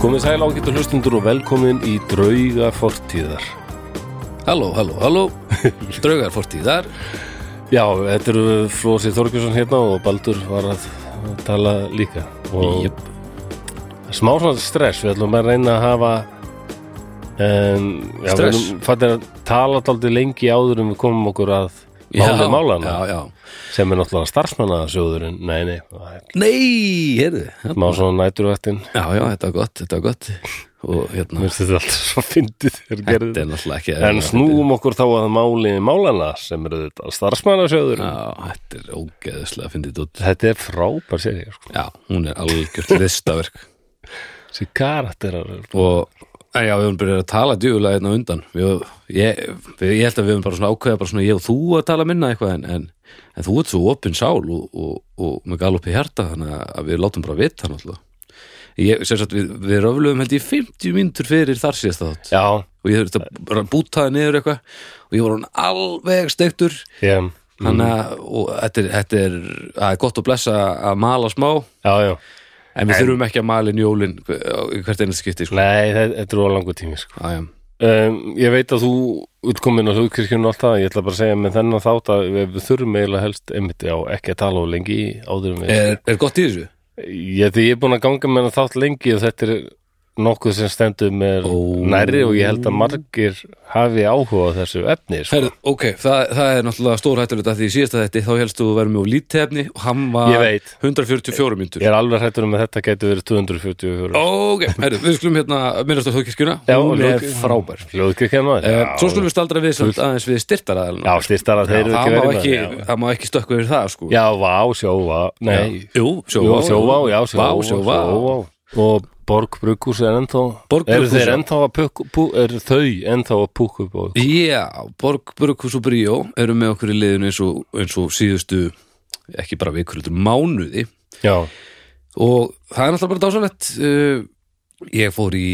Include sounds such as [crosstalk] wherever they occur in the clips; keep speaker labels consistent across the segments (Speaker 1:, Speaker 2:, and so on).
Speaker 1: Komið sæl ágættu hlustundur og velkomin í Drauga fortíðar.
Speaker 2: Halló, halló, [laughs] halló Draugar fortíðar
Speaker 1: Já, þetta eru Flósi Þorgjursson hérna og Baldur var að tala líka. Og
Speaker 2: Jöp.
Speaker 1: smá svona stress, við ætlum að reyna að hafa um, já,
Speaker 2: Stress?
Speaker 1: Við erum fattir að tala daldið lengi áður en við komum okkur að máli málana
Speaker 2: Já, já
Speaker 1: sem er náttúrulega starfsmannasjóðurinn. Nei, nei, það er
Speaker 2: Nei, heyrðu Já,
Speaker 1: smá svona næturvættin.
Speaker 2: já, þetta var gott, þetta var gott Og hérna,
Speaker 1: Mér finnst þetta alltaf svo fyndið þegar gerðið.
Speaker 2: þetta er náttúrulega ekki
Speaker 1: En snúum okkur þá að máli málana sem eru þetta starfsmannasjóður
Speaker 2: Já, þetta er ógeðislega að fyndið út
Speaker 1: Þetta er frábær serið sko.
Speaker 2: Já, hún er algjört listaverk
Speaker 1: Þessi karakterar eru-
Speaker 2: Og en já, við höfum byrjað að tala djúlega hérna á undan við, ég, við, ég held að við höfum bara svona ákveða bara svona ég og þú að tala minna eitthvað en, en, en þú ert svo opinn sál og, og, og með galupi hjarta þannig að við látum bara vita náttúrulega ég, sem sagt, við, við röfluðum held ég 50 mínútur fyrir þar síðast þátt
Speaker 1: Já,
Speaker 2: og ég þurfti að bara búta það niður eitthvað og ég var hann alveg steiktur
Speaker 1: ég,
Speaker 2: þannig að og þetta er, þetta er, að er gott að blessa að mala smá
Speaker 1: já, já
Speaker 2: en við þurfum ekki að mala inn jólin hvert einnig skipti sko.
Speaker 1: Nei, þe- þetta er á langu tími sko.
Speaker 2: ah,
Speaker 1: um, Ég veit að þú útkomin á hlugkirkjunum og allt það Ég ætla bara að segja með þennan þátt að við við þurfum eiginlega helst einmitt á ekki að tala á lengi í áður en við
Speaker 2: er, er gott í þessu?
Speaker 1: ég, Því ég er búin að ganga með þennan þátt lengi og þetta er nokkuð sem stendur mér
Speaker 2: Ó.
Speaker 1: nærri og ég held að margir hafi áhuga á þessu efni sko.
Speaker 2: Herð, ok, það, það er náttúrulega stórhættulegt að því í síðasta þetta þá helst þú að vera með lítið efni og hann
Speaker 1: Ég
Speaker 2: var
Speaker 1: veit.
Speaker 2: 144 myndur
Speaker 1: Ég er alveg hættur um að þetta getur verið 244
Speaker 2: Ok, herðu, við skulum hérna minnast á þókirkjuna,
Speaker 1: Já,
Speaker 2: hún er
Speaker 1: hljóðkirkjan.
Speaker 2: frábær
Speaker 1: Hljóðkirkja maður
Speaker 2: Eh, Svo skulum við staldra við samt aðeins við styrtaraðalina
Speaker 1: Já, styrstara, þeir eru
Speaker 2: það,
Speaker 1: ekki
Speaker 2: má
Speaker 1: verið
Speaker 2: ekki,
Speaker 1: maður,
Speaker 2: það má ekki stökkva yfir það sko
Speaker 1: Já, Já, vá, sjóvá Nei,
Speaker 2: Já. Jú,
Speaker 1: Jú,
Speaker 2: sjóvá,
Speaker 1: sjóvá, já, sjóvá,
Speaker 2: Vá, sjóvá.
Speaker 1: Og Borg Brukhús er ennþá
Speaker 2: Borg
Speaker 1: Eru
Speaker 2: Brugghús,
Speaker 1: þeir
Speaker 2: já.
Speaker 1: ennþá að pukku pú, Eru þau ennþá að pukku upp á ykkur?
Speaker 2: Já, Borg, Burkus og Bríó eru með okkur í liðinu eins og, eins og síðustu ekki bara vikur, heldur mánuði
Speaker 1: Já,
Speaker 2: og það er náttúrulega bara dásalett uh, ég fór í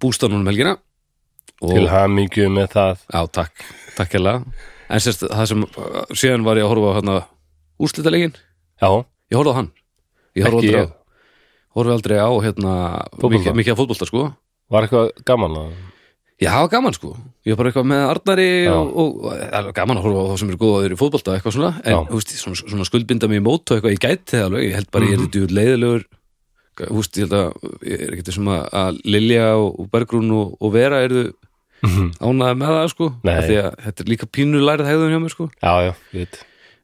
Speaker 2: bústanunum helgina og,
Speaker 1: til hamingju með það
Speaker 2: Já, takk, takk hella en sérst, það sem, uh, síðan var ég að horfa á hérna úrslitalegin,
Speaker 1: Já,
Speaker 2: ég horfði á hann ég horfði
Speaker 1: Ekki
Speaker 2: aldrei,
Speaker 1: ég.
Speaker 2: á- horfði aldrei á hérna,
Speaker 1: Fótbolta.
Speaker 2: mikið, mikið að fótbolta sko
Speaker 1: var eitthvað gaman að
Speaker 2: Já, það var gaman sko, ég var bara eitthvað með Arnari
Speaker 1: Já.
Speaker 2: og, og það var gaman að horfa á þá sem eru góðaður í fótbolta eitthvað svona
Speaker 1: Já.
Speaker 2: en þú veist, svona, svona skuldbinda mig í mót og eitthvað ég gæti það alveg, ég held bara
Speaker 1: Mhm.
Speaker 2: ég er djúð leiðilegur þú veist, ég held að ég er ekkert sem að, að Lilja og, og Bergrún og, og Vera eru
Speaker 1: Mhm.
Speaker 2: ánæði með það sko
Speaker 1: Nei.
Speaker 2: af því að þetta er líka pínu lærið hegðun hjá mér sko
Speaker 1: Já, já, ég veit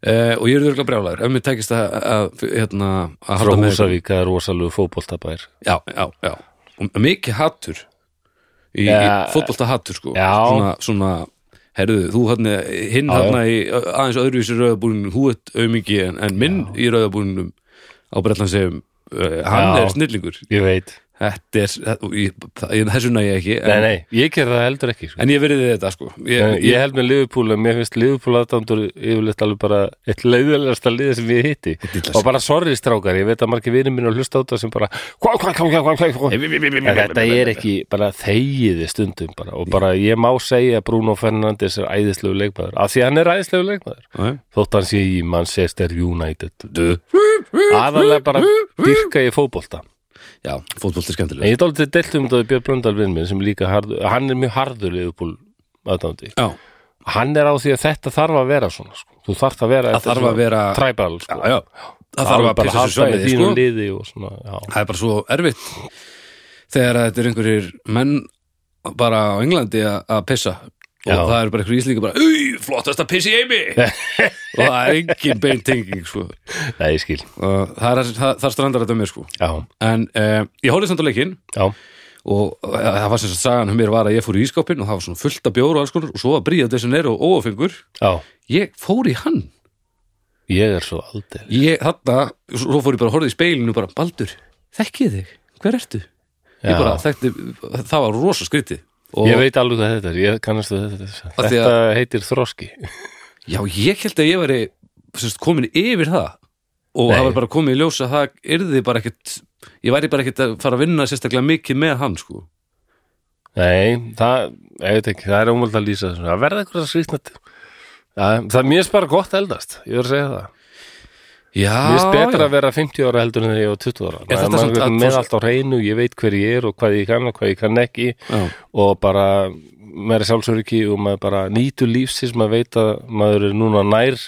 Speaker 2: eh, og ég er þurrglega brjálæður ef mér tekist að, að, hérna, að
Speaker 1: Frá
Speaker 2: halda með-
Speaker 1: Húsavík að rosalegu fótboltabær
Speaker 2: já, já, já, og mikið hattur í,
Speaker 1: Já.
Speaker 2: í fótbolta hattur sko
Speaker 1: Já.
Speaker 2: svona, svona herðu, þú hann hinn
Speaker 1: Já, já.
Speaker 2: hann í ö- aðeins öðruvísi rauðabúninum hú ert aumingi en, en minn í rauðabúninum á Bretlandsegum uh, hann
Speaker 1: Já.
Speaker 2: er snillingur
Speaker 1: Ég veit
Speaker 2: þetta er, þa- og ég- það- ég- þessu næ ég ekki en,
Speaker 1: Nei, nei, ég ger það heldur ekki sko.
Speaker 2: en ég verið þetta sko
Speaker 1: Ég,
Speaker 2: ég,
Speaker 1: ég held með Liverpool að mér finnst Liverpool aðdándur yfirleitt alveg bara eitt leiðilegasta liðið sem ég hitti og bara sorry strákar, ég veit að margir vinur minn og hlusta á það sem bara hva, hva, hva, hva, hva, hva, hva. En þetta er ekki bara þegiði stundum bara. og bara ég má segja að Bruno Fernandes er æðislegu leikmaður af því að hann er æðislegu leikmaður
Speaker 2: ég,
Speaker 1: þótt hann sé í Manchester United aðalega bara dyrka ég fótbolta
Speaker 2: já, fótbolt er
Speaker 1: en
Speaker 2: skemmtilega
Speaker 1: ég dálítið delt um þetta við Björn Blöndal vinn minn sem er líka harður, hann er mjög harður Liverpool aðdándi
Speaker 2: já,
Speaker 1: hann er á því að þetta þarf að vera svona sko. þú þarf að vera
Speaker 2: það þarf að vera já,
Speaker 1: træbal sko.
Speaker 2: já, það þarf að
Speaker 1: bara
Speaker 2: pissa
Speaker 1: halda
Speaker 2: svo
Speaker 1: með
Speaker 2: svæðið
Speaker 1: þínu
Speaker 2: sko
Speaker 1: liði og svona já,
Speaker 2: það er bara svo erfitt þegar að þetta er einhverjir menn bara á Englandi a- að pissa og
Speaker 1: Já.
Speaker 2: það er bara einhverjir íslíka bara "Új, flottast að pissi heimi og það er engin beintenging sko.
Speaker 1: nei, ég skil
Speaker 2: Og það, er, það, það strandar þetta á mér sko.
Speaker 1: já,
Speaker 2: en eh, ég horfði samt á leikinn
Speaker 1: já,
Speaker 2: og eh, það var sem sagt sagan um mér var að ég fór í ískápinn og það var svona fullt af bjóru og alls konar og svo að bríða þessi neyru og óafengur
Speaker 1: já
Speaker 2: ég fór í hann
Speaker 1: ég er svo aldrei
Speaker 2: ég, þarna, svo fór ég bara að horfði í speilinu bara, Baldur, þekkið þig hver ertu?
Speaker 1: Já.
Speaker 2: ég bara þekkti, það var rosa skrítið og
Speaker 1: ég veit alveg hvað þetta er, ég kannast við þetta
Speaker 2: Af því að-
Speaker 1: þetta heitir þroski
Speaker 2: já, ég held að ég væri sérst, komin yfir það og
Speaker 1: Nei.
Speaker 2: það var bara komið í ljós að það yrði bara ekkert ég væri bara ekkert að fara að vinna sérstaklega mikið með hann sko
Speaker 1: nei, það, ég veit ekki, það er umvöld að lýsa þessu, það verða eitthvað skrýtnat það, það er mjög spara gott að eldast, ég verð að segja það
Speaker 2: Já,
Speaker 1: Mér finnst betra
Speaker 2: já.
Speaker 1: að vera 50 ára heldur en þegar ég var 20 ára
Speaker 2: þetta
Speaker 1: Maður-
Speaker 2: samt
Speaker 1: maður er
Speaker 2: að-
Speaker 1: með allt á hreinu, ég veit hver ég er og hvað ég kann og hvað ég kann ekki
Speaker 2: Já.
Speaker 1: og bara maður er sjálfsöryggi og maður bara nýtur lífsins maður veit að maður er núna nær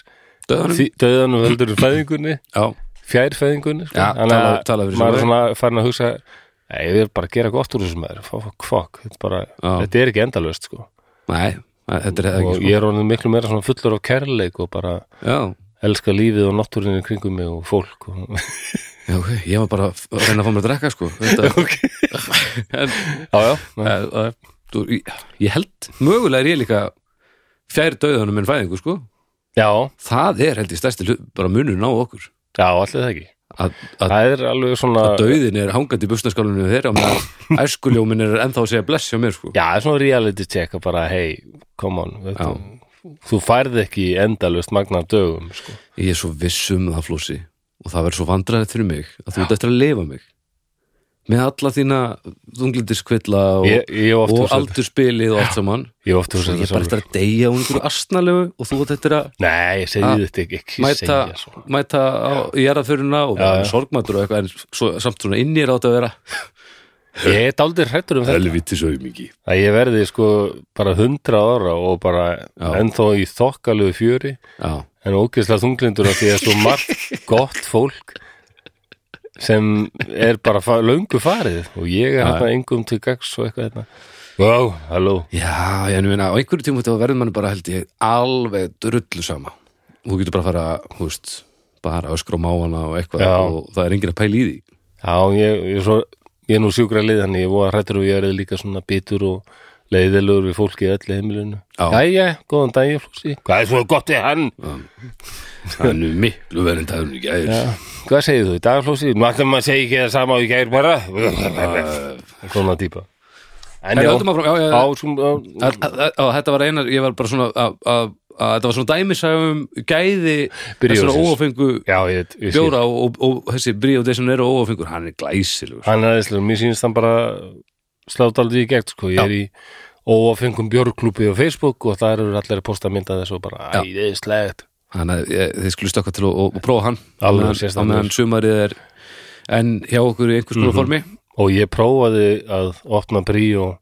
Speaker 2: Dauðanum.
Speaker 1: því- dauðanum heldur en fæðingunni
Speaker 2: Já,
Speaker 1: fjær fæðingunni sko.
Speaker 2: Já,
Speaker 1: Þannig
Speaker 2: tala-
Speaker 1: að
Speaker 2: tala fyrir sig
Speaker 1: maður er
Speaker 2: sjálfur.
Speaker 1: svona farin að hugsa "Nei, ég er bara að gera gott úr þessum maður fuck, fuck, fuck. Þetta, er bara,
Speaker 2: Já.
Speaker 1: þetta er ekki endalaust sko.
Speaker 2: nei, þetta er ekki
Speaker 1: og
Speaker 2: sko.
Speaker 1: ég er orðin miklu meira svona fullur af kærleik og bara
Speaker 2: Já,
Speaker 1: elska lífið og náttúrinni kringum mig og fólk og... [laughs]
Speaker 2: já, ok, ég var bara að f- að reyna að fá mér að drekka [laughs] sko Þetta, en,
Speaker 1: já, já,
Speaker 2: e, e, þú, ég held, mögulega er ég líka fjær döðanum en fæðingu sko
Speaker 1: já,
Speaker 2: Það er held ég stærsti hlut, bara munurinn á okkur
Speaker 1: já, allir það ekki
Speaker 2: að, að
Speaker 1: það er alveg svona
Speaker 2: döðin er hangandi í busnaskálunum við þeirra og meðan æskuljómin er ennþá að segja bless hjá mér sko
Speaker 1: já, það er svona reality check að bara, hey, come on þetta, þú færð ekki endalaust magna dögum sko.
Speaker 2: Ég er svo viss um það flósi og það verður svo vandræðið fyrir mig að þú ert eftir að lifa mig með alla þína þunglitiskvilla og,
Speaker 1: ég, ég hef oft
Speaker 2: og
Speaker 1: hugsað-
Speaker 2: aldurspilið og allt saman
Speaker 1: ég hef oft
Speaker 2: Svo
Speaker 1: húsað
Speaker 2: ég er bara eftir að deyja úr einhverju astnalegu og þú ert eftir að
Speaker 1: Nei, ég segi
Speaker 2: Að
Speaker 1: þetta ekki, ekki
Speaker 2: Ah. mæta,
Speaker 1: segja svona
Speaker 2: mæta á jarðaföruna og
Speaker 1: Já,
Speaker 2: vera
Speaker 1: já.
Speaker 2: sorgmættur og eitthvað en svo, samt svona inn ég rátt að vera
Speaker 1: Ég er dálítið hrættur um þetta
Speaker 2: Helviti saumingi
Speaker 1: að ég verði sko bara hundra ára og bara
Speaker 2: Já.
Speaker 1: ennþá í þokkalegu fjöri
Speaker 2: Já,
Speaker 1: en ógeðslega þunglindur af því að svo [laughs] margt gott fólk sem er bara fa löngu farið og ég er hérna engum til gags og eitthvað hérna Wow, halló
Speaker 2: já ég meina á einhverju tíma þetta verður mann bara held ég alveg drullu sama Þú getur bara að fara, hú veist bara öskra á máana og eitthvað
Speaker 1: Já.
Speaker 2: og það er enginn að pæla í því
Speaker 1: Já, ég, ég, er svo, ég er nú sjúkra lið hann ég voða hrættur og ég er líka svona bitur og leiðilegur við fólki í öllu heimilinu
Speaker 2: Já.
Speaker 1: Jæja, góðan dag, ég flósi Hvað er svona gott við hann?
Speaker 2: Það er nú miklu verið en það er nú ekki aðeins
Speaker 1: Hvað segir þú í dagarflósi? Nú ætlum maður að segja ekki það sama og í gær bara Svona típa En
Speaker 2: Ah. Herra,
Speaker 1: já,
Speaker 2: höldum áfram, já, já, já.
Speaker 1: á, svona,
Speaker 2: Að- að- að- að- Þetta var einar, ég var bara svona að að- að þetta var svona dæmisæfum gæði þessara
Speaker 1: Byrjusins.
Speaker 2: óafengu
Speaker 1: já, ég veit ég sé.
Speaker 2: bjóra og, og, og þessi Brio Desinero óafengur, hann er glæsilegur
Speaker 1: Hann er aðeinslega, mér sýnist hann bara slátt aldrei í gegn, sko Ég er í óafengum björgklúpi á Facebook og það eru allir að posta mynda þessu og bara
Speaker 2: Já.
Speaker 1: æðislegt
Speaker 2: hann er, ég, þið skulle stökkva til og, og prófa hann Á
Speaker 1: Alveg
Speaker 2: meðan-
Speaker 1: sérstakur.
Speaker 2: á meðan sumarið er en hjá okkur í einhvers konar formi
Speaker 1: Og ég prófaði að opna bríó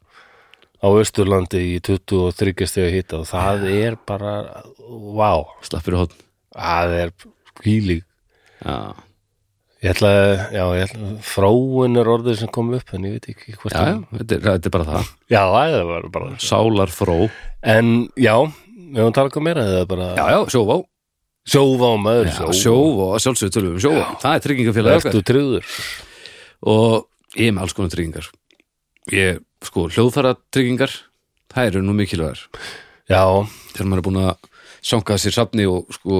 Speaker 1: á Östurlandi í 23 stegu hita og það er bara, vá,
Speaker 2: slapp fyrir hótt
Speaker 1: það er kvílík
Speaker 2: já,
Speaker 1: Ég ætla að, já, ég ætla að fróun er orðið sem kom upp en ég veit ekki hvort
Speaker 2: já, já, þetta, er, þetta er bara það
Speaker 1: já, það var bara
Speaker 2: sálar fró,
Speaker 1: En já, við höfum talað um meira eða bara
Speaker 2: já, já, sjóvá
Speaker 1: sjófa á maður
Speaker 2: Já, sjóvá, sjálfsögur tölum við um sjóvá það er tryggingafélag okkar
Speaker 1: Ertu tryggður?
Speaker 2: og ég er með alls konar tryggingar ég, sko, hljóðfæra tryggingar það eru nú mikilvægar
Speaker 1: Já,
Speaker 2: þegar maður er búin að sanga sér safni og sko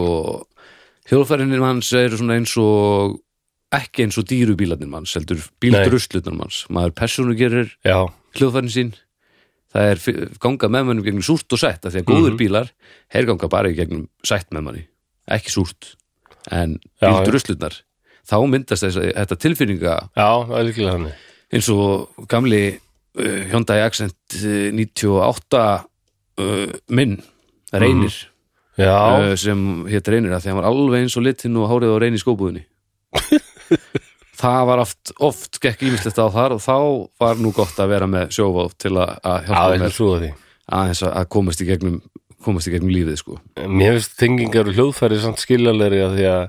Speaker 2: hjólfærinir manns eru svona eins og ekki eins og dýru bílarnir manns heldur bíldruslunar manns maður persónu gerir
Speaker 1: já,
Speaker 2: hljóðfærin sín það er fi- ganga með mönnum gegnum súrt og sætt af því að góður
Speaker 1: Mhm.
Speaker 2: bílar, þeir ganga bara í gegnum sætt með manni, ekki súrt en
Speaker 1: Já, já.
Speaker 2: bíldruslunar þá myndast þess að þetta tilfinninga
Speaker 1: já, það er líklega hann
Speaker 2: eins og gamli uh, Hyundai Accent uh, 98 uh, minn reynir
Speaker 1: Já,
Speaker 2: uh, sem hétt reynir að því hann var alveg eins og litinn og hárið á reyni í [laughs] skóbúðinni það var oft, oft gekk ímislegt á þar og þá var nú gott að vera með sjóvá til að, að
Speaker 1: já,
Speaker 2: hjálpa
Speaker 1: það
Speaker 2: mér
Speaker 1: er svo því
Speaker 2: aðeins að, að komast í gegnum komast í gegnum lífið sko
Speaker 1: Mér finnst tengingar og hljóðfæri samt skiljalegri að því að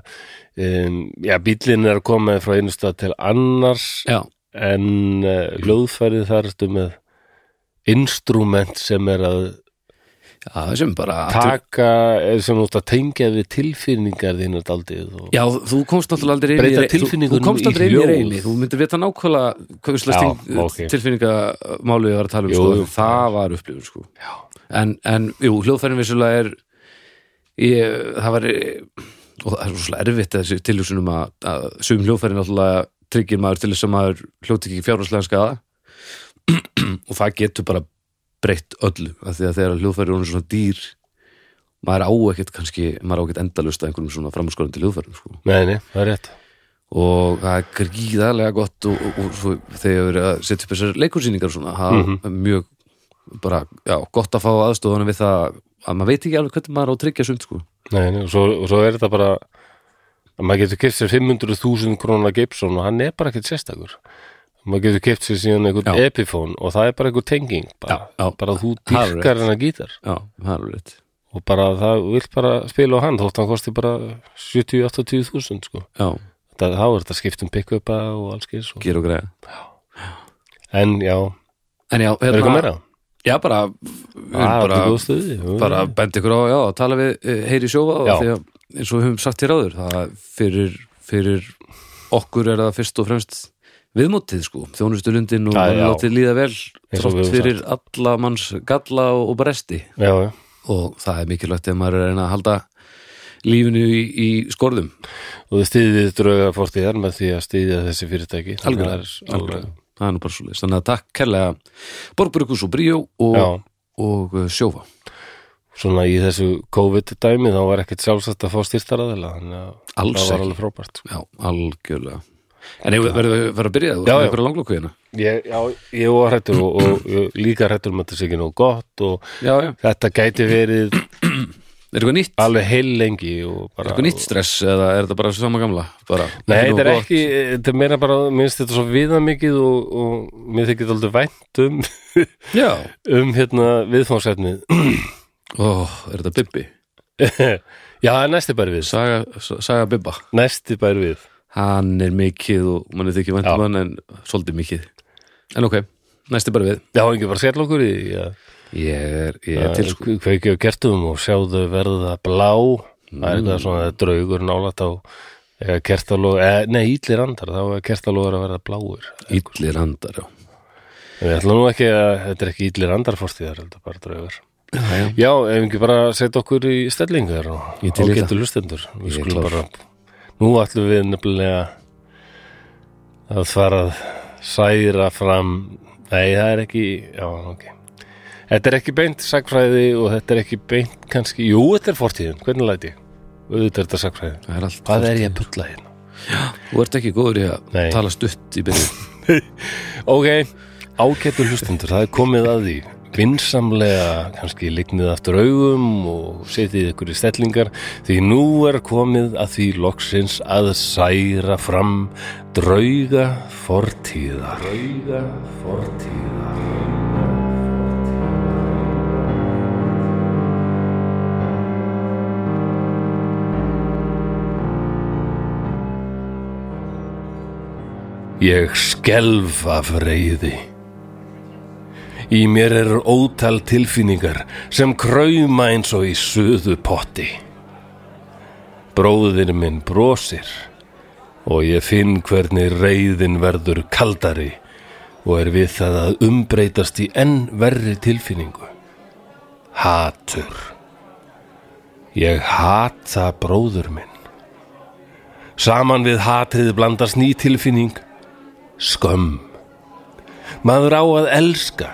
Speaker 1: um, já, bíllinn er að koma frá einu stað til annars
Speaker 2: já,
Speaker 1: en uh, hljóðfærið þar ertu með instrument sem er að
Speaker 2: já sem bara
Speaker 1: taka eh, sem þú ert að tengja við tilfinningar þínu daldið og...
Speaker 2: Já, þú komst náttúrulega aldrei inn í
Speaker 1: Breyta
Speaker 2: rey- þú-
Speaker 1: tilfinningunum
Speaker 2: Þú komst
Speaker 1: í
Speaker 2: aldrei inn í
Speaker 1: hljóð.
Speaker 2: reyni, þú myndir vita nákvæmlega hvað slags
Speaker 1: Já,
Speaker 2: ting-
Speaker 1: ok.
Speaker 2: tilfinningamálið ég var að tala um,
Speaker 1: Jú,
Speaker 2: sko,
Speaker 1: jú.
Speaker 2: það var upplifun sko. en, en, jú, hljóðfærin vissulega er ég, það var og það er rosalega erfitt þessi tilhjúsunum að, að sum hljóðfærin náttúrulega tryggir maður til þess að maður hljóti ekki fjárhanslega skada og það getur bara breytt öllu, af því að þegar hljóðfærin er orðin svona dýr maður á ekkert kannski, maður á ekkert endalust að einhverjum svona framskorandi hljóðfærum sko
Speaker 1: Nei, nei, það er rétt
Speaker 2: og það er gríðarlega gott og, og, og svo þegar ég hef verið að setja upp þessar leikursýningar og svona, það
Speaker 1: Mhm.
Speaker 2: er mjög bara, já, gott að fá aðstofanum við það að maður veit ekki alveg hvernig maður á að tryggja sumt, sko
Speaker 1: nei, nei, og, svo, og svo er þetta bara að maður getur keft sér 500.000 krónar Gibson og hann er bara ekkert sérstakur maður getur keft sér síðan einhvern
Speaker 2: Já.
Speaker 1: Epiphone og það er bara einhver tenging bara,
Speaker 2: Já, já.
Speaker 1: bara þú
Speaker 2: Það er rétt.
Speaker 1: dýrkar hennar gítar
Speaker 2: já, það er alveg rétt
Speaker 1: og bara það vill bara spila á hann þótt hann kosti bara 70-80.000 sko.
Speaker 2: já,
Speaker 1: það, þá er þetta skipt um pick-upa og alls geis og...
Speaker 2: gera og greið
Speaker 1: en já,
Speaker 2: Hérna en já,
Speaker 1: er eitthvað
Speaker 2: hérna,
Speaker 1: meira? Ah,
Speaker 2: já bara, við
Speaker 1: Það er
Speaker 2: erum
Speaker 1: bara
Speaker 2: bara
Speaker 1: góð stuði
Speaker 2: bara bendi ykkur á, já, að tala við eh, heyri sjófa
Speaker 1: Mm. Já.
Speaker 2: og því að eins og við höfum sagt hér áður, það fyrir, fyrir okkur er það fyrst og fremst viðmótið sko, þjónustu lundin og
Speaker 1: Já,
Speaker 2: bara
Speaker 1: já.
Speaker 2: látið líða vel
Speaker 1: við
Speaker 2: trótt
Speaker 1: höfum
Speaker 2: fyrir alla manns galla og, og bresti
Speaker 1: já, já.
Speaker 2: og það er mikilvægt ef maður er að reyna að halda lífinu í, í skorðum
Speaker 1: og þið stýðið drauga fórtíðar með því að stýðja þessi fyrirtæki Þannig að
Speaker 2: Algjörlega,
Speaker 1: það er alveg
Speaker 2: það er nú bara svo leist, þannig að takk kærlega Borgbrukus og Bríó og,
Speaker 1: Já,
Speaker 2: og eh, sjófa
Speaker 1: svona í þessu COVID-dæmi þá var ekkert sjálfsagt að fá styrtaraðila þannig að
Speaker 2: Alls
Speaker 1: það var
Speaker 2: ekki.
Speaker 1: alveg frábært
Speaker 2: já, algjörlega en eigum við- verðum við verðum að byrja, þú
Speaker 1: Já,
Speaker 2: erum
Speaker 1: já.
Speaker 2: einhverja langlokku hérna
Speaker 1: ég, Já, ég var hrættur og, og ég- líka hrættur um að þetta sé ekki nóg gott og
Speaker 2: já, já,
Speaker 1: þetta gæti verið
Speaker 2: er eitthvað nýtt
Speaker 1: alveg heil lengi og
Speaker 2: Er
Speaker 1: bara
Speaker 2: eitthvað nýtt stress eða er þetta bara sama gamla? Bara,
Speaker 1: Nei, þetta er
Speaker 2: nógu gott.
Speaker 1: ekki, þetta er meira bara, minnst þetta svo viða mikið og, og mér þykir þetta aldrei vænt um, [laughs]
Speaker 2: Já,
Speaker 1: um hérna viðfánsefnið.
Speaker 2: ó, er þetta Bibbi?
Speaker 1: [laughs] Já, næsti bæri við,
Speaker 2: Saga, saga Bibba
Speaker 1: næsti bæri við.
Speaker 2: Hann er mikið og manni þykir vænt um
Speaker 1: Já.
Speaker 2: hann en svolítið mikið En ok, næsti bara við
Speaker 1: Já, ekki bara skell okkur í því, já.
Speaker 2: Ég er, ég er til sko
Speaker 1: kveikið á kertum og sjáðu verða blá það er eitthvað svona draugur nálætt á kertalóð, eh, nei íllir andar þá er kertalóður að verða bláur
Speaker 2: Illir handar, já
Speaker 1: en ég ætla nú ekki að, þetta er ekki illir andar fórstíðar, þetta er bara draugur
Speaker 2: Já, já.
Speaker 1: já, ef ekki bara setja okkur í stellingar og
Speaker 2: Ég til í
Speaker 1: ágættu lustendur
Speaker 2: Ég
Speaker 1: við
Speaker 2: er
Speaker 1: skulum
Speaker 2: klár.
Speaker 1: bara nú ætlum við nefnilega að fara að særa fram nei, það er ekki já, ok Þetta er ekki beint sagfræði og þetta er ekki beint kannski, jú, þetta er fortíðin, hvernig læti ég? Auðvitað er þetta sagfræði.
Speaker 2: Það er allt
Speaker 1: Hvað er ég að bulla hérna?
Speaker 2: Þú ert ekki góður í að
Speaker 1: Nei.
Speaker 2: tala stutt í byrju
Speaker 1: Ok, ágættu hlustendur, það er komið að því. Vinsamlega, kannski lignið aftur augum og setið ykkur í stellingar, því nú er komið að því loksins að særa fram drauga fortíðar. Drauga fortíðar. Ég skelf af reyði. Í mér er ótal tilfinningar sem krauma eins og í suðu potti. Bróðir minn brosir og ég finn hvernig reyðin verður kaldari og er við það að umbreytast í enn verri tilfinningu. Hatur. Ég hata bróður minn. Saman við hatrið blandast ný tilfinning, skömm. Maður á að elska,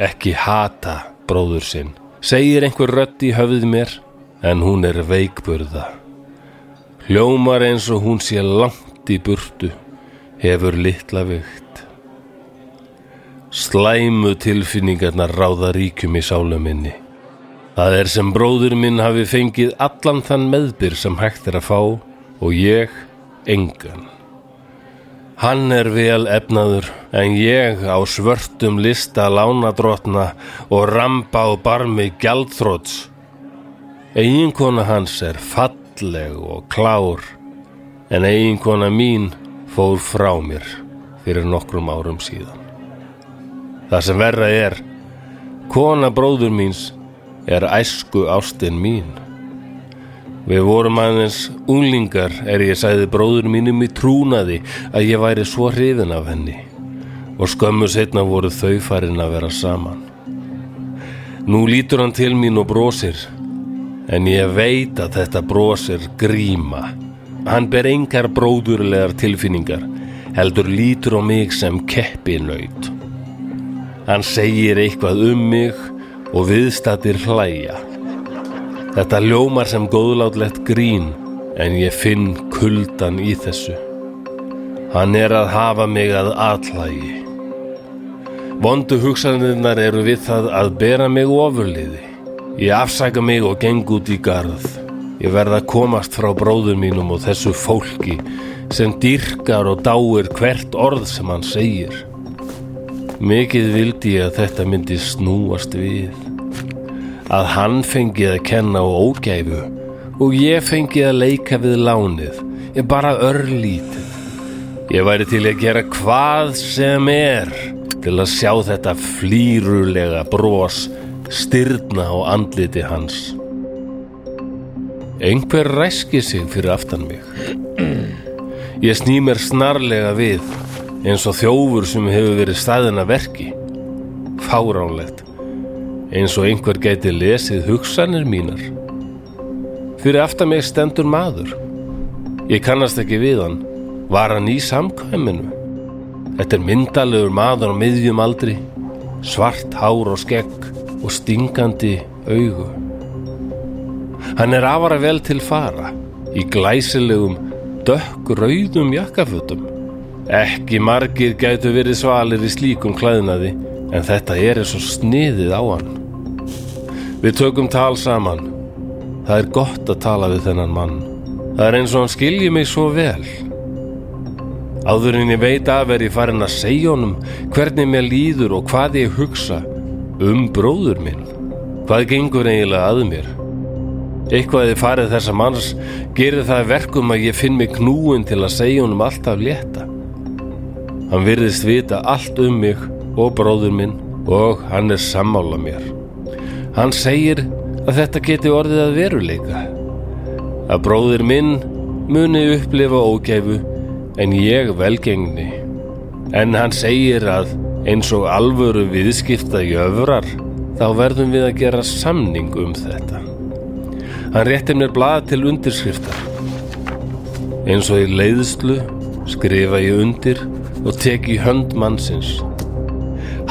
Speaker 1: ekki hata bróður sinn, segir einhver rödd í höfðið mér, en hún er veikburða. Hljómar eins og hún sé langt í burtu, hefur litla vikt. Slæmu tilfinningarnar ráða ríkjum í sálu minni. Það er sem bróður minn hafi fengið allan þann meðbyr sem hægt er að fá og ég engan. Hann er vel efnaður en ég á svörtum lista lánadrottna og ramba og barmi gjaldþróts. Eiginkona hans er falleg og klár en eiginkona mín fór frá mér fyrir nokkrum árum síðan. Það sem verra er, kona bróður míns er æsku ástin mín. Við vorum aðeins unglingar er ég sagði bróður mínum í trúnaði að ég væri svo hrifin af henni og skömmu setna voru þau farin að vera saman. Nú lítur hann til mín og brosir en ég veit að þetta brosir gríma. Hann ber engar bróðurlegar tilfinningar heldur lítur á mig sem keppinaut. Hann segir eitthvað um mig og viðstattir hlæja. Þetta ljómar sem góðlátlegt grín en ég finn kuldan í þessu. Hann er að hafa mig að atlægi. Vondu hugsanirnar eru við það að bera mig ofurliði. Ég afsaka mig og geng út í garð. Ég Ég verð að komast frá bróður mínum og þessu fólki sem dýrkar og dáir hvert orð sem hann segir. Mikið vildi ég að þetta myndi snúast við. Að hann fengi að kenna á ógæfu og ég fengi að leika við lánið. Ég bara örlítið. Ég væri til að gera hvað sem er til að sjá þetta flýrulega bros styrna á andliti hans. Einhver ræski sig fyrir aftan mig. Ég sný mér snarlega við eins og þjófur sem hefur verið staðin að verki. Fáránlegt. Eins og einhver gæti lesið hugsanir mínar. Fyrir aftan mig stendur maður. Ég kannast ekki við hann. Var hann í samkvæminu? Þetta er myndalegur maður á miðjum aldri, svart hár og skegg og stingandi augu. Hann er afara vel til fara, í glæsilegum, dökkrauðum jakkafötum. Ekki margir gætu verið svalir í slíkum klæðnaði, en þetta er eins og sniðið á hann. Við tökum tal saman. Það er gott að tala við þennan mann. Það er eins og hann skilji mig svo vel. Áður en ég veit af er ég farin að segja honum hvernig mér líður og hvað ég hugsa um bróður minn. Hvað gengur eiginlega að mér? Eitthvað þið farið þessa manns gerir það verkum að ég finn mig knúin til að segja honum alltaf létta. Hann virðist vita allt um mig og bróður minn og hann er sammála mér. Hann segir að þetta geti orðið að veruleika. Að bróður minn muni upplifa ógæfu en ég velgengni. En hann segir að eins og alvöru viðskipta jöfrar, þá verðum við að gera samning um þetta. Hann rétti mér blað til undirskriftar. Eins og í leiðslu skrifa ég undir og tek í hönd mannsins.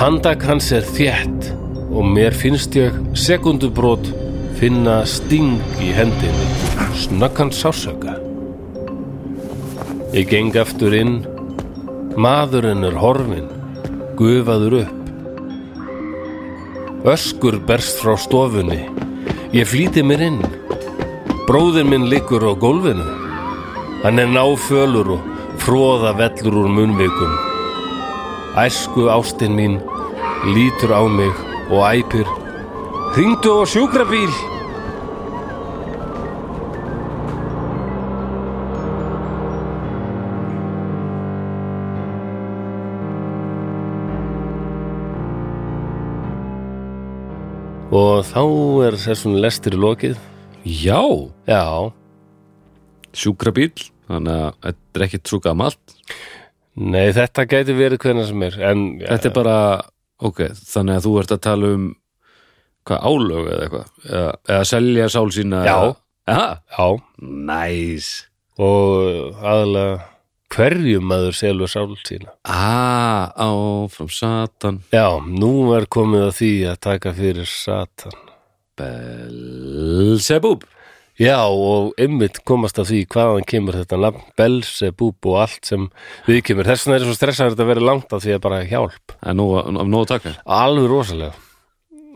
Speaker 1: Handak hans er þjætt og mér finnst ég sekundubrót finna sting í hendinni, snöggan sásöka. Ég geng aftur inn. Maðurinn er horfinn, gufaður upp. Öskur berst frá stofunni. Ég flýti mér inn. Bróðir minn liggur á gólfinu. Hann er náfölur og fróða vellur úr munvikum. Æsku ástinn mín lítur á mig og æpir. Hringdu á sjúkrabíl! Og þá er þessum lestir lokið.
Speaker 2: Já,
Speaker 1: Já,
Speaker 2: sjúkrabíl Þannig að þetta er ekki svo gamalt
Speaker 1: nei þetta gæti verið hvernig sem er, en
Speaker 2: Þetta er bara, ok Þannig að þú ert að tala um hvað álög eða eitthvað eða, eða selja sál sína
Speaker 1: Já.
Speaker 2: eða- Aha,
Speaker 1: já,
Speaker 2: Næs
Speaker 1: og aðalega hverjum maður selur sál sína.
Speaker 2: Ah, áfram satan
Speaker 1: Já, nú er komið að því að taka fyrir Satan.
Speaker 2: Belzebub
Speaker 1: Já, og ymmit komast að því hvaðan kemur þetta nafn, Belzebub og allt sem við kemur. Þess vegna er svo stressaður þetta að vera langt að því að bara hjálp.
Speaker 2: Það er nóg að- af nóg að taka
Speaker 1: Alveg rosalega.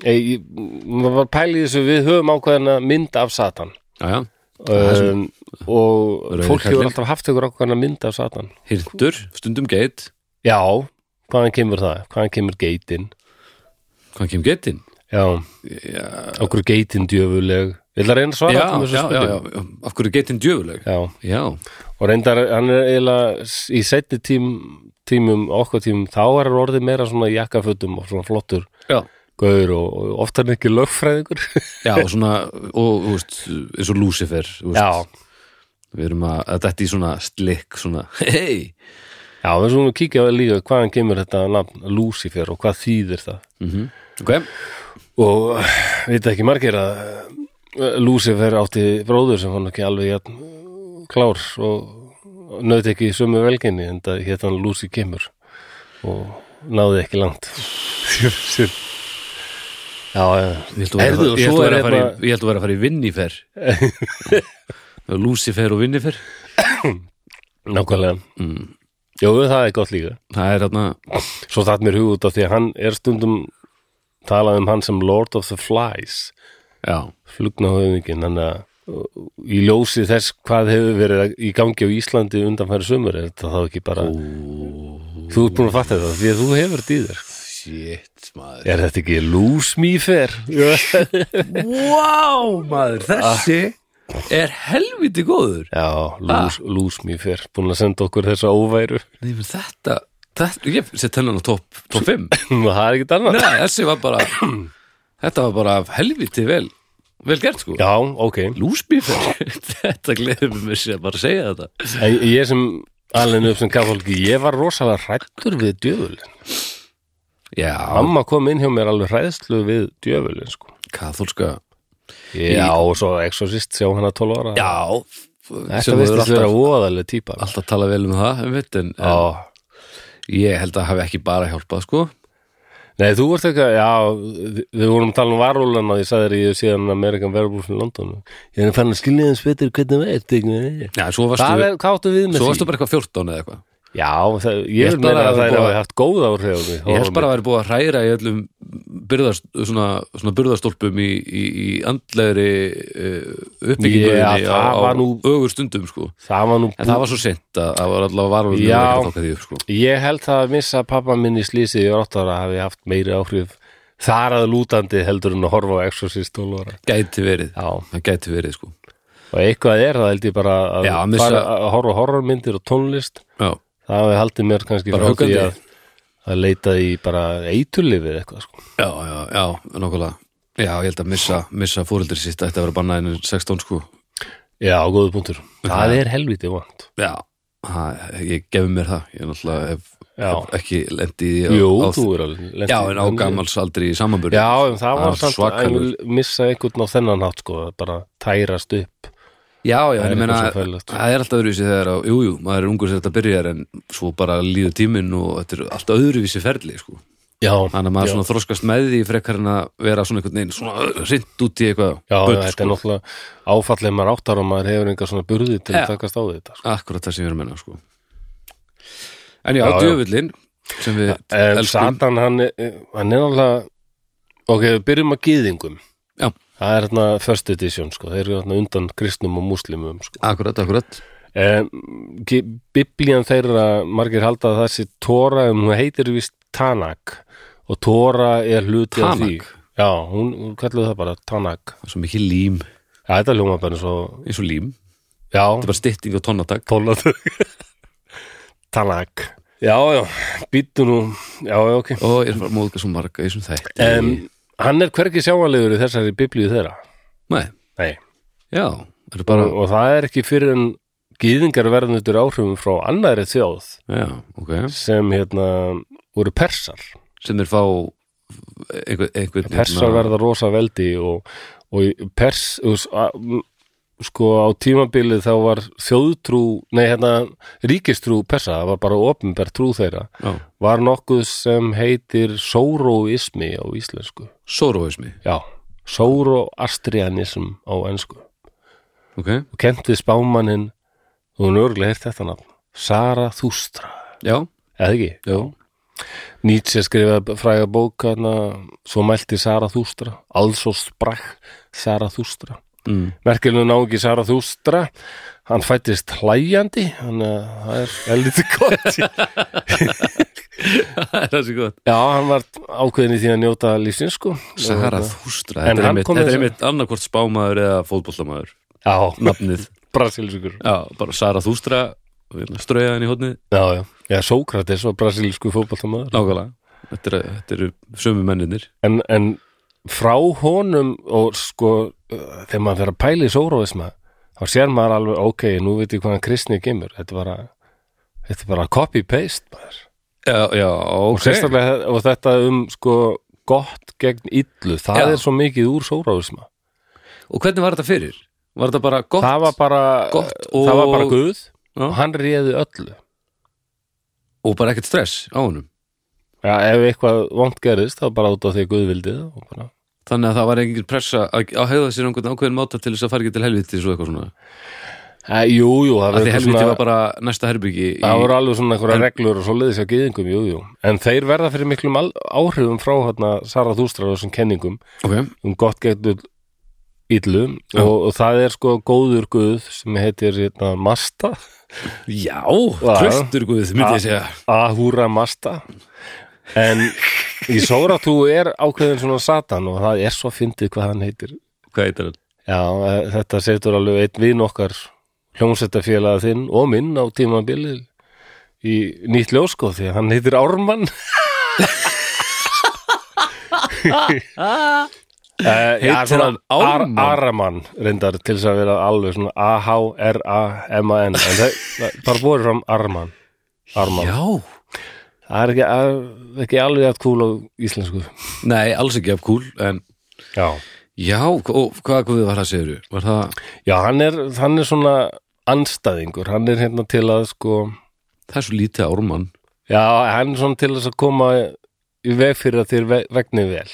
Speaker 1: Ei, ég- maður bara pæli í þessu, við höfum ákveðina mynd af Satan.
Speaker 2: Jæja,
Speaker 1: Um, og
Speaker 2: Rauði
Speaker 1: fólk hefur
Speaker 2: kallinn.
Speaker 1: alltaf haft ykkur ákveðina mynd af Satan.
Speaker 2: hirtur, stundum geit
Speaker 1: Já, hvaðan kemur það? Hvaðan kemur geitin?
Speaker 2: Hvað kemur geitin?
Speaker 1: Já,
Speaker 2: Já,
Speaker 1: okkur geitin djöfuleg. Ég ætla að reyna að svara
Speaker 2: já,
Speaker 1: öllum
Speaker 2: já,
Speaker 1: þessum
Speaker 2: já,
Speaker 1: spurningum.
Speaker 2: já Af hverju er geitin djöfuleg?
Speaker 1: Já,
Speaker 2: Já,
Speaker 1: og reyndar hann er eiginlega s- í setni tím, tímum, okkur tímum þá er hann orðið meira svona í jakkafötum og svona flottur
Speaker 2: já
Speaker 1: gaur og, og oftar en ekki lögfræðingur [laughs]
Speaker 2: Já, og svona, og, þú veist, eins og Lucifer, þú veist,
Speaker 1: Já,
Speaker 2: við erum að, að þetta í svona slikk, svona, hei,
Speaker 1: já, við svona kíkja líka hvaðan kemur þetta nafn Lucifer og hvað þýðir það
Speaker 2: ok,
Speaker 1: og veit ekki margir að eh, Lucifer átti bróður sem hann ekki alveg jafn eh, klár og nöðt ekki í sömu velginni en það hétt hann Lucy kemur og náði ekki langt Sjöfsir Já, já,
Speaker 2: ég held að vera,
Speaker 1: Heyrðu, og
Speaker 2: ég held
Speaker 1: svo
Speaker 2: að
Speaker 1: er
Speaker 2: vera, að fara
Speaker 1: hérna-
Speaker 2: í- ég held að vera að fara í
Speaker 1: [laughs]
Speaker 2: Vinnifer, Lucifer og Vinnifer,
Speaker 1: nákvæmlega Jó, það er gott líka
Speaker 2: það er hérna,
Speaker 1: Svo það mér hug út af því að hann er stundum talað um hann sem Lord of the Flies
Speaker 2: já,
Speaker 1: flugna höfingin, hann að uh, í ljósi þess hvað hefur verið í gangi á Íslandi undanfæri sömur er þetta þá ekki bara þú ert búin að fatta þetta því að þú hefur þetta í þér
Speaker 2: Shit, maður
Speaker 1: er þetta ekki lose me fair já,
Speaker 2: Wow, maður, þessi er helviti góður
Speaker 1: lose, lose me fair búin að senda okkur þessa óværu [laughs]
Speaker 2: Nei, menn þetta, þetta Ég set hennan á topp top 5 Nei,
Speaker 1: það er ekkert annað
Speaker 2: þessi var bara Þetta var bara helviti vel Vel gert sko
Speaker 1: já, ok
Speaker 2: Lúsbífer, [laughs] þetta gleður mér sér bara að segja þetta
Speaker 1: ég, ég sem alveg upp sem kathólki ég var rosalega hrættur við djöfulin
Speaker 2: Já,
Speaker 1: mamma kom inn hjá mér alveg hræðslu við djöfulin sko.
Speaker 2: kathólska
Speaker 1: já, og svo exorcist sjá hana 12 ára
Speaker 2: Já,
Speaker 1: þetta
Speaker 2: sem
Speaker 1: veist
Speaker 2: hefur
Speaker 1: að vera
Speaker 2: alltaf,
Speaker 1: voðalega típa
Speaker 2: alltaf talað vel um það um veit, en, en
Speaker 1: já,
Speaker 2: ég held að hafi ekki bara hjálpað sko
Speaker 1: Nei, þú varst eitthvað, já, við- við vorum að tala um varúlan og ég sagði þér að ég hef síðan Amerikan Werewolf í London ég er fann að skilja hans betur hvernig það er eitthvað.
Speaker 2: Já, svo varstu,
Speaker 1: Hvað er, hvað áttu við með
Speaker 2: svo
Speaker 1: því?
Speaker 2: varstu bara eitthvað 14 eða eitthvað
Speaker 1: Já, það, ég,
Speaker 2: Ég
Speaker 1: ég
Speaker 2: held
Speaker 1: meina
Speaker 2: bara
Speaker 1: að
Speaker 2: að
Speaker 1: það
Speaker 2: þú
Speaker 1: hefði
Speaker 2: bara-
Speaker 1: haft góð áhrif á því.
Speaker 2: Ég held bara að væri búið að hræra í öllum byrðast, svona, svona byrðastólpum í, í, í andlegri uh, uppbyggingu
Speaker 1: Já, það var nú-
Speaker 2: ögur stundum sko
Speaker 1: Það var nú...
Speaker 2: En það var svo sent að það var allavega varfum
Speaker 1: Já.
Speaker 2: því, upp, sko.
Speaker 1: Ég held það að missa pappa minn í slísið í áttara hafi haft meiri áhrif þar að lútandi heldur en að horfa á Exorcist og lóra.
Speaker 2: Gæti verið
Speaker 1: Já, og
Speaker 2: Það gæti verið sko
Speaker 1: eitthvað er það held ég bara að,
Speaker 2: Já, að missa-
Speaker 1: fara að horfa á horrormyndir og tónlist
Speaker 2: Já,
Speaker 1: það hefði haldið mér kannski
Speaker 2: Bara
Speaker 1: frá því
Speaker 2: huggandi.
Speaker 1: að, að leita í bara eiturlifið eitthvað sko.
Speaker 2: já, já, já, nokkulega Já, ég held að missa, missa fóreldri sitt ætti að vera bannað innur 16 sko
Speaker 1: Já, góðu punktur. Það er helviti vant.
Speaker 2: Já, ha, ég gefi mér það Ég náttúrulega hef,
Speaker 1: Já.
Speaker 2: hef ekki lendi í
Speaker 1: Jú,
Speaker 2: á,
Speaker 1: þú er alveg. lent
Speaker 2: Já,
Speaker 1: í-
Speaker 2: en á gammalsaldri í samanburði
Speaker 1: Já, en það
Speaker 2: Það
Speaker 1: var
Speaker 2: er
Speaker 1: samt
Speaker 2: svakalegur.
Speaker 1: að missa einhvern á þennan hátt sko, að bara tærast upp.
Speaker 2: já, já
Speaker 1: Það
Speaker 2: en
Speaker 1: er
Speaker 2: ég meina
Speaker 1: eitthvað sem fælist.
Speaker 2: Það er alltaf öðruvísi þegar á, jú, jú, maður er ungur sér þetta byrjar en svo bara líður tíminn og þetta er alltaf öðruvísi ferli sko
Speaker 1: Já,
Speaker 2: Þannig að maður
Speaker 1: já.
Speaker 2: svona þroskast með því frekar en að vera svona einhvern veginn svona rint út í eitthvað
Speaker 1: Já,
Speaker 2: bull, sko.
Speaker 1: þetta er náttúrulega áfallið maður áttar og maður hefur einhver svona burði til
Speaker 2: Já.
Speaker 1: að takast á við þetta. Sko.
Speaker 2: Akkurat það sem ég er að menna sko. En já,
Speaker 1: Já, Eh, já.
Speaker 2: djöfullin sem við
Speaker 1: En
Speaker 2: elskum
Speaker 1: Satan, hann, er- hann er náttúrulega, ok, við byrjum að gýðingum.
Speaker 2: Já.
Speaker 1: Það er hérna first edition, sko, þeir eru hérna undan kristnum og múslimum, sko.
Speaker 2: Akkurat, akkurat
Speaker 1: Um, Biblían þeirra margir halda að það sé Tóra en hún heitir vist Tanak og Tóra er hluti af því
Speaker 2: Tanakh?
Speaker 1: Já, hún, hún kallar það bara Tanak
Speaker 2: Það er Svo mikið lím,
Speaker 1: Já, þetta hljóma bara svo
Speaker 2: eins og lím Þetta
Speaker 1: Já,
Speaker 2: er bara stytting og tonnatak
Speaker 1: tólatög [laughs] Tanak Já, já, býttu nú Já, já, ok
Speaker 2: Og ég er bara að móðga svo marga í þessum þætti
Speaker 1: um, Hann er hvergi sjáanlegur í þessari biblíu þeirra
Speaker 2: Nei,
Speaker 1: Nei,
Speaker 2: já, það er bara
Speaker 1: og, og það er ekki fyrir en gýðingar verðin út úr áhrifum frá annari þjóð
Speaker 2: Já, ok
Speaker 1: sem hérna voru persar
Speaker 2: Sem er fá einhvern, einhvern
Speaker 1: persar verða rosa veldi og, og í pers us- a- m- sko á tímabilið þá var þjóðtrú nei hérna ríkistrú persa það var bara opinber trú þeirra
Speaker 2: hérna, já,
Speaker 1: var nokkuð sem heitir sóróismi á íslensku
Speaker 2: Sóróismi,
Speaker 1: já, sóróastrianism á ensku
Speaker 2: ok
Speaker 1: og kent við spámaninn og hún örgulega heirt þetta nafn Sara Þústra
Speaker 2: Já,
Speaker 1: eða ekki?
Speaker 2: já,
Speaker 1: Nietzsche skrifaði fræga bók hana, svo mælti Sara Þústra also sprakk Sara Þústra
Speaker 2: mm.
Speaker 1: merkilinu náungi Sara Þústra hann fættist hlæjandi hann eh, það er [laughs] helviti gott
Speaker 2: [laughs] það er þessi gott
Speaker 1: já, hann var ákveðin í því að njóta lífsins sko
Speaker 2: Sara
Speaker 1: Og,
Speaker 2: Þústra,
Speaker 1: En
Speaker 2: þetta er
Speaker 1: hann
Speaker 2: einmitt,
Speaker 1: kom
Speaker 2: þetta
Speaker 1: þess-
Speaker 2: er einmitt annarkvort spámaður eða fótbollamaður,
Speaker 1: já,
Speaker 2: nafnið
Speaker 1: [laughs] brasilískur
Speaker 2: Já, bara Sara Þústra ströja henni í hótnið,
Speaker 1: já, já, já, Sókrates var brasilísku fótballtamaður
Speaker 2: nákvæmlega þetta eru, þetta eru sömu menninir
Speaker 1: en, en frá honum og sko, eh, þegar maður fyrir að pæla í sóróisma þá sér maður alveg, ok, nú veit ég hvaðan kristni gemur, þetta er bara þetta er bara copy-paste maður.
Speaker 2: Já, já,
Speaker 1: og
Speaker 2: ok
Speaker 1: sérstaklega þe- og þetta um sko gott gegn illu, það
Speaker 2: Já.
Speaker 1: er svo mikið úr sóróisma,
Speaker 2: Og hvernig var þetta fyrir? Var þetta bara gott?
Speaker 1: það var bara uh,
Speaker 2: Gott og-
Speaker 1: það var bara Guð
Speaker 2: Já.
Speaker 1: og hann réði öllu
Speaker 2: Og bara ekkert stress á honum
Speaker 1: Já, ef eitthvað vont gerðist, þá bara út á því að Guð vildi það og bara
Speaker 2: Þannig að það var engin pressa að, að hegða sér einhvern ákveðin máta til þess að fara ekki til helviti svo eitthvað svona
Speaker 1: Æ, Jú, jú, það
Speaker 2: Af því
Speaker 1: verður
Speaker 2: helviti var bara næsta herbyggi í...
Speaker 1: Það voru alveg svona einhverja reglur og svo leiðis hjá gyðingum, jú, jú. En þeir verða fyrir miklum al- áhrifum frá hérna Sara Þústrar og þessum kenningum
Speaker 2: Ok,
Speaker 1: um gott getur illum
Speaker 2: Já.
Speaker 1: og, og það er sko góður guð sem heitir hérna, Masta
Speaker 2: Já,
Speaker 1: Já.
Speaker 2: tröstur guð, myndi
Speaker 1: Ah.
Speaker 2: ég segja
Speaker 1: Ahura Masta en í Sóratú er ákveðin svona Satan og það er svo fyndið hvað hann heitir
Speaker 2: Hvað heitir hann?
Speaker 1: Já, eh, þetta setur alveg einn vin okkar hljómsveitafélaga þinn og minn á tímabilið í nýtt ljós sko því að hann heitir Ármann [laughs] E,
Speaker 2: Heitir
Speaker 1: Heitir
Speaker 2: hann Ármann?
Speaker 1: Aramann reyndar til þess að vera alveg svona A-H-R-A-M-A-N en það það er bara búið fram Armann Armann
Speaker 2: Já,
Speaker 1: Það er ekki, að- ekki alveg að kúla á íslensku
Speaker 2: nei, alls ekki af kúl En
Speaker 1: Já
Speaker 2: já, og hvað guð var það segirðu? Var það,
Speaker 1: Já, hann er, hann er svona anstæðingur, hann er hérna til að sko
Speaker 2: það er svo lítið ármann
Speaker 1: Já, hann er svona til þess að koma í veg fyrir að þér ve- vegni vel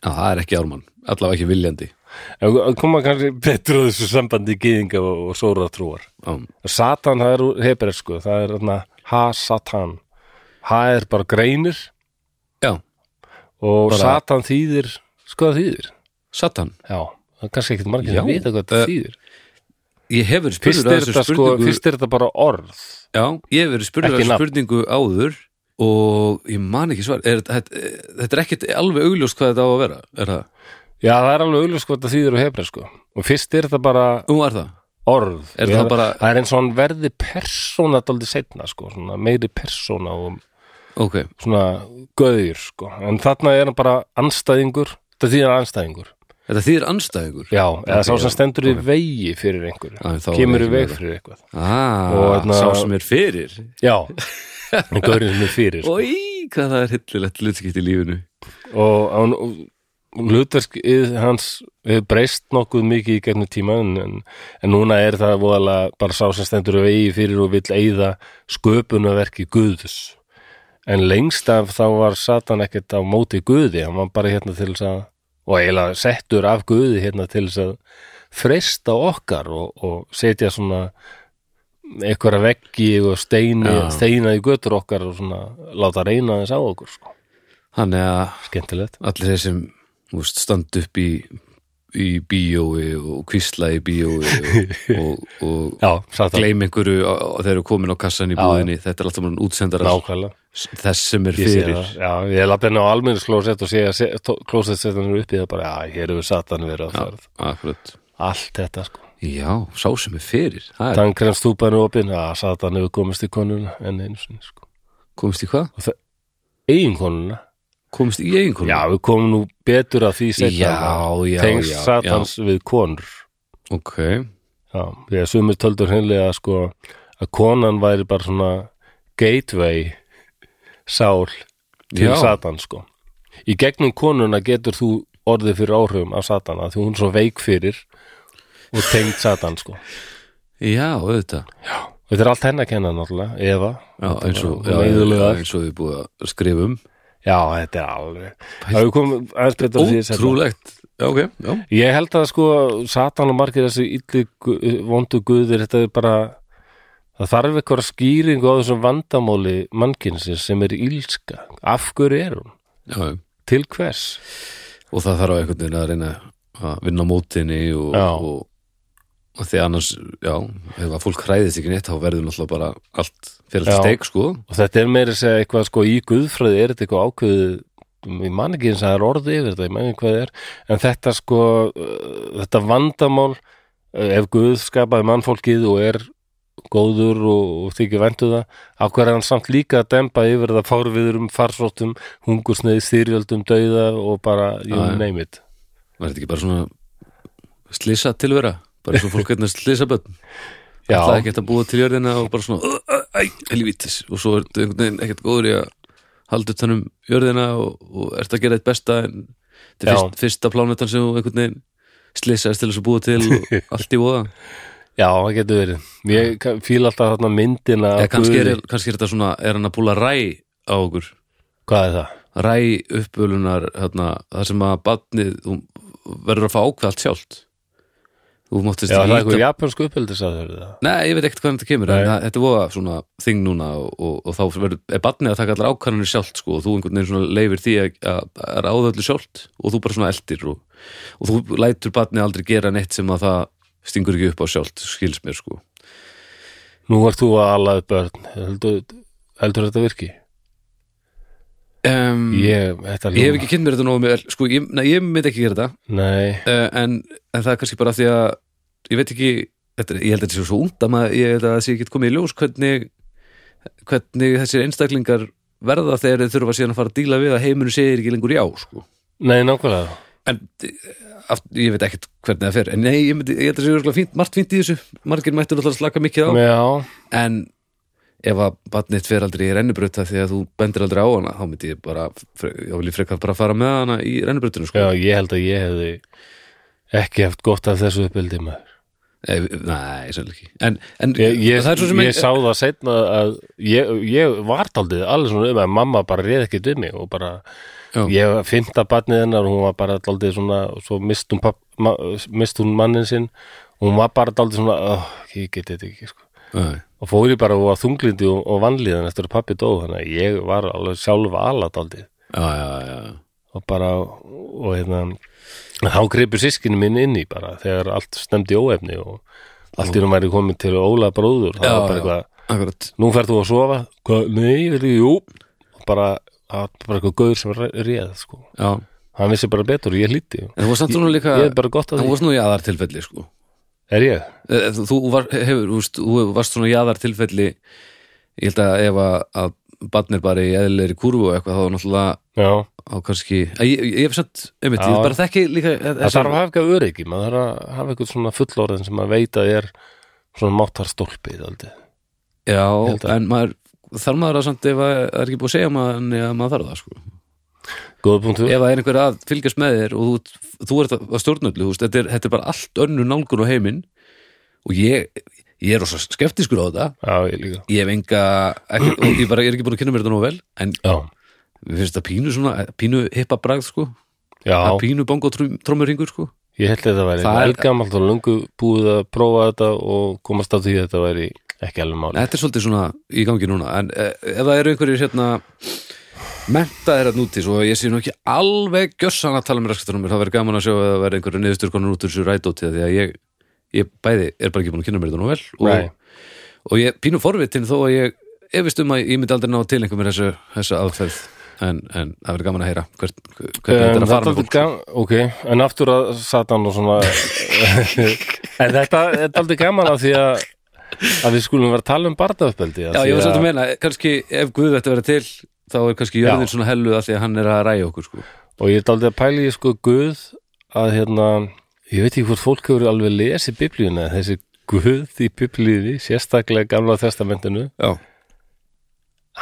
Speaker 2: Já, það er ekki ármann, allavega ekki viljandi
Speaker 1: En að koma kannski betur á þessu sambandi gýðinga og, og sóratrúar
Speaker 2: Já,
Speaker 1: Satan, það er hebreðsku, það er hérna ha-satan ha er bara greinir
Speaker 2: já
Speaker 1: og
Speaker 2: Bara-
Speaker 1: satan þýðir sko það þýðir,
Speaker 2: Satan
Speaker 1: já það er kannski ekkert margir
Speaker 2: Já,
Speaker 1: að vita hvað þetta
Speaker 2: eh,
Speaker 1: þýðir
Speaker 2: Ég hefur
Speaker 1: Fyrst
Speaker 2: spurður að
Speaker 1: er,
Speaker 2: þessu
Speaker 1: þetta sko,
Speaker 2: spurningu
Speaker 1: fyrst er þetta bara orð
Speaker 2: Já, ég hef verið spurður
Speaker 1: Ekki
Speaker 2: að
Speaker 1: nafn.
Speaker 2: spurningu áður og ég man ekki svar er, þetta, þetta er ekkit alveg augljóst hvað þetta á að vera er það?
Speaker 1: Já, það er alveg auðvitað sko þetta þýðir á hebreðsku og fyrst er þetta bara
Speaker 2: Um var það?
Speaker 1: orð
Speaker 2: Er
Speaker 1: Ég
Speaker 2: það bara-
Speaker 1: það er eins og hann verði persóna daldið setna sko, svona, meiri persóna og
Speaker 2: Ok,
Speaker 1: svona göður sko. en þarna er hann bara anstæðingur þetta þýðir anstæðingur
Speaker 2: þetta þýðir anstæðingur
Speaker 1: já, eða sá sem stendur í
Speaker 2: ok.
Speaker 1: vegi fyrir einhverju,
Speaker 2: Já, en þá er
Speaker 1: kemur í
Speaker 2: ekki
Speaker 1: veg
Speaker 2: meira.
Speaker 1: fyrir eitthvað
Speaker 2: Ah,
Speaker 1: Og þarna-
Speaker 2: sá sem er fyrir
Speaker 1: já,
Speaker 2: [laughs]
Speaker 1: en göðurinn sem er fyrir sko.
Speaker 2: Í, hvað það er hillilegt hlutskipt í lífinu
Speaker 1: og hann hlutverk yð- hans hefur breyst nokkuð mikið í gegnum tíma en, en, en núna er það voðalega bara sá sem stendur í vegi fyrir og vill eigða sköpunarverki Guðs en lengst af þá var Satan ekkert á móti Guði, hann var bara hérna til þess að og eiginlega settur af Guði hérna til þess að freista okkar og, og setja svona einhverja veggi og steini,
Speaker 2: Já.
Speaker 1: steina í götur okkar og svona láta reyna þess á okkur sko.
Speaker 2: Þannig að
Speaker 1: skemmtilegt
Speaker 2: allir þeir sem þú veist, standa upp í í bíói og kvísla í bíói og,
Speaker 1: [laughs]
Speaker 2: og, og
Speaker 1: Já, Satan
Speaker 2: gleym einhverju á- á- þeir eru komin á kassan í
Speaker 1: Já,
Speaker 2: búðinni þetta er alltaf mann útsendar
Speaker 1: Nákvæmlega,
Speaker 2: þess sem er
Speaker 1: ég sé
Speaker 2: fyrir
Speaker 1: það Já, ég lappi henni á almennir klósett og sé að se- tó- klósettsetan eru uppi það bara, já, hér hefur satan verið að ferð
Speaker 2: Akkurat.
Speaker 1: Allt þetta, sko
Speaker 2: Já, sá sem er fyrir Það er,
Speaker 1: Tankrens túpaðinu opinn, já, satan hefur komist í konuna en einu sinni, sko
Speaker 2: komist í hvað?
Speaker 1: Egin konuna,
Speaker 2: Komist í eiginkonu?
Speaker 1: já, við komum nú betur að því setna
Speaker 2: Mm. Já, já,
Speaker 1: Tengst
Speaker 2: já,
Speaker 1: satans við konur
Speaker 2: Ok,
Speaker 1: Já, því að sumir töldur hennilega, sko að konan væri bara svona gateway sál til
Speaker 2: Já.
Speaker 1: Satan sko í gegnum konuna getur þú orðið fyrir áhrifum af Satan að því hún er svo veik fyrir og tengd Satan sko
Speaker 2: já, auðvitað
Speaker 1: þetta er allt henni að kenna náttúrulega Eva
Speaker 2: Já, eins og, já,
Speaker 1: já,
Speaker 2: já,
Speaker 1: já,
Speaker 2: eins og við búið að skrifa um
Speaker 1: þetta er alveg það við komum aðeins betur að því seinna.
Speaker 2: Ótrúlegt Já, ok, já
Speaker 1: ég held að sko Satan og margir þessi illi gu- vondu guðir þetta er bara það þarf eitthvað skýringu á þessum vandamáli mannkynsins sem er ílska af hverju er hún?
Speaker 2: Já, já.
Speaker 1: Til hvers?
Speaker 2: og það þarf á einhvern veginn að reyna að vinna á mótinni og,
Speaker 1: Já.
Speaker 2: og, og því annars, já ef að fólk hræðist ekki neitt þá verður náttúrulega bara allt fyrir
Speaker 1: Já.
Speaker 2: alltaf steik, sko
Speaker 1: og þetta er meira að segja eitthvað sko í guðfræði er þetta eitthvað ákveðið ég man ekki eins að það er orðið yfir þetta ég man ekki hvað það er, en þetta sko uh, þetta vandamál uh, ef guð skapaði mannfólkið og er góður og, og þykir væntu það, á hver er hann samt líka að dempa yfir það fárviðurum, farsóttum hungursneið, styrjöldum, dauða og bara, you
Speaker 2: Já, já.
Speaker 1: name it
Speaker 2: var þetta ekki bara svona slisa tilvera, bara eins og fólk hérna slisa bönn
Speaker 1: [laughs] Já.
Speaker 2: Það er ekkert að búa til jörðina og bara svona, "Æ, æ, æ, helvítis og svo ertu einhvern veginn ekkert góður í að halda upp tannum jörðina og, og ert að gera eitt besta en þetta er
Speaker 1: Já.
Speaker 2: fyrst, fyrsta plánetan sem þú einhvern veginn slisaðist til þess að búa
Speaker 1: [laughs]
Speaker 2: til og allt í voða
Speaker 1: já, það getur verið ég fíl alltaf þarna myndina af
Speaker 2: Eða kannski er,
Speaker 1: guði.
Speaker 2: kannski er þetta svona, er hann að búla ræ á okkur,
Speaker 1: hvað er það?
Speaker 2: ræ uppölunar hérna, þar sem að badnið hún verður að fá ákveð allt sjálft þú máttist
Speaker 1: Já, það er
Speaker 2: líta-
Speaker 1: eitthvað japansku uppeldis að þau það
Speaker 2: Nei, ég veit ekkert hvaðan þetta kemur en
Speaker 1: Nei.
Speaker 2: það, þetta er voða svona þing núna og, og, og þá verður, er barnið að taka allar ákvarðanir sjálft sko, og þú einhvern veginn svona leifir því að, að, að ráða öllu sjálft og þú bara svona eldir og, og þú lætur barnið aldrei gera neitt sem að það stingur ekki upp á sjálft skils mér sko
Speaker 1: Nú ert þú að alla upp börn heldur, heldur þetta virki?
Speaker 2: um, ég,
Speaker 1: Ég, þetta
Speaker 2: hef ekki kynnt mér þetta nógu með sko, ég, nei, ég myndi ekki gera þetta
Speaker 1: Nei,
Speaker 2: uh, en, en það er kannski bara af því að ég veit ekki, þetta, er- ég held að þetta sé svo ungt að maður, ég held að það sé ekki komið í ljós hvernig, hvernig þessir einstaklingar verða þegar þeir þurfa síðan að fara að díla við að heimurinn segir ekki lengur já sko.
Speaker 1: nei, nákvæmlega
Speaker 2: en eh, aft, ég veit ekkert hvernig það fer en nei, ég, myndi, ég held að það sé örugglega fínt, margt fínt í þessu margir mættur alltaf að slaka mikið á
Speaker 1: Já,
Speaker 2: en ef að barnið fer aldrei í rennubrauta því að þú bendir aldrei á hana þá myndi ég bara, fre- ég vil ég frekar bara fara með hana í rennubrautinu sko.
Speaker 1: já, ég held að ég hefði ekki haft gott af þessu uppeldi maður
Speaker 2: Eh, Nei, svolítið ekki En, en
Speaker 1: Ég, ég,
Speaker 2: það er svo sem
Speaker 1: ég sá það setna að ég, ég var taldið alveg svona um að mamma bara reið ekki við mig og bara,
Speaker 2: Já.
Speaker 1: ég var fymta barnið hennar og hún var bara taldið svona og svo mist hún, papp, ma, mist hún mannin sinn og hún var bara taldið svona oh, ég geti þetta ekki sko
Speaker 2: Nei,
Speaker 1: og fór ég bara og var þunglindi og, og vanlíðan eftir að pappi dó þannig að ég var alveg sjálfa alla taldið
Speaker 2: Já, já, já
Speaker 1: og bara og hérna en þá greipur sískinu minn inn í bara þegar allt stemdi í óefni og allt í hún væri komin til Óla bróður það
Speaker 2: Já,
Speaker 1: var bara
Speaker 2: já.
Speaker 1: eitthvað,
Speaker 2: Akkurat
Speaker 1: nú ferð þú að sofa Hva? nei, ég veit ekki, jú og bara, það var bara eitthvað gauður sem re- réð sko,
Speaker 2: Já
Speaker 1: hann vissi bara betur ég hlýtti,
Speaker 2: En þú var samt svona líka
Speaker 1: ég er bara gott
Speaker 2: Þú
Speaker 1: að því
Speaker 2: var svona jaðartilfelli sko
Speaker 1: er ég?
Speaker 2: Eh, Þú þú var, hefur, þú veist, þú varst svona jaðartilfelli Ég held að ef að, að barn er bara í eðlilegri kúru og eitthvað þá er náttúrulega
Speaker 1: Já,
Speaker 2: á kannski Eh, Ég, ég, ég hef samt, einmitt,
Speaker 1: Já.
Speaker 2: ég bara þekki líka
Speaker 1: það þarf að hafa eitthvað öryggi maður þarf að hafa eitthvað svona fullorðin sem maður veit að er svona máttarstólpið aldrei.
Speaker 2: Já,
Speaker 1: held að-
Speaker 2: en maður þarf maður að samt ef að það er ekki búið að segja maður en að maður þarf það sko
Speaker 1: góða punktu
Speaker 2: ef það er einhver að fylgjast með þér og þú, þú ert að stjórnöldu, þú veist, þetta er, þetta er bara allt önnur nálgun á heiminn og ég, ég er rosa skeptiskur á þetta
Speaker 1: Já, ég líka
Speaker 2: ég hef enga, ekki, og ég bara ég er ekki búin að kynna mér þetta nú vel, en
Speaker 1: Já,
Speaker 2: við finnst þetta pínu svona, pínu hippa bragð sko,
Speaker 1: já.
Speaker 2: að pínu bongo trommur ringur sko,
Speaker 1: Ég held að þetta væri
Speaker 2: Það er-
Speaker 1: velgamalt og lungu búið að prófa þetta og komast að því að þetta væri ekki alveg máli.
Speaker 2: þetta er svolítið svona í gangi núna, en eh, ef það eru einhverjir hérna, menta þér að núti svo ég sé nú ekki alveg gjössan að tala með raskatunumir, það verður gaman að sjá að það verður einhverju niðurstur konar út úr þessu rætótið því að ég, ég bæði er bara ekki búin að kynna mér þetta nú vel og,
Speaker 1: Nei.
Speaker 2: og ég pínu forvitin þó að ég efist um að ég myndi aldrei ná til einhver með þessu, þessu aðferð en, en það verður gaman að heyra hvert, hvert Um, þetta er
Speaker 1: En
Speaker 2: að fara
Speaker 1: Um, þetta
Speaker 2: með fólk sko.
Speaker 1: gam, ok, en aftur að Satan og
Speaker 2: [laughs]
Speaker 1: svona en þetta er aldrei gaman að því að, að við skulum vera að tala um barnafbeldi
Speaker 2: Já, ég var svolítið að meina, kannski ef Guð ætti að vera til þá er kannski jörðin svona helluð að því að hann er að ræja okkur sko.
Speaker 1: og ég er aldrei að pæla í sko Guð að hérna, ég veit ekki hvort fólk hefur alveg lesið biblíuna þessi Guð í biblíunni, sérstaklega gamla testamentinu
Speaker 2: Já,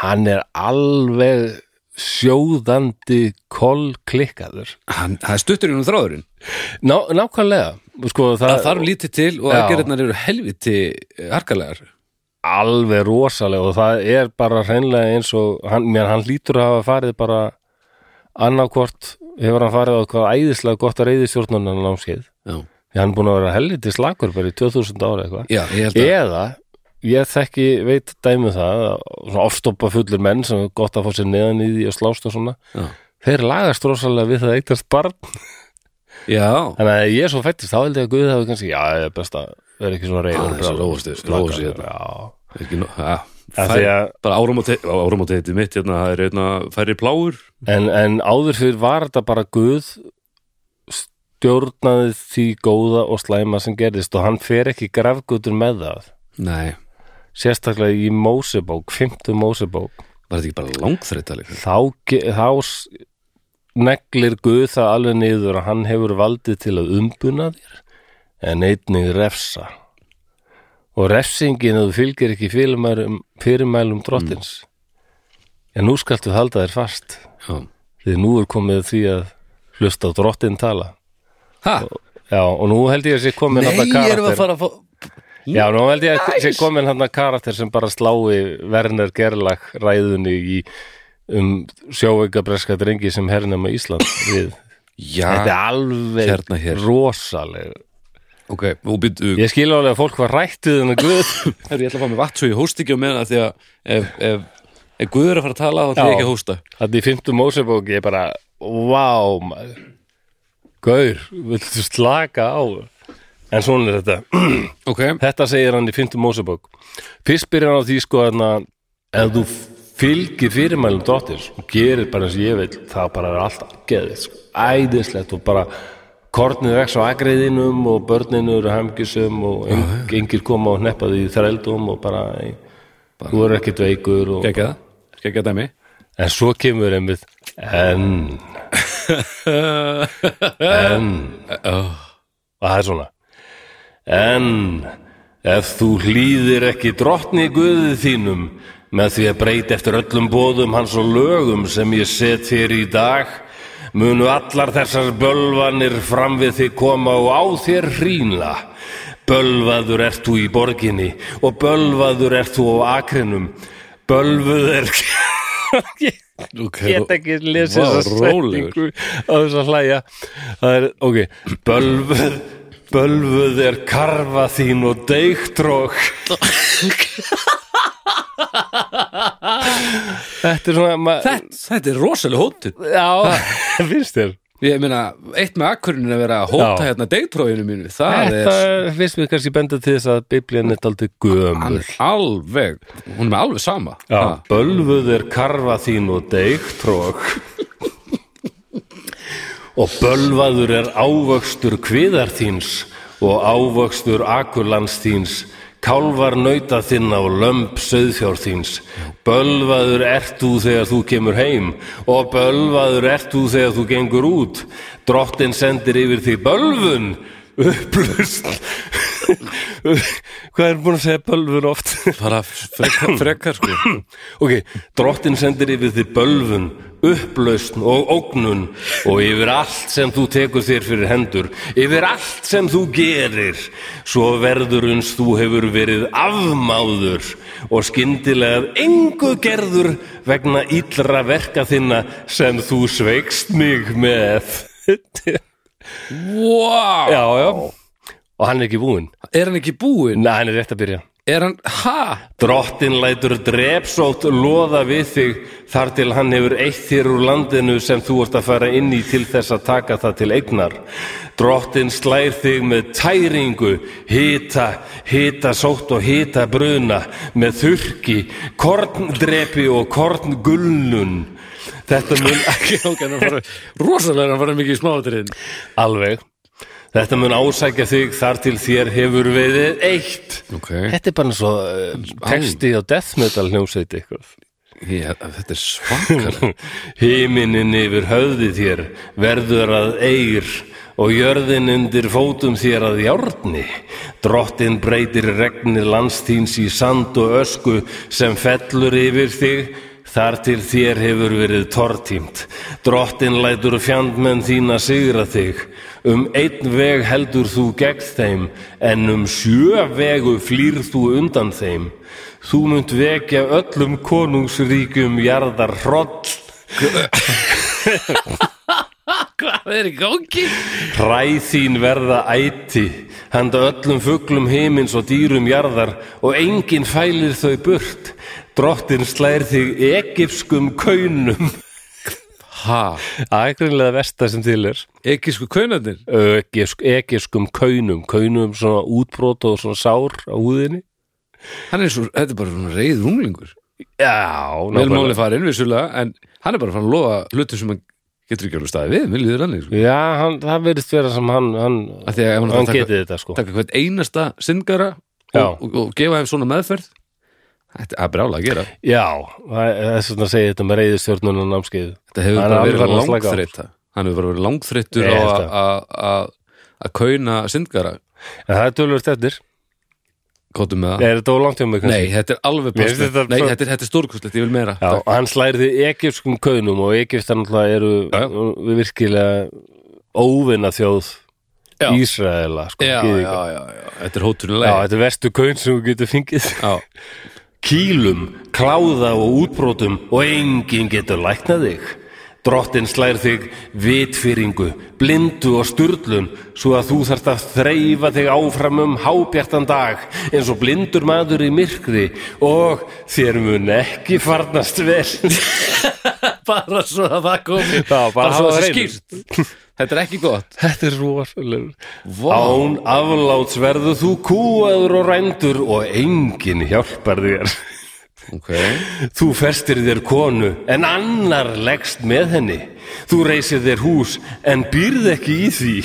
Speaker 1: hann er alveg sjóðandi kolklikkaður
Speaker 2: hann, það er stuttur í hún þráðurinn
Speaker 1: Ná, nákvæmlega sko, það,
Speaker 2: það þarf lítið til og
Speaker 1: Já.
Speaker 2: aðgerðnar eru helviti eh, harkalegar
Speaker 1: alveg rosalega og það er bara hreinlega eins og hann, mér, hann lítur að hafa farið bara annarkvort hefur hann farið á hvað æðislega gott að reyði stjórnunan námskeið
Speaker 2: já.
Speaker 1: því hann er búin að vera helviti slagur bara í 2000 ára eitthvað
Speaker 2: já, ég held að
Speaker 1: eða ég þekki veit dæmi um það að svona ofstoppa fullur menn sem er gott að fá sér neðan í því og slást og svona
Speaker 2: Já,
Speaker 1: þeir lagast rosalega við það eignast barn
Speaker 2: já.
Speaker 1: þannig að ég er svo fættist þá held ég að Guð hafi kannski já, það er best að vera ekki svona reyður
Speaker 2: Ah, þessi róast- róast í þetta.
Speaker 1: já
Speaker 2: Ekki, nú- já.
Speaker 1: hérna. Af
Speaker 2: Fær,
Speaker 1: því að-
Speaker 2: bara áramóti áramóti heiti mitt, hérna, það er hérna, færri pláur
Speaker 1: En, en áður fyrir var þetta bara Guð stjórnaði því góða og slæma sem gerðist og hann fer ekki grafgutur með það
Speaker 2: nei,
Speaker 1: sérstaklega í Mósebók, 50 Mósebók
Speaker 2: var þetta ekki bara langþreita líka
Speaker 1: þá, ge- þá s- neglir Guð það alveg niður að hann hefur valdið til að umbuna þér en einnig refsa og refsingin að þú fylgir ekki fyrirmælum, fyrirmælum drottins en nú skaltu halda þér fast
Speaker 2: já.
Speaker 1: því nú er komið að því að hlusta á drottin tala
Speaker 2: ha,
Speaker 1: já og nú held ég að sé komin
Speaker 2: nei,
Speaker 1: þarna
Speaker 2: erum við að fara að fá
Speaker 1: já nú held ég að sé komin hann karakter sem bara slái Werner Gerlach ræðunni í um sjóveika breska drengi sem hernum á Ísland við Ah,
Speaker 2: já,
Speaker 1: þetta er alveg
Speaker 2: hérna hér.
Speaker 1: rosaleg
Speaker 2: ok, og byrju
Speaker 1: Ég skil alveg að fólk var rættið en að guð
Speaker 2: [laughs] Herru, ég ætla að fá mér vatn svo ég hóst ekki á meðan af því að ef, ef, ef Guður er að fara að tala þá ætla
Speaker 1: Já.
Speaker 2: ég ekki að hósta
Speaker 1: Þannig í 5. Mósebók ég bara Vá, maður Gaur, viltu slaka á En svona er þetta
Speaker 2: Ok,
Speaker 1: Þetta segir hann í 5. Mósebók Fyrst byrjar hann á því sko að ef þú fylgir fyrirmælum dóttir og gerir bara eins og ég vil það bara er alltaf geðið sko. æðislegt og bara kornið vex á agriðinum og börninu eru hamgisum og en, engir koma og hneppa því í þrældum og bara, bara þú eru ekkert veikur og,
Speaker 2: gekkja það, gekkja dæmi
Speaker 1: en svo kemur einmitt en en
Speaker 2: oh,
Speaker 1: og það er svona en ef þú hlýðir ekki drottni guðið þínum með því að breyta eftir öllum bóðum hans og lögum sem ég set þér í dag munu allar þessar bölvanir fram við þig koma og á þér hrýnla bölvaður ert þú í borginni og bölvaður ert þú á akrinum bölvuð er [laughs]
Speaker 2: Ok,
Speaker 1: get ekki lesið
Speaker 2: Vá,
Speaker 1: þessa
Speaker 2: rólegur.
Speaker 1: setningu á þess að hlæja það er, ok, bölvuð bölvuð er karfa þín og deigtrók þetta er svona ma-
Speaker 2: þetta, þetta er rosalega hóttur
Speaker 1: já, finnst þér
Speaker 2: Ég meina, eitt með akkurinn að vera að hóta
Speaker 1: Já.
Speaker 2: hérna deitróinu mínu, það
Speaker 1: þetta finnst mér kannski benda til þess að biblían er aldrei gömul
Speaker 2: er alveg, hún er með alveg sama
Speaker 1: já,
Speaker 2: Ha.
Speaker 1: bölvuð er karfa þín og deigtrók og bölvaður er ávöxtur kviðar þíns og ávöxtur akurlands þíns kálvar nauta þinna og lömb söðfjár þíns bölvaður ert þú þegar þú kemur heim og bölvaður ert þú þegar þú gengur út drottin sendir yfir því bölvun upplust hvað er búin að segja bölvun oft
Speaker 2: bara frekar, [clears throat] frekar sko
Speaker 1: Ok, drottin sendir yfir þið bölvun, upplausn og ógnun og yfir allt sem þú tekur þér fyrir hendur, yfir allt sem þú gerir, svo verður uns þú hefur verið afmáður og skyndilega að engu gerður vegna illra verka þinna sem þú sveikst mig með. [laughs]
Speaker 2: wow.
Speaker 1: já, já. Og hann er ekki búinn.
Speaker 2: Er hann ekki búinn?
Speaker 1: Nei, hann er rétt að byrja.
Speaker 2: Er hann, ha? [laughs]
Speaker 1: Drottin lætur drepsótt loða við þig þar til hann hefur eitt þér úr landinu sem þú ert að fara inn í til þess að taka það til eignar. Drottin slær þig með tæringu, hita, hita sótt og hita bruna, með þurki, korndrepi og korngullnun. Þetta mun... [laughs]
Speaker 2: Ok, hann er bara, rosalega er hann bara mikið í smáðurinn
Speaker 1: Alveg. Þetta mun ásækja þig þar til þér hefur verið eitt.
Speaker 2: Ok,
Speaker 1: Þetta er bara eins og uh, texti á death metal hljómsveiti eitthvað.
Speaker 2: Ég, þetta er [laughs] svakar
Speaker 1: Himinin yfir höfði þér verður að eir og jörðin undir fótum þér að járni. Drottin breytir regni landstíns í sand og ösku sem fellur yfir þig þar til þér hefur verið tortímt. Drottin lætur fjandmenn þína sigra þig. Um einn veg heldur þú gegn þeim en um sjö vegu flýr þú undan þeim. Þú munt vekja öllum konungsríkjum jarðar hroll,
Speaker 2: Hvað er í gangi?
Speaker 1: hræð þín verða æti, handa öllum fuglum himins og dýrum jarðar og enginn fælir þau burt. Drottin slær þig egipskum kaunum.
Speaker 2: Ha,
Speaker 1: Ægrinlega versta sem til er.
Speaker 2: ekki sko kaunarnir
Speaker 1: Egipsk, egipskum kaunum,
Speaker 2: um
Speaker 1: kaunum svona útbrót og svona sár á húðinni.
Speaker 2: Hann er svo, þetta er bara svona reyð runglingur
Speaker 1: Já,
Speaker 2: Vel
Speaker 1: nákvæmlega.
Speaker 2: máli farin, vissulega En hann er bara fann að lofa hlutum sem hann getur ekki alveg staði við Mér líður annir, sko
Speaker 1: Já, hann, það verðist vera sem hann, hann,
Speaker 2: Af því að ef hann,
Speaker 1: hann
Speaker 2: ætlar að taka,
Speaker 1: getið þetta sko.
Speaker 2: taka hvert einasta syndgara og,
Speaker 1: Já.
Speaker 2: og, og gefa þeim svona meðferð Þetta er brála að gera
Speaker 1: Já, það það er svona að segja þetta með reyðistjórnun og námskeið.
Speaker 2: Þetta hefur
Speaker 1: Hann er
Speaker 2: bara verið
Speaker 1: alveg farinn að slaka á.
Speaker 2: langþreytta Hann hefur bara verið langþreyttur
Speaker 1: Ég
Speaker 2: á
Speaker 1: held
Speaker 2: að- að- að að kauna syndgara
Speaker 1: En það er tölvöld eftir.
Speaker 2: Kóttum með það
Speaker 1: Er þetta of langt hjá mig kannski?
Speaker 2: Nei, þetta er alveg
Speaker 1: Mér finnst
Speaker 2: báslegt
Speaker 1: þetta
Speaker 2: Nei,
Speaker 1: svo-
Speaker 2: þetta er, þetta er stórkostlegt, ég vil meira
Speaker 1: Já,
Speaker 2: Takk.
Speaker 1: og hann slærði egypskum kaunum og egyptar náttúrulega eru
Speaker 2: Já, já.
Speaker 1: við virkilega óvinna þjóð
Speaker 2: Já.
Speaker 1: Ísraela, sko.
Speaker 2: já, já,
Speaker 1: gyðinga.
Speaker 2: já, já, þetta er
Speaker 1: já,
Speaker 2: hótunulega
Speaker 1: þetta er vestu kaun sem þú getur fengið.
Speaker 2: Já,
Speaker 1: Kýlum, kláða og útbrotum og enginn getur læknað þig. Drottin slær þig vitfyringu, blindu og sturlun svo að þú þarft að þreifa þig áfram um hábjartan dag eins og blindur maður í myrkri og þér mun ekki farnast vel
Speaker 2: bara svo að það komi
Speaker 1: bara
Speaker 2: svo
Speaker 1: hafa
Speaker 2: að
Speaker 1: það
Speaker 2: það skýrt þetta er ekki gott
Speaker 1: [laughs] Þetta er rosalegur
Speaker 2: Vá.
Speaker 1: Án afláts verður þú kúaður og rændur og enginn hjálpar þér
Speaker 2: ok,
Speaker 1: Þú festir þér konu en annar leggst með henni Þú reysir þér hús en býrð ekki í því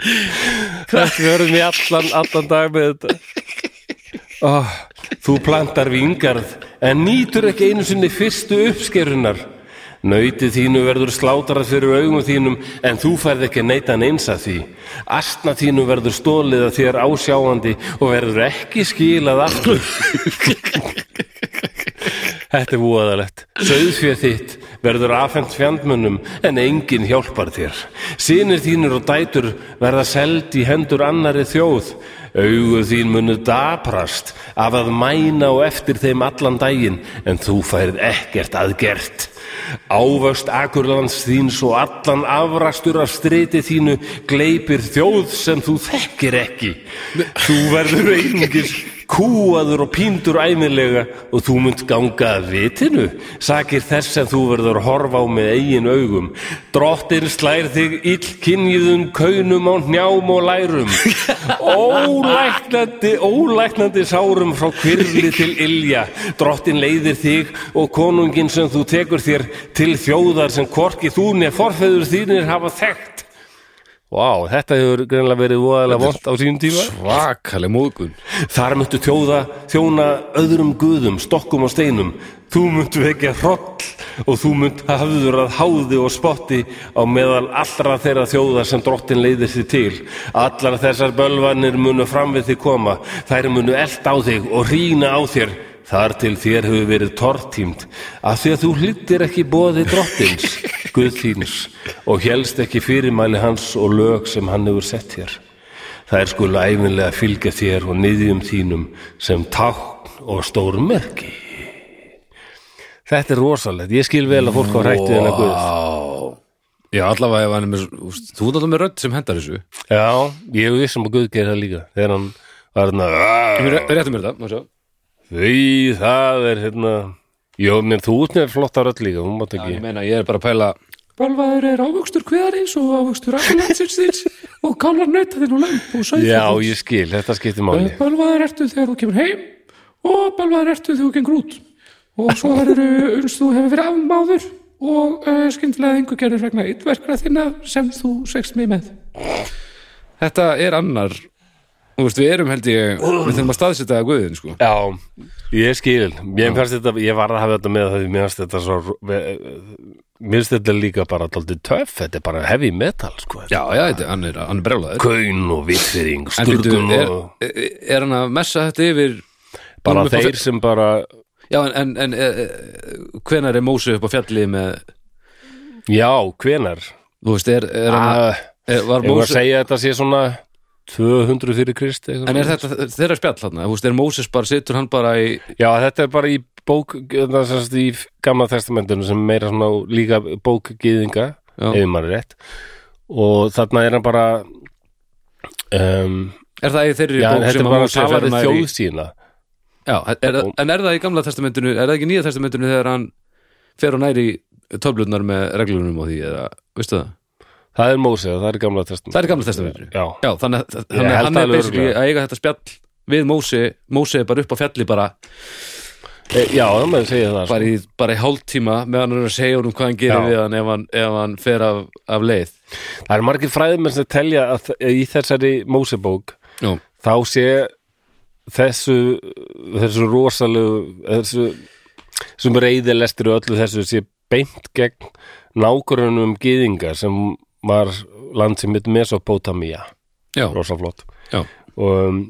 Speaker 1: Þetta verður mér allan, allan dag með þetta oh, Þú plantar vingarð en nýtur ekki einu sinni fyrstu uppskerunar Nautið þínu verður slátrað fyrir augum þínum en þú færð ekki neitan eins að því. Astna þínu verður stólið að þér ásjáandi og verður ekki skilað aftur. Þetta er voðalegt. Sauðfjör þitt verður afhent fjandmönnum en enginn hjálpar þér. Sinir þínur og dætur verða seld í hendur annari þjóð. Augu þín munu daprast af að mæna og eftir þeim allan daginn en þú færð ekkert að gert. Ávöxt akurlands þíns og allan afrastur af striti þínu gleipir þjóð sem þú þekkir ekki. Þú verður einungis kúaður og píndur æmilega og þú munt ganga að vitinu sakir þess sem þú verður að horfa á með eigin augum drottin slær þig illkynjiðum kaunum á njám og lærum ólæknandi ólæknandi sárum frá kvirli til ilja drottin leiðir þig og konungin sem þú tekur þér til þjóðar sem hvorki þú nef forfeður þínir hafa þekkt Vá, þetta hefur greinlega verið voðalega vont á sínum tíma
Speaker 2: svakaleg móðgun
Speaker 1: Þar myndu þjóða, þjóna öðrum guðum, stokkum og steinum. Þú myndu vekja hroll og þú mynd hafður að háði og spotti á meðal allra þeirra þjóða sem drottin leiðir þig til. Allar þessar bölvanir munu fram við þig koma, þær munu eld á þig og rína á þér. Þar til þér hefur verið tortímt af því að þú hlýttir ekki bóði drottins, guð þíns, og helst ekki fyrirmæli hans og lög sem hann hefur sett hér. Þær skulu æfinlega fylgja þér og niðjum þínum sem tákn og stór merki. Þetta er rosalegt. Ég skil vel að fólk á hrættu þennan guð.
Speaker 2: wow. já allavega ef hann er með úst, þú ert alltaf með rödd sem hendar þessu
Speaker 1: Já, ég hef vissum að guð gerir það líka. Þegar hann var hérna,
Speaker 2: við réttum mér þetta, má sjá
Speaker 1: því það er hérna, jó, menn þú út með flott á rödd líka, hún mátt
Speaker 2: ég
Speaker 1: ekki.
Speaker 2: meina ég er bara að pæla Bölvaður er ávöxtur kveðarins og ávöxtur akkurlandsins þins og kálar nöyta þinn og lömp og sæð
Speaker 1: Já, ég skil, þetta skiptir máli.
Speaker 2: Bölvaður ertu þegar þú kemur heim og bölvaður ertu þegar þú gengur út og svo verður uns þú hefur verið afmáður og uh, skyndilega engu gerir vegna ytverkra þinna sem þú segst mig með Þetta er annar Þú veist, við erum held ég við þurfum að staðsetja að guðin sko
Speaker 1: Já, ég skil. Ég fannst þetta, ég var að hafa þetta með það því mér fannst þetta svo, mér finnst þetta líka bara daldið töff, þetta er bara heavy metal, sko.
Speaker 2: Já, já, þetta, hann er, hann er brjálaður
Speaker 1: kaun og vitfyrring,
Speaker 2: En býttu,
Speaker 1: sturgun
Speaker 2: er,
Speaker 1: og
Speaker 2: er hann að messa þetta yfir
Speaker 1: bara
Speaker 2: honum upp á
Speaker 1: þeir sem bara
Speaker 2: Já, en, en, en eh, eh, hvenær er Mósi upp á fjalli með,
Speaker 1: já, hvenar
Speaker 2: þú veist, er, er hann
Speaker 1: Ah,
Speaker 2: er, var
Speaker 1: ef að
Speaker 2: Mósi,
Speaker 1: segja að þetta sé svona 200 fyrir krist eitthvað
Speaker 2: en er
Speaker 1: svona.
Speaker 2: þetta þeirra spjall hann, þú veist, er Mósis bara, situr hann bara í,
Speaker 1: já, þetta er bara í bók það sérst í gamla testamentinu sem er meira svona líka bók gyðinga
Speaker 2: Já.
Speaker 1: ef maður er rétt og þarna er hann bara um,
Speaker 2: er það í þeirri
Speaker 1: já,
Speaker 2: bók
Speaker 1: þetta
Speaker 2: sem
Speaker 1: er
Speaker 2: að
Speaker 1: bara að
Speaker 2: Mósi
Speaker 1: tala við
Speaker 2: fermaður í,
Speaker 1: þjóð sína
Speaker 2: já, er, það- en er það í gamla testamentinu, er það ekki í nýja testamentinu þegar hann fer og næri töflurnar með reglunum og því, eða, veistu það,
Speaker 1: það er Mósið, það er í gamla testamentinu
Speaker 2: það er í gamla testamentinu,
Speaker 1: já,
Speaker 2: já, þannig að
Speaker 1: Ég
Speaker 2: hann,
Speaker 1: held
Speaker 2: er- hann
Speaker 1: alveg
Speaker 2: er basically
Speaker 1: örugglega.
Speaker 2: að eiga þetta spjall við Mósi, Mósi er bara upp á fjalli bara,
Speaker 1: E, já, það maður segja það sko.
Speaker 2: bara í, bara í hálftíma meðan hann er að segja honum hvað hann gerir
Speaker 1: Já.
Speaker 2: við hann ef hann, ef hann fer af, af leið
Speaker 1: það er margir fræðumenn sem telja að þ- í þessari Mósebók
Speaker 2: Já,
Speaker 1: þá sé þessu þessu rosalegu þessu sem reyðilestir og öllu þessu sé beint gegn nágrunum gyðinga sem var land sem mitt Mesopotamía
Speaker 2: já,
Speaker 1: rosaflott
Speaker 2: já,
Speaker 1: og, um,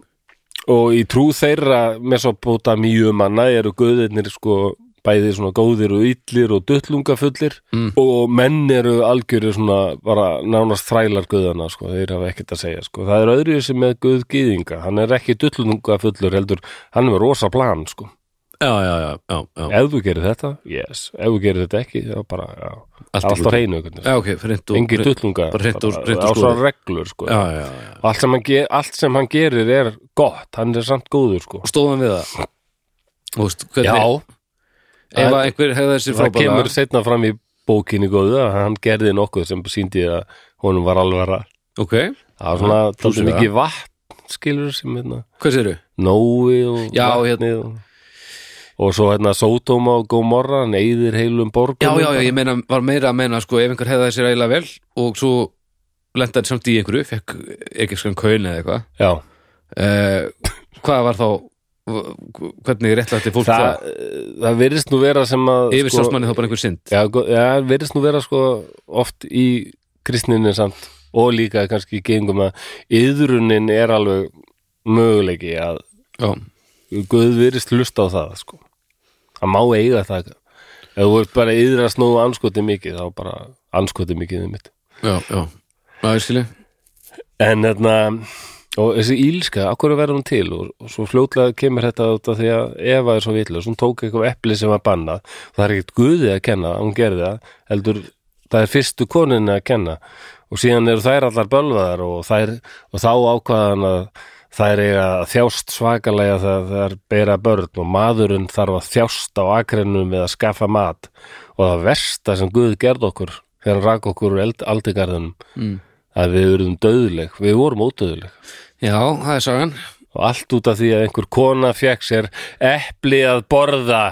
Speaker 1: og í trú þeirra Mesopotamíu manna eru guðirnir sko bæði svona góðir og illir og duttlungafullir
Speaker 2: Mm.
Speaker 1: og menn eru algjörir svona bara nánast þrælar guðana sko, þeir hafa ekkert að segja sko. það er öðru sem með guð gýðinga hann er ekki duttlungafullur heldur, hann er með rosa plan sko.
Speaker 2: já, já, já, já, já.
Speaker 1: ef þú gerir þetta, yes ef þú gerir þetta ekki, þá bara já.
Speaker 2: Allt í
Speaker 1: allt á
Speaker 2: lagi.
Speaker 1: hreinu, einhvern veginn.
Speaker 2: já, ok, reynd og
Speaker 1: engi dullunga
Speaker 2: bara hreint úr- hreint úr
Speaker 1: á svona
Speaker 2: skúrnum.
Speaker 1: reglur sko.
Speaker 2: já, já, já,
Speaker 1: allt, sem hann ge- allt sem hann gerir er gott hann er samt góður sko.
Speaker 2: stóðum við það Þú veist,
Speaker 1: Já.
Speaker 2: hvernig, ef
Speaker 1: Það-
Speaker 2: að einhver hefði þessi
Speaker 1: það
Speaker 2: frábæla
Speaker 1: kemur setna fram í bókinni góðu að hann gerði nokkuð sem síndi að honum var alvara
Speaker 2: ok,
Speaker 1: það var svona
Speaker 2: Ja, plús
Speaker 1: ja,
Speaker 2: við
Speaker 1: mikið vatn skilur sem hérna
Speaker 2: hvað séru?
Speaker 1: Nói og
Speaker 2: Já, hérna-
Speaker 1: vatnið og, og svo hérna Sódóma og Gómorra hann eyðir heilum borgum
Speaker 2: já, já, já, ég meina, var meira að meina sko, ef einhver hefði þessi reyla vel og svo lendaði samt í einhverju, fekk ekki skoðan kaun eða eitthvað
Speaker 1: já.
Speaker 2: uh, hvað var þá hvernig réttlætti fólk það, sko-
Speaker 1: Það, það virðist nú vera sem að sko-
Speaker 2: það yfir sjálfsmanni þá bara einhver synd
Speaker 1: Já, gó- já verðist nú vera sko oft í kristninni samt og líka kannski í gengum að yðrunin er alveg möguleiki að
Speaker 2: já,
Speaker 1: Guð virðist hlusta á það sko. að má eiga það ef þú ert bara að yðrast nú anskotið mikið þá bara anskotið mikið þið mitt
Speaker 2: já, já, já, ég skilji
Speaker 1: en þarna og þessi ílska, akkur verður hún til og, og svo fljótlega kemur þetta út af því að Eva er svo vitlega, hún tók eitthvað epli sem var bannað, það er ekkert guði að kenna að hún gerði það, heldur það er fyrstu koninni að kenna og síðan eru þær allar bölvaðar og, þær, og þá ákvaðan að þær eiga að þjást svakalega þegar þær bera börn og maðurinn þarf að þjást á akrennum við að skaffa mat og það versta sem Guð gerði okkur þegar hann rak okkur úr eld- aldigarðinum
Speaker 2: mm.
Speaker 1: að við erum döðleg, við vorum ódöðleg
Speaker 2: já, það er sagan
Speaker 1: og allt út af því að einhver kona fekk sér epli að
Speaker 2: [laughs]
Speaker 1: borða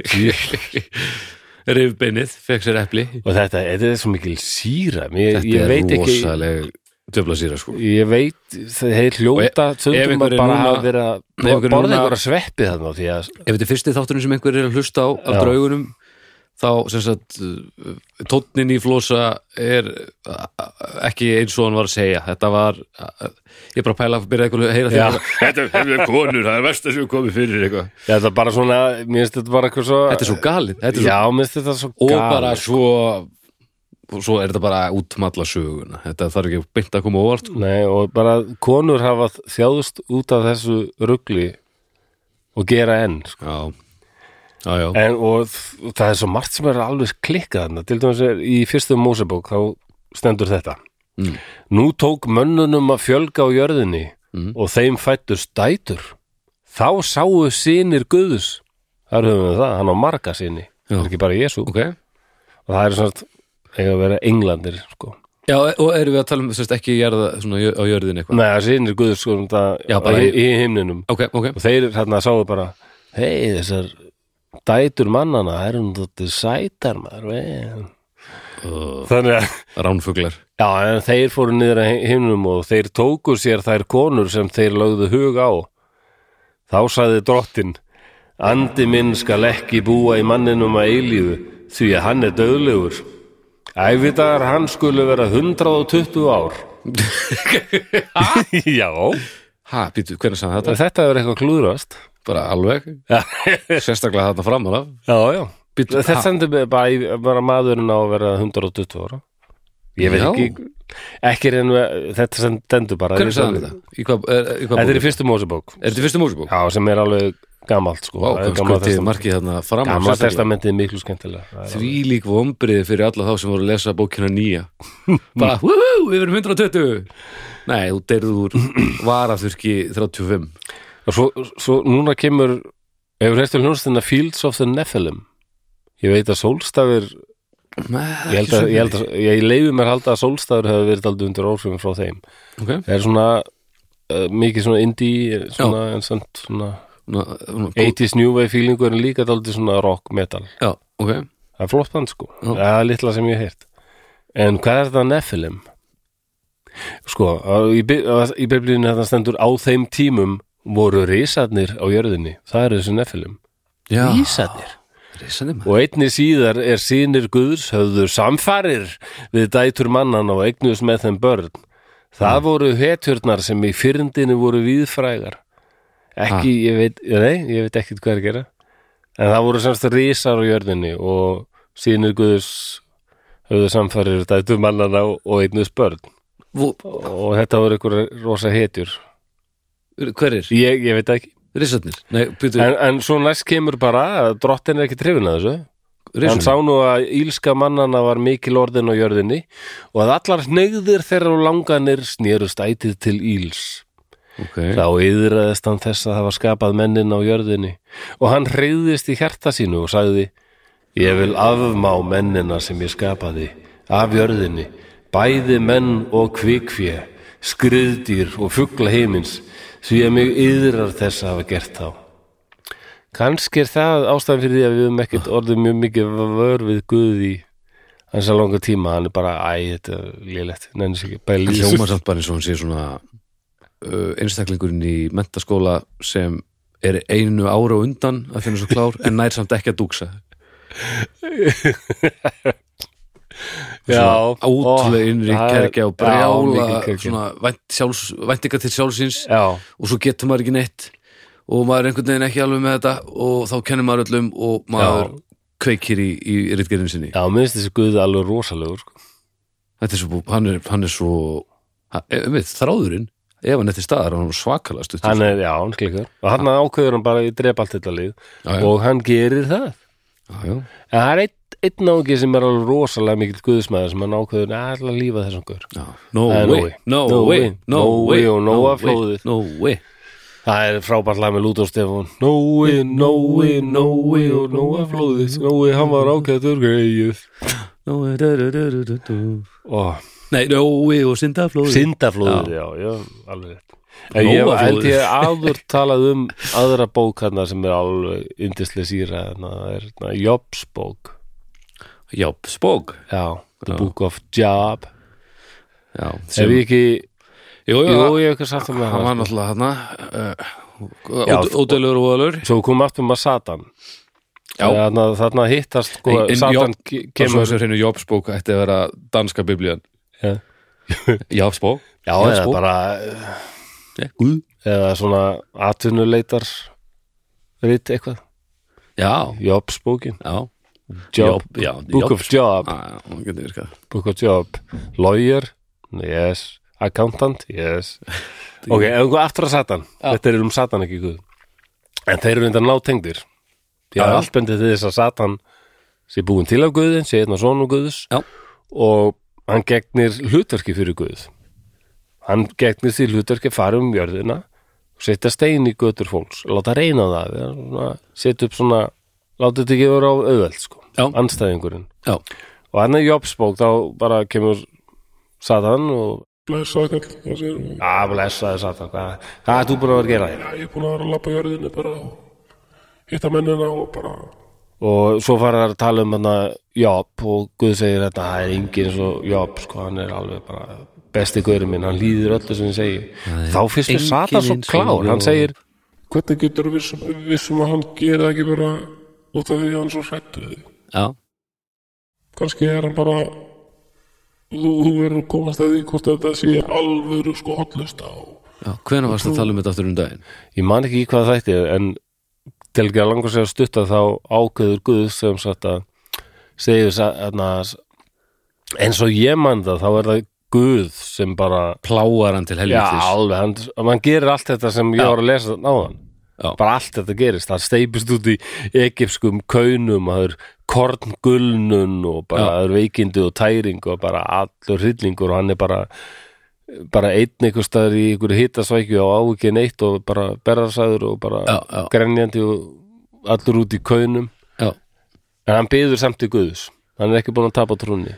Speaker 1: og
Speaker 2: [laughs] rifbeinið, fekk sér epli
Speaker 1: þetta, þetta er svo mikil síra ég,
Speaker 2: þetta
Speaker 1: ég
Speaker 2: er
Speaker 1: veit ekki
Speaker 2: rosaleg döfla síra sko
Speaker 1: ég veit, þeir hljóta
Speaker 2: e- ef
Speaker 1: stundum
Speaker 2: einhver
Speaker 1: að
Speaker 2: er
Speaker 1: bara
Speaker 2: núna-
Speaker 1: að vera
Speaker 2: ef einhver er
Speaker 1: borða
Speaker 2: núna-
Speaker 1: einhverja sveppi þarna því að
Speaker 2: ef þetta er fyrsti þátturinn sem einhver er að hlusta á af
Speaker 1: Já.
Speaker 2: draugunum þá sem sagt tónnin í flosa er uh, ekki eins og hann var að segja þetta var, uh, ég er bara að pæla að byrja eitthvað að heyra
Speaker 1: Já.
Speaker 2: því [laughs] þetta, þetta er konur, það er verst að séu komið fyrir eitthvað
Speaker 1: Já, þetta er bara svona, mér finnst þetta bara eitthvað svo
Speaker 2: þetta er svo galið þetta er svo,
Speaker 1: Já, mér finnst þetta svo
Speaker 2: og
Speaker 1: galið.
Speaker 2: bara svo og svo er þetta bara útmalla söguna þetta þarf ekki beint að koma á óvart sko.
Speaker 1: Nei, og bara konur hafa þjáðust út af þessu rugli og gera enn sko.
Speaker 2: já, já, já,
Speaker 1: En, og þ- það er svo margt sem er alveg klikkað þarna, til dæmis er í fyrstu Mósebók þá stendur þetta
Speaker 2: Mm.
Speaker 1: Nú tók mönnunum að fjölga á jörðinni
Speaker 2: Mm.
Speaker 1: og þeim fættur stætur þá sáu sinir Guðus þar höfum við það, hann á marga sinni
Speaker 2: Já.
Speaker 1: ekki bara Jésu
Speaker 2: ok
Speaker 1: og það er svona eiga að vera englandir sko.
Speaker 2: já, og erum við að tala um sérst, ekki jarða, svona, jö- á jörðin eitthvað
Speaker 1: Nei, sinir Guðus sko, það,
Speaker 2: Já, bara
Speaker 1: í,
Speaker 2: í-
Speaker 1: í himninum
Speaker 2: ok, ok,
Speaker 1: og þeir þarna sáu bara hei, þessar dætur mannana það eru nú þetta sætar maður veginn
Speaker 2: uh,
Speaker 1: Þannig að
Speaker 2: ránfuglar
Speaker 1: Já, en þeir fóru niður að himnum og þeir tóku sér þær konur sem þeir lögðu hug á. Þá sagði drottin, andi minn skal ekki búa í manninum að eilífu, því að hann er döðlegur. Ævidagar hann skulu vera 120 ár. [laughs] Já,
Speaker 2: ha, býtu, hvernig sagði þetta?
Speaker 1: þetta er eitthvað klúðrast.
Speaker 2: bara alveg, sérstaklega þarna framan af
Speaker 1: Já, já.
Speaker 2: Bíddu,
Speaker 1: Þetta
Speaker 2: ha?
Speaker 1: sendur mig bara, í- bara maðurinn á að vera 120 ára. Ég veit
Speaker 2: Já.
Speaker 1: ekki, ekki reynu, þetta sendur bara.
Speaker 2: hvernig sagði hann þetta? í hvað, er, í hvað
Speaker 1: Þetta er
Speaker 2: bók?
Speaker 1: í fyrstu Mósebók.
Speaker 2: er þetta fyrstu mósibók?
Speaker 1: Já, sem er alveg gamalt sko.
Speaker 2: Vá,
Speaker 1: Það er
Speaker 2: hvað
Speaker 1: gamla
Speaker 2: skrutið
Speaker 1: testament-
Speaker 2: markið þarna framan
Speaker 1: Gamla
Speaker 2: sérstaklega.
Speaker 1: testamentið er miklu skemmtilega Það er
Speaker 2: því lík vombriði fyrir alla þá sem voru að lesa bókina
Speaker 1: [laughs]
Speaker 2: nýja bara, húhú, við verum 120 nei, þú deyrðu úr varaþurki 35
Speaker 1: alveg- Og svo, svo núna kemur hefur hefstu hljónstina Fields of the Nephilim Ég veit að sólstafir ég, held að, ég, held að, ég leiði mér halda að sólstafir hefur verið aldrei undir ósvegum frá þeim
Speaker 2: okay.
Speaker 1: Það er svona uh, mikið svona indie svona, en samt svona
Speaker 2: Ná, ná,
Speaker 1: 80s New Wave feelingur en líka daldið svona rock metal
Speaker 2: já, ok
Speaker 1: Það er flott band sko,
Speaker 2: Já.
Speaker 1: það er litla sem ég hef heyrt En hvað er það Nephilim? Sko, á- í bi- á- í biblíunni þetta stendur á þeim tímum voru risarnir á jörðinni Það eru þessi Nephilim
Speaker 2: já,
Speaker 1: Ísarnir
Speaker 2: risandi maður
Speaker 1: Og einni síðar er sínir Guðs höfðu samfarir við dætur mannan og eignuðs með þeim börn Það voru hetjurnar sem í fyrndinu voru víðfrægar Ekki, ég veit, nei, ég veit ekkit hvað er að gera En það voru semst risar á jörðinni og sínir Guðs höfðu samfarir við dætur mannana og- og eignuðs börn
Speaker 2: Vú-
Speaker 1: Og þetta voru ykkur rosa hetjur
Speaker 2: hver er?
Speaker 1: Ég, ég veit ekki
Speaker 2: risarnir Nei, býtu,
Speaker 1: en, en svo næst kemur bara að drottin er ekki trefin að þessu Hann
Speaker 2: risunum
Speaker 1: sá nú að ílska mannana var mikil orðin á jörðinni og að allar hnegðir þeirra og langanir snerust ætið til íls.
Speaker 2: okay.
Speaker 1: Þá yðraðist hann þess að hafa skapað mennin á jörðinni og hann hreyðist í hjarta sínu og sagði Ég vil afmá mennina sem ég skapaði af jörðinni, bæði menn og kvikfjö, skriðdýr og fugla heimins því að mig yðrar þess að hafa gert þá. Kanski er það ástæðan fyrir því að við höfum ekkert orðið mjög mikið vör við Guði í hans að langa tíma, hann er bara, æ, þetta er lélegt, nenni sér ekki, bara
Speaker 2: Hann
Speaker 1: lýs.
Speaker 2: hljómar samt bara eins og hann sé svona uh, einstaklingurinn í mentaskóla sem er einu ára á undan að finna svo klár en nær samt ekki að dúksa
Speaker 1: Já,
Speaker 2: átlega innri
Speaker 1: það er-
Speaker 2: kerkja og
Speaker 1: já,
Speaker 2: brjála
Speaker 1: mikil kergja.
Speaker 2: svona vænt, sjálfs, væntingar til sjálfsins
Speaker 1: Já,
Speaker 2: og svo getur maður ekki neitt og maður er einhvern veginn ekki alveg með þetta og þá kennir maður öllum og maður kveikir í, í ritgerðin sinni
Speaker 1: já, minnst þessi Guði alveg rosalegur, sko.
Speaker 2: þetta er svo, hann er, hann er svo hann, um við, þráðurinn ef hann er til staðar, hann er svakalega stutt
Speaker 1: Hann er, já, hann klikkar. Og hann ákveður hann bara í drepa allt þetta lið
Speaker 2: Já, já.
Speaker 1: og hann gerir það.
Speaker 2: já, já.
Speaker 1: En það er einn eitt náungi sem er alveg rosalega mikill Guðismæður sem hann ákveður, "Nei, ég ætla að lífa þessum gaur.
Speaker 2: Já. No,
Speaker 1: Það er
Speaker 2: way, no, way, no way,
Speaker 1: og
Speaker 2: no
Speaker 1: Nóa
Speaker 2: way,
Speaker 1: flóðið.
Speaker 2: No way
Speaker 1: Það er frábært lag með Lúdó Stefán Nói, Nói, Nói og Nóa flóðið Nói, hann var ágættur greið
Speaker 2: No way, da, da, da, da, da, da.
Speaker 1: og
Speaker 2: Nei, no way og syndaflóðið
Speaker 1: Sindaflóðið, já, já, alveg rétt En ég
Speaker 2: Nóaflóðið.
Speaker 1: held ég áður talað um aðra bók hérna sem er alveg yndislega síra hérna, það er hérna Jobs bók
Speaker 2: Já, spók
Speaker 1: Já, The Book of Job
Speaker 2: Já,
Speaker 1: Sem
Speaker 2: sem,
Speaker 1: við ekki,
Speaker 2: jú, jú,
Speaker 1: jú, ég hef ekki sagt um
Speaker 2: hann var
Speaker 1: það
Speaker 2: náttúrulega
Speaker 1: Já,
Speaker 2: hann uh, ódælur og ódælur
Speaker 1: Svo kom aftur maður Satan
Speaker 2: Já.
Speaker 1: Þarna, þarna hittast sko,
Speaker 2: En- en
Speaker 1: Satan
Speaker 2: Job-
Speaker 1: ke-
Speaker 2: kemur
Speaker 1: kemur
Speaker 2: þessu hreinu Jobsbók ætti að vera danska biblían [laughs]
Speaker 1: Já.
Speaker 2: Jobsbók
Speaker 1: Já,
Speaker 2: Jobs
Speaker 1: eða
Speaker 2: bók.
Speaker 1: bara
Speaker 2: Guð.
Speaker 1: eða svona atvinnuleitar rit eitthvað
Speaker 2: já,
Speaker 1: Jobs bókin
Speaker 2: já,
Speaker 1: Job,
Speaker 2: Job- já,
Speaker 1: Book of Job
Speaker 2: já, hún getur virkað
Speaker 1: Book of Job Lawyer, yes Accountant, yes [laughs] Ok, ef einhver aftur að Satan Þetta er um Satan ekki guð En þeir eru undan nátengdir Því að
Speaker 2: Já.
Speaker 1: allt bendið til þess að Satan sé búin til af guðin, sé einn og svona guðs
Speaker 2: Já.
Speaker 1: og hann gegnir hlutverki fyrir guð Hann gegnir því hlutverki að fara um jörðina og setja stein í götur fólks láta reyna á það eða svona, setja upp svona, láta þetta ekki vera á auðveld sko,
Speaker 2: Já.
Speaker 1: anstæðingurinn
Speaker 2: já,
Speaker 1: og hann er Jobsbók þá bara kemur Satan og
Speaker 3: Blessaði kall, hvað segir hún?
Speaker 1: að blessaði Satan hvað, hvað er þú búin að vera að gera þér
Speaker 3: Já, ég er búin að vera að lappa jörðinni bara og hitta mennina og bara
Speaker 1: og svo fara þær að tala um hann Job og Guð segir þetta það er engin eins og Job sko, hann er alveg bara besti guðurinn minn, hann líður öllu sem ég segi þá finnst mér
Speaker 2: enginn
Speaker 1: Satan svo
Speaker 2: eins og
Speaker 1: klár
Speaker 2: Job.
Speaker 1: hann segir,
Speaker 3: Hvernig getur vissum, vissum um að hann gera ekki bara út af því að hann er svo hrættu þig?
Speaker 2: já,
Speaker 3: Kannski er hann bara þú, þú verður að komast að því hvort þetta sé alvöru sko hotlust á
Speaker 2: já hvenær varst að tala um þetta aftur um daginn
Speaker 1: ég man ekki í hvað þætti er, en til ekki að langar sér að stutta þá ákveður Guð sem sagt að segir Sa- þarna, eins og ég man það þá er það Guð sem bara
Speaker 2: pláar hann til
Speaker 1: Já,
Speaker 2: helvítis
Speaker 1: alveg, hann, hann gerir allt þetta sem ég var að lesa þarna áðan
Speaker 2: Já.
Speaker 1: bara allt þetta gerist, það steipist út í egipskum kaunum það er korngulnun og bara
Speaker 2: Já.
Speaker 1: það er veikindi og tæring og bara allur hryllingur og hann er bara bara einn einhver staðar í einhverju hittasvækju og á ekki neitt og bara berðarsæður og bara
Speaker 2: Já, já.
Speaker 1: grenjandi og allur út í kaunum
Speaker 2: já,
Speaker 1: en hann byður samt í Guðs hann er ekki búin að tapa trúnni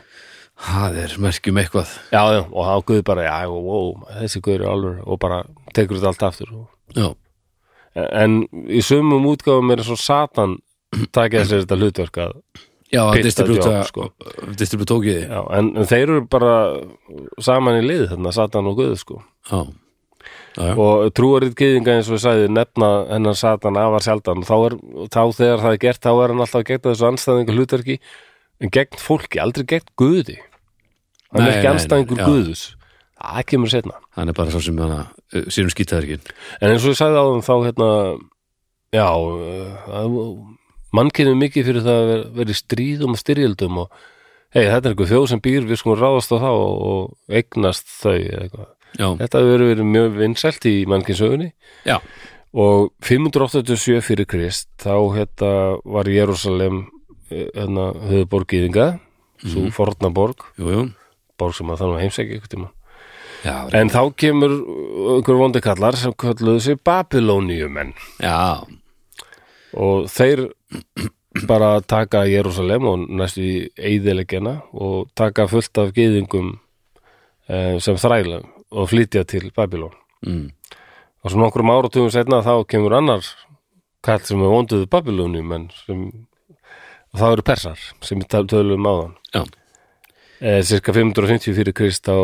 Speaker 2: það er merkjum eitthvað
Speaker 1: já, já, og hann Guð bara, já, wow, þessi Guður er alveg og bara tekur þetta allt aftur og
Speaker 2: já,
Speaker 1: en í sumum útgáfum er svo satan takið sér þetta hlutverk að
Speaker 2: já,
Speaker 1: Pitta
Speaker 2: distributa
Speaker 1: job, sko.
Speaker 2: distributa tókiði
Speaker 1: já, en, en þeir eru bara saman í lið þarna, satan og guð sko.
Speaker 2: já, já, já,
Speaker 1: og trúarið gyðinga eins og við sagði nefna hennar satan afar sjaldan þá, er, þá þegar það er gert þá er hann alltaf gegn þessu anstæðingu hlutverki en gegn fólki, aldrei gegn guði hann
Speaker 2: Nei,
Speaker 1: er
Speaker 2: nei,
Speaker 1: ekki
Speaker 2: nei,
Speaker 1: anstæðingur
Speaker 2: já.
Speaker 1: guðus það kemur setna
Speaker 2: hann er bara sá sem hana eh, sérum skýtaðarkin
Speaker 1: En eins og ég sagði á þeim þá hérna já uh, mann kynir mikið fyrir það að vera- vera í stríðum og styrjöldum og hei þetta er eitthvað þjóð sem býr við sko ráðast á þá og, og eignast þau eða eitthvað.
Speaker 2: já,
Speaker 1: Þetta hefur verið mjög vinsælt í mannkynnsögunni
Speaker 2: já,
Speaker 1: og 587 fyrir Krist þá hérna var Jerusalem eh, hérna, höfuborg Gýðinga svo mm. forna borg
Speaker 2: jú, jú. Eh.
Speaker 1: borg sem að þannig að heimsækja ykkur tíma
Speaker 2: Já, en,
Speaker 1: en þá kemur einhver vondi kallar sem kalluðu sig Babilóníumenn
Speaker 2: já,
Speaker 1: og þeir bara taka Jerusalem og næstu í eiðilegjana og taka fullt af gyðingum eh, sem þræla og flytja til Babylon
Speaker 2: mm,
Speaker 1: og svo nokkrum áratugum setna þá kemur annar kall sem er vonduðu Babylonium en sem og það eru persar sem við tal- tölum áðan
Speaker 2: já,
Speaker 1: eh, cirka 550 fyrir Krist á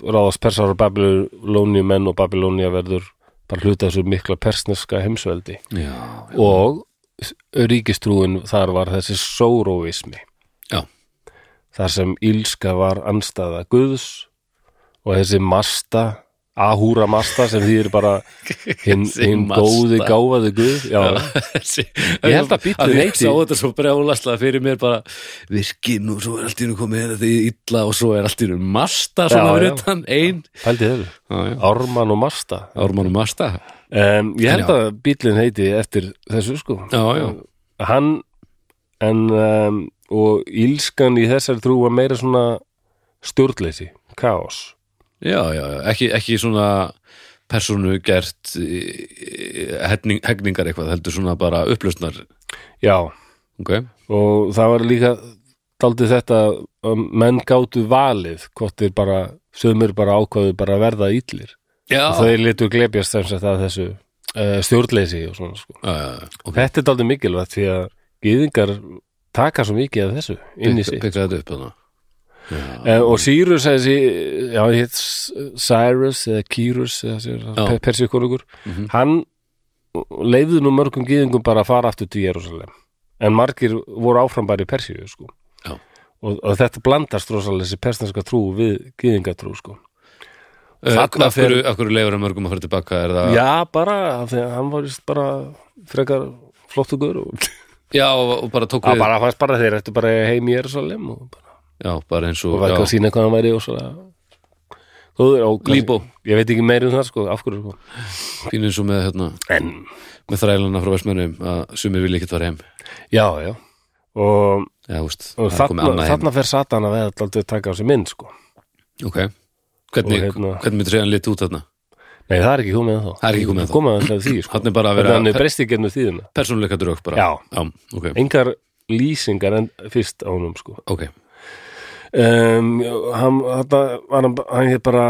Speaker 1: ráðast persar og Babylonium menn og Babylonia verður bara hluta þessu mikla persneska heimsveldi
Speaker 2: [laughs] já,
Speaker 1: og ríkistrúin þar var þessi sóróismi
Speaker 2: já,
Speaker 1: þar sem ílska var anstæða guðs og þessi masta ahúra masta sem því er
Speaker 2: [laughs]
Speaker 1: bara hinn
Speaker 2: Þessi
Speaker 1: hin
Speaker 2: masta.
Speaker 1: góði gáfaði guð já,
Speaker 2: ég
Speaker 1: held að bíllinn heiti-
Speaker 2: sá þetta svo brjálaslega fyrir mér bara virkin og svo er allt í nú komið þetta í illa og svo er allt í nú masta
Speaker 1: Já,
Speaker 2: svona
Speaker 1: já.
Speaker 2: fyrir utan, ein
Speaker 1: pældi þau,
Speaker 2: já, já.
Speaker 1: ármann og masta
Speaker 2: Ármann og masta
Speaker 1: um, ég held
Speaker 2: Já.
Speaker 1: að bíllinn heiti eftir þessu sko
Speaker 2: já, já,
Speaker 1: hann en um, og ílskan í þessari trú var meira svona stjórnleysi, kaos
Speaker 2: já, já, já. Ekki, ekki svona persónu gert eh, hegning, hegningar eitthvað heldur svona bara upplausnar
Speaker 1: já,
Speaker 2: ok,
Speaker 1: og það var líka daldið þetta að menn gátu valið hvort þeir bara sömur bara ákvaðu bara að verða illir
Speaker 2: já,
Speaker 1: og þeir litu glebjast sem sagt að þessu uh, stjórnleysi og svona sko.
Speaker 2: já, já, já. ok
Speaker 1: þetta er daldið mikilvægt því að gyðingar taka svo mikið af þessu inn í sig
Speaker 2: Pikka þetta upp þarna
Speaker 1: uh, og Sirius þessi, já, hitt Cyrus eða Kyrus
Speaker 2: Já.
Speaker 1: persíkonungur hann leiði nú mörgum gyðingum bara að fara aftur til Jerusalem en margir voru áfram bara í Persíu sko.
Speaker 2: Já.
Speaker 1: og, og þetta blandast rosalega þessi persneska trú við gyðingatrú sko.
Speaker 2: Þarna
Speaker 1: Þarna
Speaker 2: fyrir, akkur leifur að mörgum að fara tilbaka er það,
Speaker 1: já, bara, af því að hann var víst bara frekar flottugur og
Speaker 2: já og, og bara tók
Speaker 1: að
Speaker 2: við
Speaker 1: bara fannst bara þeir eftir bara að eiga heim í Jerusalem og, bara,
Speaker 2: Já, bara eins og
Speaker 1: og var ekki að
Speaker 2: já,
Speaker 1: sína hvað hann væri og svona góður og
Speaker 2: Líbó.
Speaker 1: ég veit ekki meir um það sko, af hverju sko.
Speaker 2: pínu eins og með, hérna,
Speaker 1: en
Speaker 2: með þrælana frá Vestmennum að sumir vilja ekkert fara heim
Speaker 1: já, já og,
Speaker 2: Já, húst,
Speaker 1: og
Speaker 2: það er komið
Speaker 1: þarna,
Speaker 2: annað heim
Speaker 1: þarna fer Satan að veða alltaf að taka á sig mynd sko
Speaker 2: Ok, hvernig,
Speaker 1: Og hérna-
Speaker 2: hvernig myndir segja hann lit út þarna?
Speaker 1: Nei, það er ekki komið ennþá.
Speaker 2: Það er ekki komið ennþá.
Speaker 1: Komið ennþá því, sko.
Speaker 2: Þarna er bara að
Speaker 1: Þannig
Speaker 2: vera
Speaker 1: að hann er breyst ekki ennum þýðina.
Speaker 2: persónuleika drög bara
Speaker 1: Já.
Speaker 2: ok,
Speaker 1: Engar lýsingar en fyrst á honum, sko.
Speaker 2: ok
Speaker 1: Um, hann, þetta var hann, hann hér bara,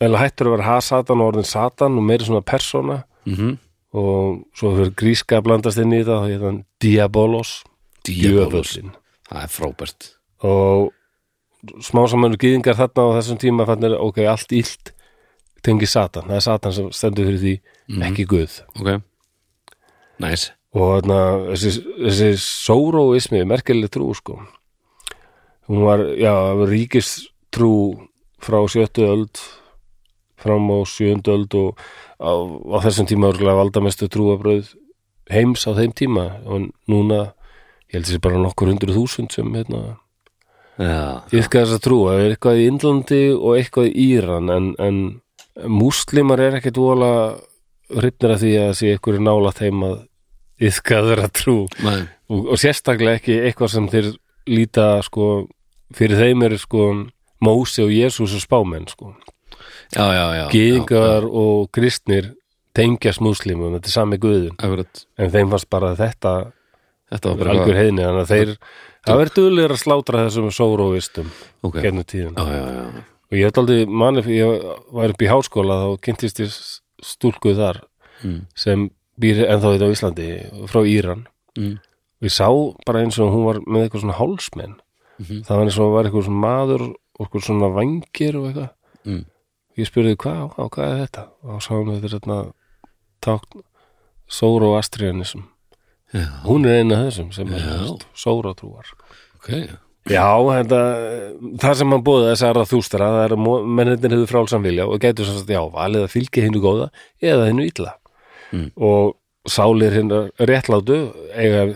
Speaker 1: eða hættur að vera ha-satan og orðin satan og meiri svona persóna
Speaker 2: mm
Speaker 1: og svo fyrir gríska að blandast inn í þetta, þá hér hann Diabolos,
Speaker 2: Díabolos,
Speaker 1: djöfullin.
Speaker 2: það er frábært
Speaker 1: Og smá saman eru gyðingar þarna á þessum tíma fannir, ok, allt illt tengi satan. Það er satan sem stendur fyrir því, ekki guð.
Speaker 2: Ok, næs
Speaker 1: og þarna, þessi, þessi sóróismi, merkileg trú sko hún var, já, ríkistrú frá sjöttu öld fram á sjöndu öld og á, á þessum tíma örgulega valdamestu trúabröð heims á þeim tíma og núna, ég held þessi bara nokkur hundruð þúsund sem hérna,
Speaker 2: Já,
Speaker 1: yfka þessa trú, það er eitthvað í Indlandi og eitthvað í Íran en, en múslimar er ekkit vola hrifnir að því að sé eitthvað nála þeim að yfka þeirra trú
Speaker 2: næ,
Speaker 1: og, og sérstaklega ekki eitthvað sem þeir líta sko, fyrir þeim eru sko Mósi og Jésús og spámenn sko
Speaker 2: já, já, já
Speaker 1: Gýðingar og kristnir tengjast múslimum, þetta er sami guðin
Speaker 2: Akkurat,
Speaker 1: en þeim fannst bara þetta
Speaker 2: þetta var bara
Speaker 1: algjör heiðni, þannig að þeir það verður duðlega að slátra þessum sóróvistum
Speaker 2: Ok, já,
Speaker 1: gennum tíðin
Speaker 2: já, já
Speaker 1: og ég held aldrei manið fyrir ég var upp í háskóla þá kynntist ég stúlku þar
Speaker 2: Mm.
Speaker 1: sem býr ennþá þetta á Íslandi frá Íran
Speaker 2: Mm.
Speaker 1: við sá bara eins og hún var með eitthvað svona hálsmenn
Speaker 2: Mhm.
Speaker 1: það var eins og var eitthvað svona maður og eitthvað svona vangir og eitthvað
Speaker 2: Mm.
Speaker 1: ég spurði hvað, á, hvað er þetta og þá sá hún þetta þetta tákn Sóro Astrianism
Speaker 2: Já,
Speaker 1: hún er eina þessum sem er
Speaker 2: Já.
Speaker 1: Sóro trúar
Speaker 2: ok
Speaker 1: Já, þetta, það sem hann bóði þess aðra þústara, það er að mo- mennirnir hefur frálsam vilja og gætu sem sagt, já, valið að fylgja hinnu góða eða hinnu illa.
Speaker 2: Mm.
Speaker 1: Og sálir hinn réttlátu, eiga,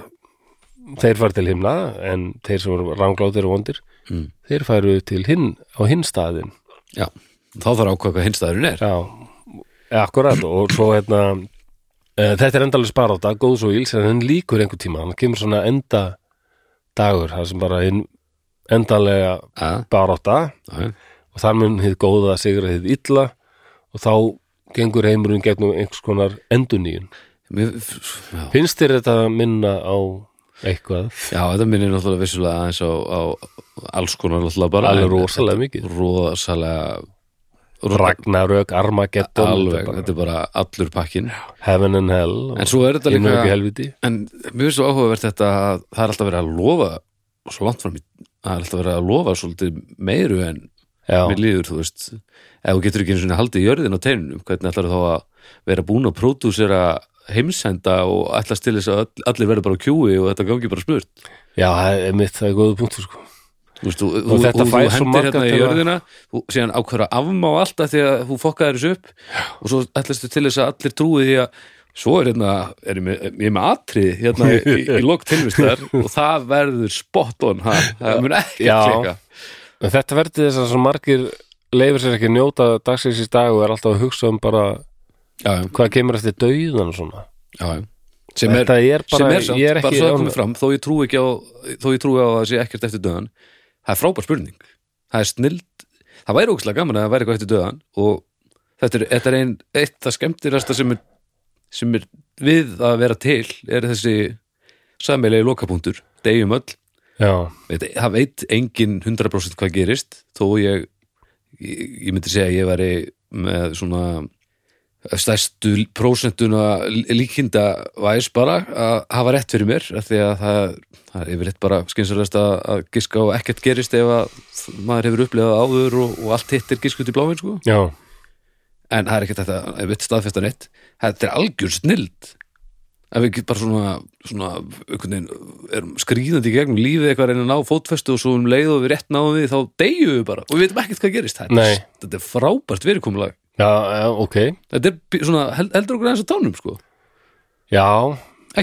Speaker 1: þeir fara til himna, en þeir sem eru ranglátir og vondir,
Speaker 2: Mm.
Speaker 1: þeir færu til hinn, á hinn staðin.
Speaker 2: Já, þá þarf að ákveða hvað hinstæðurinn er
Speaker 1: Já, Akkurat og svo hérna e, þetta er endalur sparáta, góðs og íls en hann líkur einhver tíma, hann kemur svona enda dagur, það sem bara hinn endalega
Speaker 2: Já,
Speaker 1: baráta
Speaker 2: já,
Speaker 1: og þar mun hið góða sigra hið illa og þá gengur heimurinn gegnum einhvers konar enduníun.
Speaker 2: Mér- f- já.
Speaker 1: Finnst þér þetta minna á eitthvað?
Speaker 2: Já, þetta minnir náttúrulega vissulega aðeins á, á alls konar náttúrulega bara
Speaker 1: Alveg
Speaker 2: en
Speaker 1: rosalega
Speaker 2: þetta-
Speaker 1: mikið.
Speaker 2: Rosalega
Speaker 1: Ragnarök, Armageddon,
Speaker 2: Alveg,
Speaker 1: þetta er bara
Speaker 2: þetta er bara allur pakkin
Speaker 1: Heaven and Hell og
Speaker 2: En svo er þetta
Speaker 1: himnaríki og
Speaker 2: líka
Speaker 1: helviti
Speaker 2: En mjög svo áhugavert þetta að það er alltaf verið að lofa svo langt fram í það er alltaf verið að lofa svolítið meiru en
Speaker 1: Já,
Speaker 2: mér líður, þú veist ef þú getur ekki einu sinni haldið í jörðin á teinunum hvernig ætlar þá að vera búin að pródúsera heimsenda og ætlast til þess að öll- allir verður bara á kjúi og þetta gangi bara smurt
Speaker 1: já, það er mitt, það er góðu punktur sko
Speaker 2: Þú veist, þú, þú,
Speaker 1: þetta
Speaker 2: þú, þú
Speaker 1: fær svo
Speaker 2: hendir
Speaker 1: marga
Speaker 2: hérna í
Speaker 1: til að-
Speaker 2: jörðina þú, síðan ákveður að afmá alltaf því að þú fokkaður þessu upp og svo ætlastu til þess að allir trúi því að svo er hérna, er ég, með, ég er með atrið hérna í, í, í
Speaker 1: [laughs]
Speaker 2: lok tilvistar og það verður spot on ha, það mun ekki
Speaker 1: Já.
Speaker 2: klika
Speaker 1: En þetta verði þess að svo margir leifir sér ekki að njóta dagsins í dag og er alltaf að hugsa um bara
Speaker 2: já,
Speaker 1: hvað kemur eftir dauðan og svona
Speaker 2: já, já. sem er,
Speaker 1: Þetta er bara,
Speaker 2: sem er samt,
Speaker 1: ég er
Speaker 2: bara
Speaker 1: ekki
Speaker 2: svo að
Speaker 1: án-
Speaker 2: komið fram þó ég trúi ekki á, þó ég trúi á að það sé ekkert eftir döðan það er frábær spurning það er snild, það væri ógæslega gaman að það væri eitthvað eftir döðan og þetta er, þetta er ein, eitt það skemmtilegasta sem er, sem er við að vera til er þessi sammeilegi lokapunktur, deyjum öll
Speaker 1: Já,
Speaker 2: Veit- það veit engin 100% hvað gerist þó ég, ég, ég myndi segja að ég væri með svona stærstu prósentuna líkinda væs bara að hafa rétt fyrir mér af því að það, það er yfirleitt bara skynsalegast að, að giska og ekkert gerist ef að maður hefur upplifað áður og, og allt hitt er giskut í bláfinn sko
Speaker 1: já,
Speaker 2: en það er ekkert þetta, ef við staðfesta neitt þetta er algjör snild ef við getum bara svona, svona einhvern veginn, erum skrýðandi í gegnum lífið eitthvað að reyna að ná fótfestu og svo um leið og við rétt náum við þá deyjum við bara og við veitum ekkert hvað gerist þetta,
Speaker 1: Nei.
Speaker 2: er- þetta er frábært verikumulag
Speaker 1: já, já, ok
Speaker 2: þetta er bí- svona, hel- heldur okkur aðeins að tánum sko
Speaker 1: Já,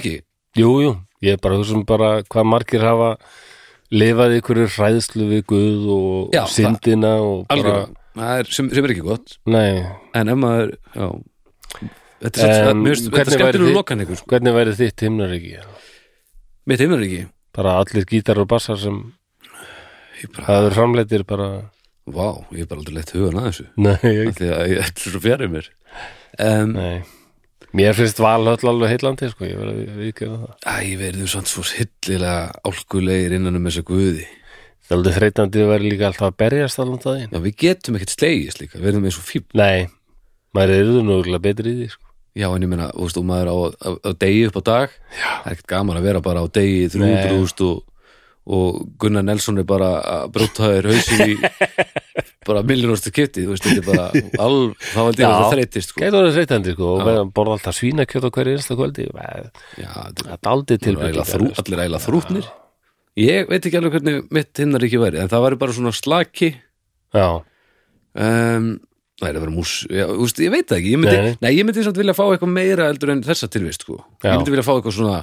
Speaker 2: ekki,
Speaker 1: jú, jú, ég er bara að hugsa um bara hvað margir hafa lifað í einhverju hræðslu við Guð og
Speaker 2: Já,
Speaker 1: syndina og bara,
Speaker 2: algjörlega Það er- sem, sem er ekki gott
Speaker 1: nei
Speaker 2: en ef maður, já þetta er,
Speaker 1: En
Speaker 2: um, þetta er
Speaker 1: hvernig væri
Speaker 2: skemmtilega
Speaker 1: þitt-
Speaker 2: lokan ykkur sko.
Speaker 1: Hvernig væri þitt himnaríki?
Speaker 2: mitt heimur ekki
Speaker 1: Bara allir gítar og bassar sem
Speaker 2: ég bara,
Speaker 1: það eru framleitir bara,
Speaker 2: vá, ég er bara aldrei leitt hugan að þessu
Speaker 1: nei, ég
Speaker 2: af því að ég [laughs] ætlur svo fjarið mér um,
Speaker 1: Nei, mér finnst valhöll alveg heillandi sko, ég verði að viðkjöða það
Speaker 2: Æ, verður samt svo hillilega álkulegir innan um þessa guði.
Speaker 1: Það er alveg þreytandi að vera líka alltaf að berjast allan daginn
Speaker 2: Já, við getum ekkert slegist líka, við erum eins og fíbl.
Speaker 1: Nei, maður er yfir núlega betri í því sko.
Speaker 2: Já, en ég meina, þú veist, og maður á, á, á degi upp á dag, Já. það er ekkert gaman að vera bara á degi 300 og, og Gunnar Nelson er bara að brúta þér hausum [laughs] í bara millinóstu kipti, þú veist, þetta er bara alv, þá held ég að
Speaker 1: Já.
Speaker 2: það þreytist, sko.
Speaker 1: Gæti orðið þreytandi sko, og verða- borða alltaf svínakjöt á hverju einsta kvöldi Það
Speaker 2: Já, þetta
Speaker 1: er aldrei
Speaker 2: er eiginlega
Speaker 1: tilbreytingar
Speaker 2: þrú, allir eiginlega þrútnir. Ég veit ekki alveg hvernig mitt hinnar ekki væri, en það væri bara svona slaki,
Speaker 1: Já,
Speaker 2: um, Það er að vera mús já, úst, Ég veit það ekki, ég myndi,
Speaker 1: Nei.
Speaker 2: nei. ég myndi samt vilja fá eitthvað meira heldur en þessa tilvist sko.
Speaker 1: Já.
Speaker 2: Ég myndi vilja fá eitthvað svona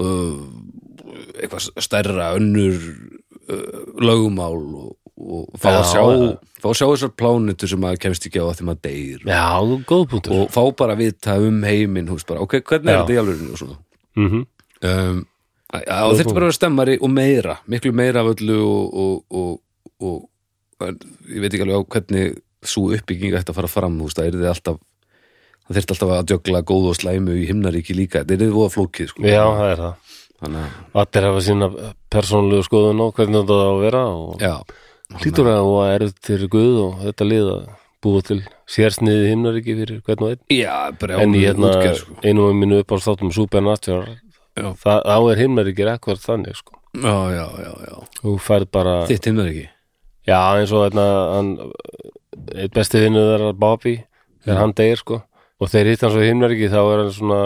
Speaker 2: uh, eitthvað stærra önnur uh, lögumál og, og fá,
Speaker 1: Já,
Speaker 2: að sjá,
Speaker 1: já.
Speaker 2: fá að sjá þessar plánutur sem maður kemst ekki á að því maður deyr
Speaker 1: já góð punktur
Speaker 2: og fá bara að vita um heiminn húst, bara, ok, hvernig
Speaker 1: Já.
Speaker 2: er þetta í alvörinu og svona
Speaker 1: mm
Speaker 2: um, að, að þetta bara að vera stemmari og meira, miklu meira af öllu og, og, og, og en, ég veit ekki alveg á hvernig svo uppbygging ætti að fara fram, þú veist, það yrði alltaf það þyrfti alltaf að djögla góð og slæmu í himnaríki líka, þetta yrði voða flókið sko.
Speaker 1: Já, það er það
Speaker 2: þannig að,
Speaker 1: Allir hafa sína persónulegu skoðun og hvernig þetta á að vera og
Speaker 2: já,
Speaker 1: hlýtur að og er til Guð og þetta lið að búa til sérsniði himnaríki fyrir hvern og einn
Speaker 2: já, bara
Speaker 1: en í
Speaker 2: ánægður
Speaker 1: hérna
Speaker 2: útgerð, sko.
Speaker 1: einum af mínu uppáðstátum Supernatural
Speaker 2: Já.
Speaker 1: það, þá er himnaríkir ekkert þannig sko.
Speaker 2: já, já, já, já,
Speaker 1: þú færð bara
Speaker 2: þitt himnaríki
Speaker 1: já eins og hérna hann, eitt besti vinnu þeirra Bobby þegar hann deyr sko og þeir hitt hann svo í himnaríki þá er hann svona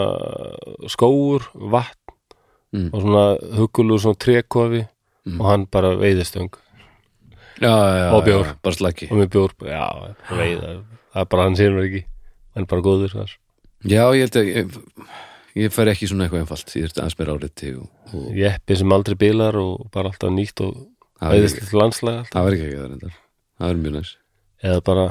Speaker 1: skóur, vatn
Speaker 2: Mm.
Speaker 1: og svona huggulug svona trékofi og hann bara veiðistöng
Speaker 2: já, já, já,
Speaker 1: Og bjór.
Speaker 2: já, bara slaki
Speaker 1: og með bjór, já, veiða það er bara hans himnaríki, hann er bara góður sko. þar
Speaker 2: já, ég held að ég, ég fær ekki svona eitthvað einfalt, ég þurfti aðeins meira áriðti og, og
Speaker 1: jeppi sem aldrei bilar og bara alltaf nýtt og
Speaker 2: það verður ekki-
Speaker 1: veiðist landslega
Speaker 2: það verður ekki ekki það reyndar það verður mjög næst
Speaker 1: eða bara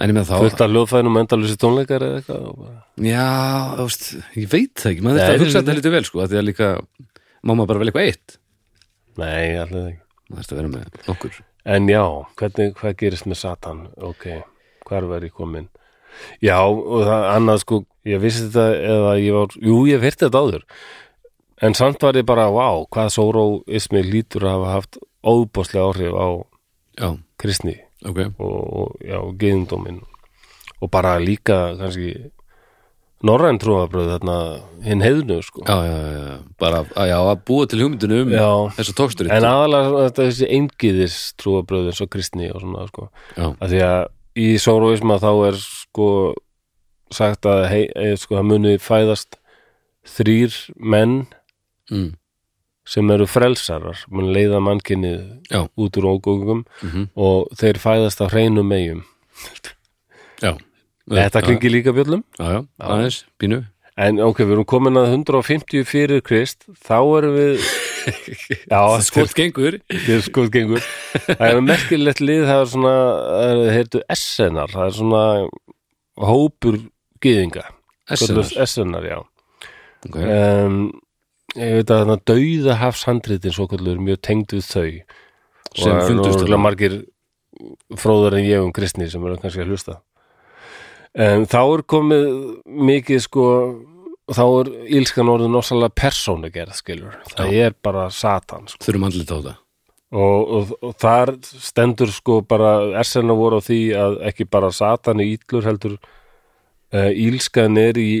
Speaker 2: en ég með þá
Speaker 1: fullt af hljóðfænum endalusi tónleikar eða eitthvað og bara-
Speaker 2: Já, þú veist, ég veit það ekki maður
Speaker 1: Nei,
Speaker 2: þetta að
Speaker 1: þú-
Speaker 2: hugsa þetta lítið vel sko af því að líka, má maður bara vel eitthvað eitt
Speaker 1: Nei, allir ekki
Speaker 2: maður þetta að vera með nokkur
Speaker 1: En já, hvernig, hvað gerist með Satan? Ok, hvar var ég komin? Já, og það annað sko, ég vissi þetta eða ég var, jú, ég fyrti þetta áður. En samt var ég bara, vá, hvað sóróismi lítur að hafa haft óbúslega áhrif á
Speaker 2: Já,
Speaker 1: kristni
Speaker 2: ok,
Speaker 1: og, og já, geðundómin. Og bara líka, kannski, norræn trúabröð þarna, hinn heiðnu, sko.
Speaker 2: já, já, já, já. bara að, já, að búa til hugmyndinu um
Speaker 1: Já.
Speaker 2: þessa tóksturinn
Speaker 1: En aðalega þetta þessi eingiðis trúabröð eins og kristni og svona, sko.
Speaker 2: Já,
Speaker 1: að því að í sóróisma þá er sko sagt að hei, e, sko, það muni fæðast þrýr menn
Speaker 2: mm,
Speaker 1: sem eru frelsarar, mun leiða mannkinni
Speaker 2: Já.
Speaker 1: út úr ógóngum
Speaker 2: Mhm.
Speaker 1: og þeir fæðast á hreinum megjum
Speaker 2: já
Speaker 1: Þetta klingi líka bjöllum
Speaker 2: Já, já, aðeins, pínu
Speaker 1: En ok, við erum komin að 150 fyrir Krist, þá erum
Speaker 2: [laughs]
Speaker 1: við Já, sko,
Speaker 2: Skot gengur
Speaker 1: þetta er skoð gengur Það er merkilegt lið, það er svona það er- heyrðu SNR, það er svona hópur gyðinga
Speaker 2: SNR,
Speaker 1: SNR, já
Speaker 2: ok,
Speaker 1: um, ég veit að þannig að dauða hafshandritin svo kallur er mjög tengd við þau
Speaker 2: sem
Speaker 1: og
Speaker 2: fundust
Speaker 1: og
Speaker 2: þarna.
Speaker 1: margir fróðar en ég um kristni sem eru kannski að hlusta um, þá er komið mikið sko þá er ílskan orðin ósalega persónugerð skilur, það er bara satan sko.
Speaker 2: Þurfum andlita á þetta
Speaker 1: og, og, og þar stendur sko bara ersenna voru á því að ekki bara satan er ítlur heldur uh, ílskan er í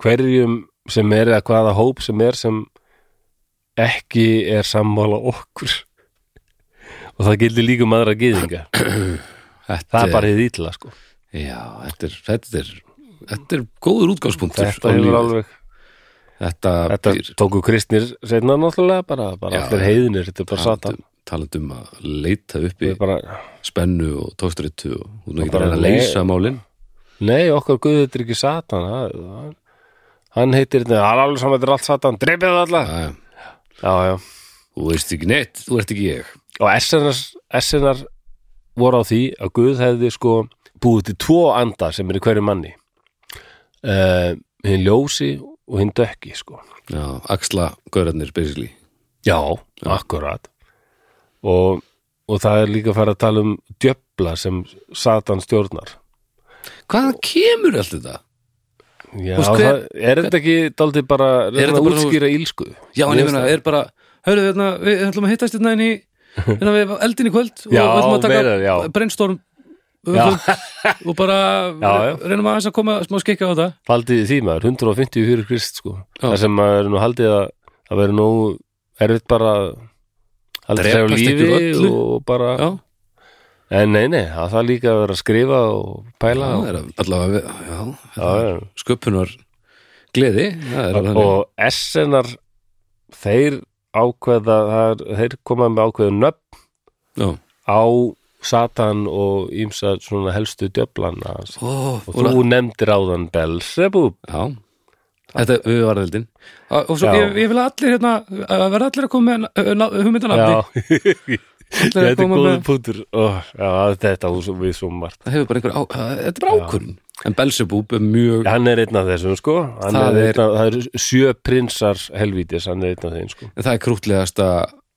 Speaker 1: hverjum sem er eða hvaða hóp sem er sem ekki er sammála okkur og það gildi líka um aðra gyðinga það
Speaker 2: Þetta
Speaker 1: er bara hið ítla sko
Speaker 2: Já, þetta er, þetta er, þetta er góður útgangspunktur á
Speaker 1: þetta hefur
Speaker 2: lífið.
Speaker 1: alveg
Speaker 2: þetta,
Speaker 1: þetta
Speaker 2: býr-
Speaker 1: tóku kristnir seinna náttúrulega bara, bara
Speaker 2: Já.
Speaker 1: allir heiðinir, þetta er bara satan
Speaker 2: talandi, talandi um að leita upp í
Speaker 1: Við bara,
Speaker 2: spennu og tókstrýttu og hún er ekki
Speaker 1: bara
Speaker 2: að reyna að
Speaker 1: le-
Speaker 2: leysa málin
Speaker 1: Nei, okkar guð þetta er ekki Satan það- það- Hann heitir þetta, hann er alveg saman þetta er allt Satan, dreipið það alla
Speaker 2: Æ,
Speaker 1: Já, já,
Speaker 2: þú veist ekki neitt, þú ert ekki ég
Speaker 1: og SNR, SNR voru á því að guð hefði sko búið til tvo anda sem er í hverju manni uh, hinn ljósi og hinn dökki sko
Speaker 2: Já, axla gaurarnir basically
Speaker 1: Já, akkurat og, og það er líka að fara að tala um djöfla sem Satan stjórnar
Speaker 2: Hvaðan kemur allt þetta?
Speaker 1: Já,
Speaker 2: Þú veist, hver-
Speaker 1: það, er þetta ekki daldið bara, er
Speaker 2: þetta
Speaker 1: þetta
Speaker 2: bara
Speaker 1: bara
Speaker 2: svo-
Speaker 1: útskýra ílsku?
Speaker 2: Já, en ég
Speaker 1: Mér
Speaker 2: meina,
Speaker 1: finnst
Speaker 2: er bara Hörðu, hérna, við ætlum að hittast hérna inn í [laughs] hérna við eldin í kvöld og
Speaker 1: Já,
Speaker 2: við ætlum að taka
Speaker 1: meira, já.
Speaker 2: brainstorm um
Speaker 1: Já.
Speaker 2: og [laughs] bara
Speaker 1: Já, já.
Speaker 2: reynum aðeins að koma smá skikka á þetta
Speaker 1: haldið í því maður, 150 fyrir krist sko.
Speaker 2: Já.
Speaker 1: það sem maður er nú haldið að það verður nú erfitt bara að halda sér á
Speaker 2: Drepast
Speaker 1: lífi
Speaker 2: ekki öllu.
Speaker 1: og bara
Speaker 2: Já,
Speaker 1: en nei nei, það þarf líka að vera að skrifa og pæla
Speaker 2: það
Speaker 1: og,
Speaker 2: er allavega við- já,
Speaker 1: já, já.
Speaker 2: sköpunar gleði það er alveg
Speaker 1: og SNR þeir ákveða það er, þeir koma með ákveða nöfn
Speaker 2: já.
Speaker 1: á Satan og ímsa svona helstu djöflan hans
Speaker 2: Ó,
Speaker 1: og þú nefndir áðan Belzebub
Speaker 2: já, þetta við varðildin og svo
Speaker 1: Já.
Speaker 2: ég, ég vil að allir hérna að verða allir að koma með eh, hugmyndanafni
Speaker 1: Já, [laughs] þetta
Speaker 2: allir
Speaker 1: er
Speaker 2: að koma
Speaker 1: góður
Speaker 2: með
Speaker 1: punktur Ó, já, þetta á svo- við svo margt
Speaker 2: það hefur bara einhver á, að, þetta er bara ákvörn en Belzebub er mjög
Speaker 1: hann er einn af þessum sko hann
Speaker 2: Það
Speaker 1: það,
Speaker 2: er-
Speaker 1: er einn af, það er sjö prinsar helvítis, hann er einn af þeim sko
Speaker 2: en það er krútlegasta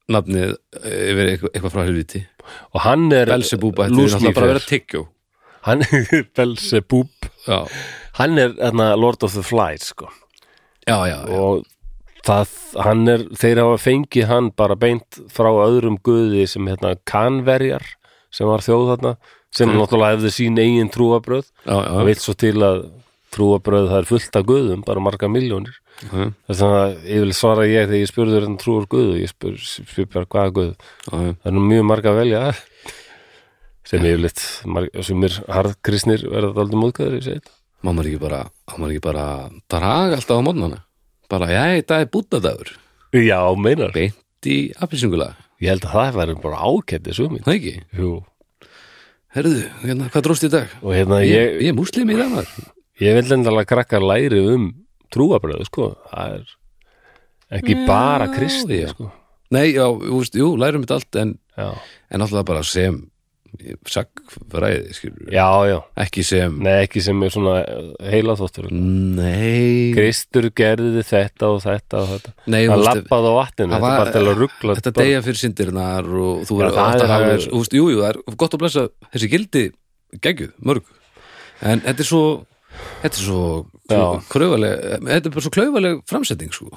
Speaker 2: nafnið eh, yfir eitthvað, eitthvað frá helviti
Speaker 1: og hann er
Speaker 2: Belzebub ætti náttúrulega bara að vera tyggjó
Speaker 1: hann er [laughs] Belsebub
Speaker 2: já,
Speaker 1: hann er þarna, Lord of the Flies sko
Speaker 2: já, já, já.
Speaker 1: og það, hann er þeir hafa fengið hann bara beint frá öðrum guði sem hérna kanverjar sem var þjóð þarna sem náttúrulega hefði sín eigin trúabröð
Speaker 2: já, já.
Speaker 1: það vil svo til að trúabröð það er fullt af guðum, bara marga miljónir
Speaker 2: já,
Speaker 1: þess að ég vil svara ég þegar ég spurður en trúar guðu, ég spur, spur bara hvaða guð
Speaker 2: já, já.
Speaker 1: það er nú mjög marga að velja sem yfirleitt marg- sumir harðkristnir verða það aldrei móðgæður ég segi þetta
Speaker 2: má maður ekki bara, á maður ekki bara draga alltaf á mótnana bara, já, þetta er búttadagur
Speaker 1: já, meinar,
Speaker 2: beint í appisingula
Speaker 1: ég held að það verður bara ákætti sumin
Speaker 2: það ekki,
Speaker 1: og
Speaker 2: herðu, hérna, hvað dróst í dag
Speaker 1: hérna
Speaker 2: ég,
Speaker 1: ég,
Speaker 2: ég er múslim í dag maður
Speaker 1: ég vil endalega krakkar læri um trúabröðu sko, það er ekki
Speaker 2: Já,
Speaker 1: bara kristni
Speaker 2: já.
Speaker 1: sko
Speaker 2: nei, já, þú veist, jú, lærum þetta allt en,
Speaker 1: já,
Speaker 2: en alltaf bara sem sagfræði, skilur
Speaker 1: já, já,
Speaker 2: ekki sem,
Speaker 1: nei ekki sem er svona heila þóttur
Speaker 2: nei
Speaker 1: Kristur gerði þetta og þetta og þetta
Speaker 2: Nei, þú
Speaker 1: hann
Speaker 2: veist,
Speaker 1: lappaði á vatninu,
Speaker 2: það
Speaker 1: þetta
Speaker 2: var-
Speaker 1: er bara til að ruggla
Speaker 2: þetta deyja fyrir syndirnar og þú verður
Speaker 1: það
Speaker 2: átt
Speaker 1: er
Speaker 2: að hafa
Speaker 1: alveg-
Speaker 2: þér- þú veist, jú, jú, það er gott að blessa þessi gildi geggjuð, mörg en þetta er svo þetta er svo
Speaker 1: Já.
Speaker 2: kröfaleg þetta er bara svo klaufaleg framsetting sko.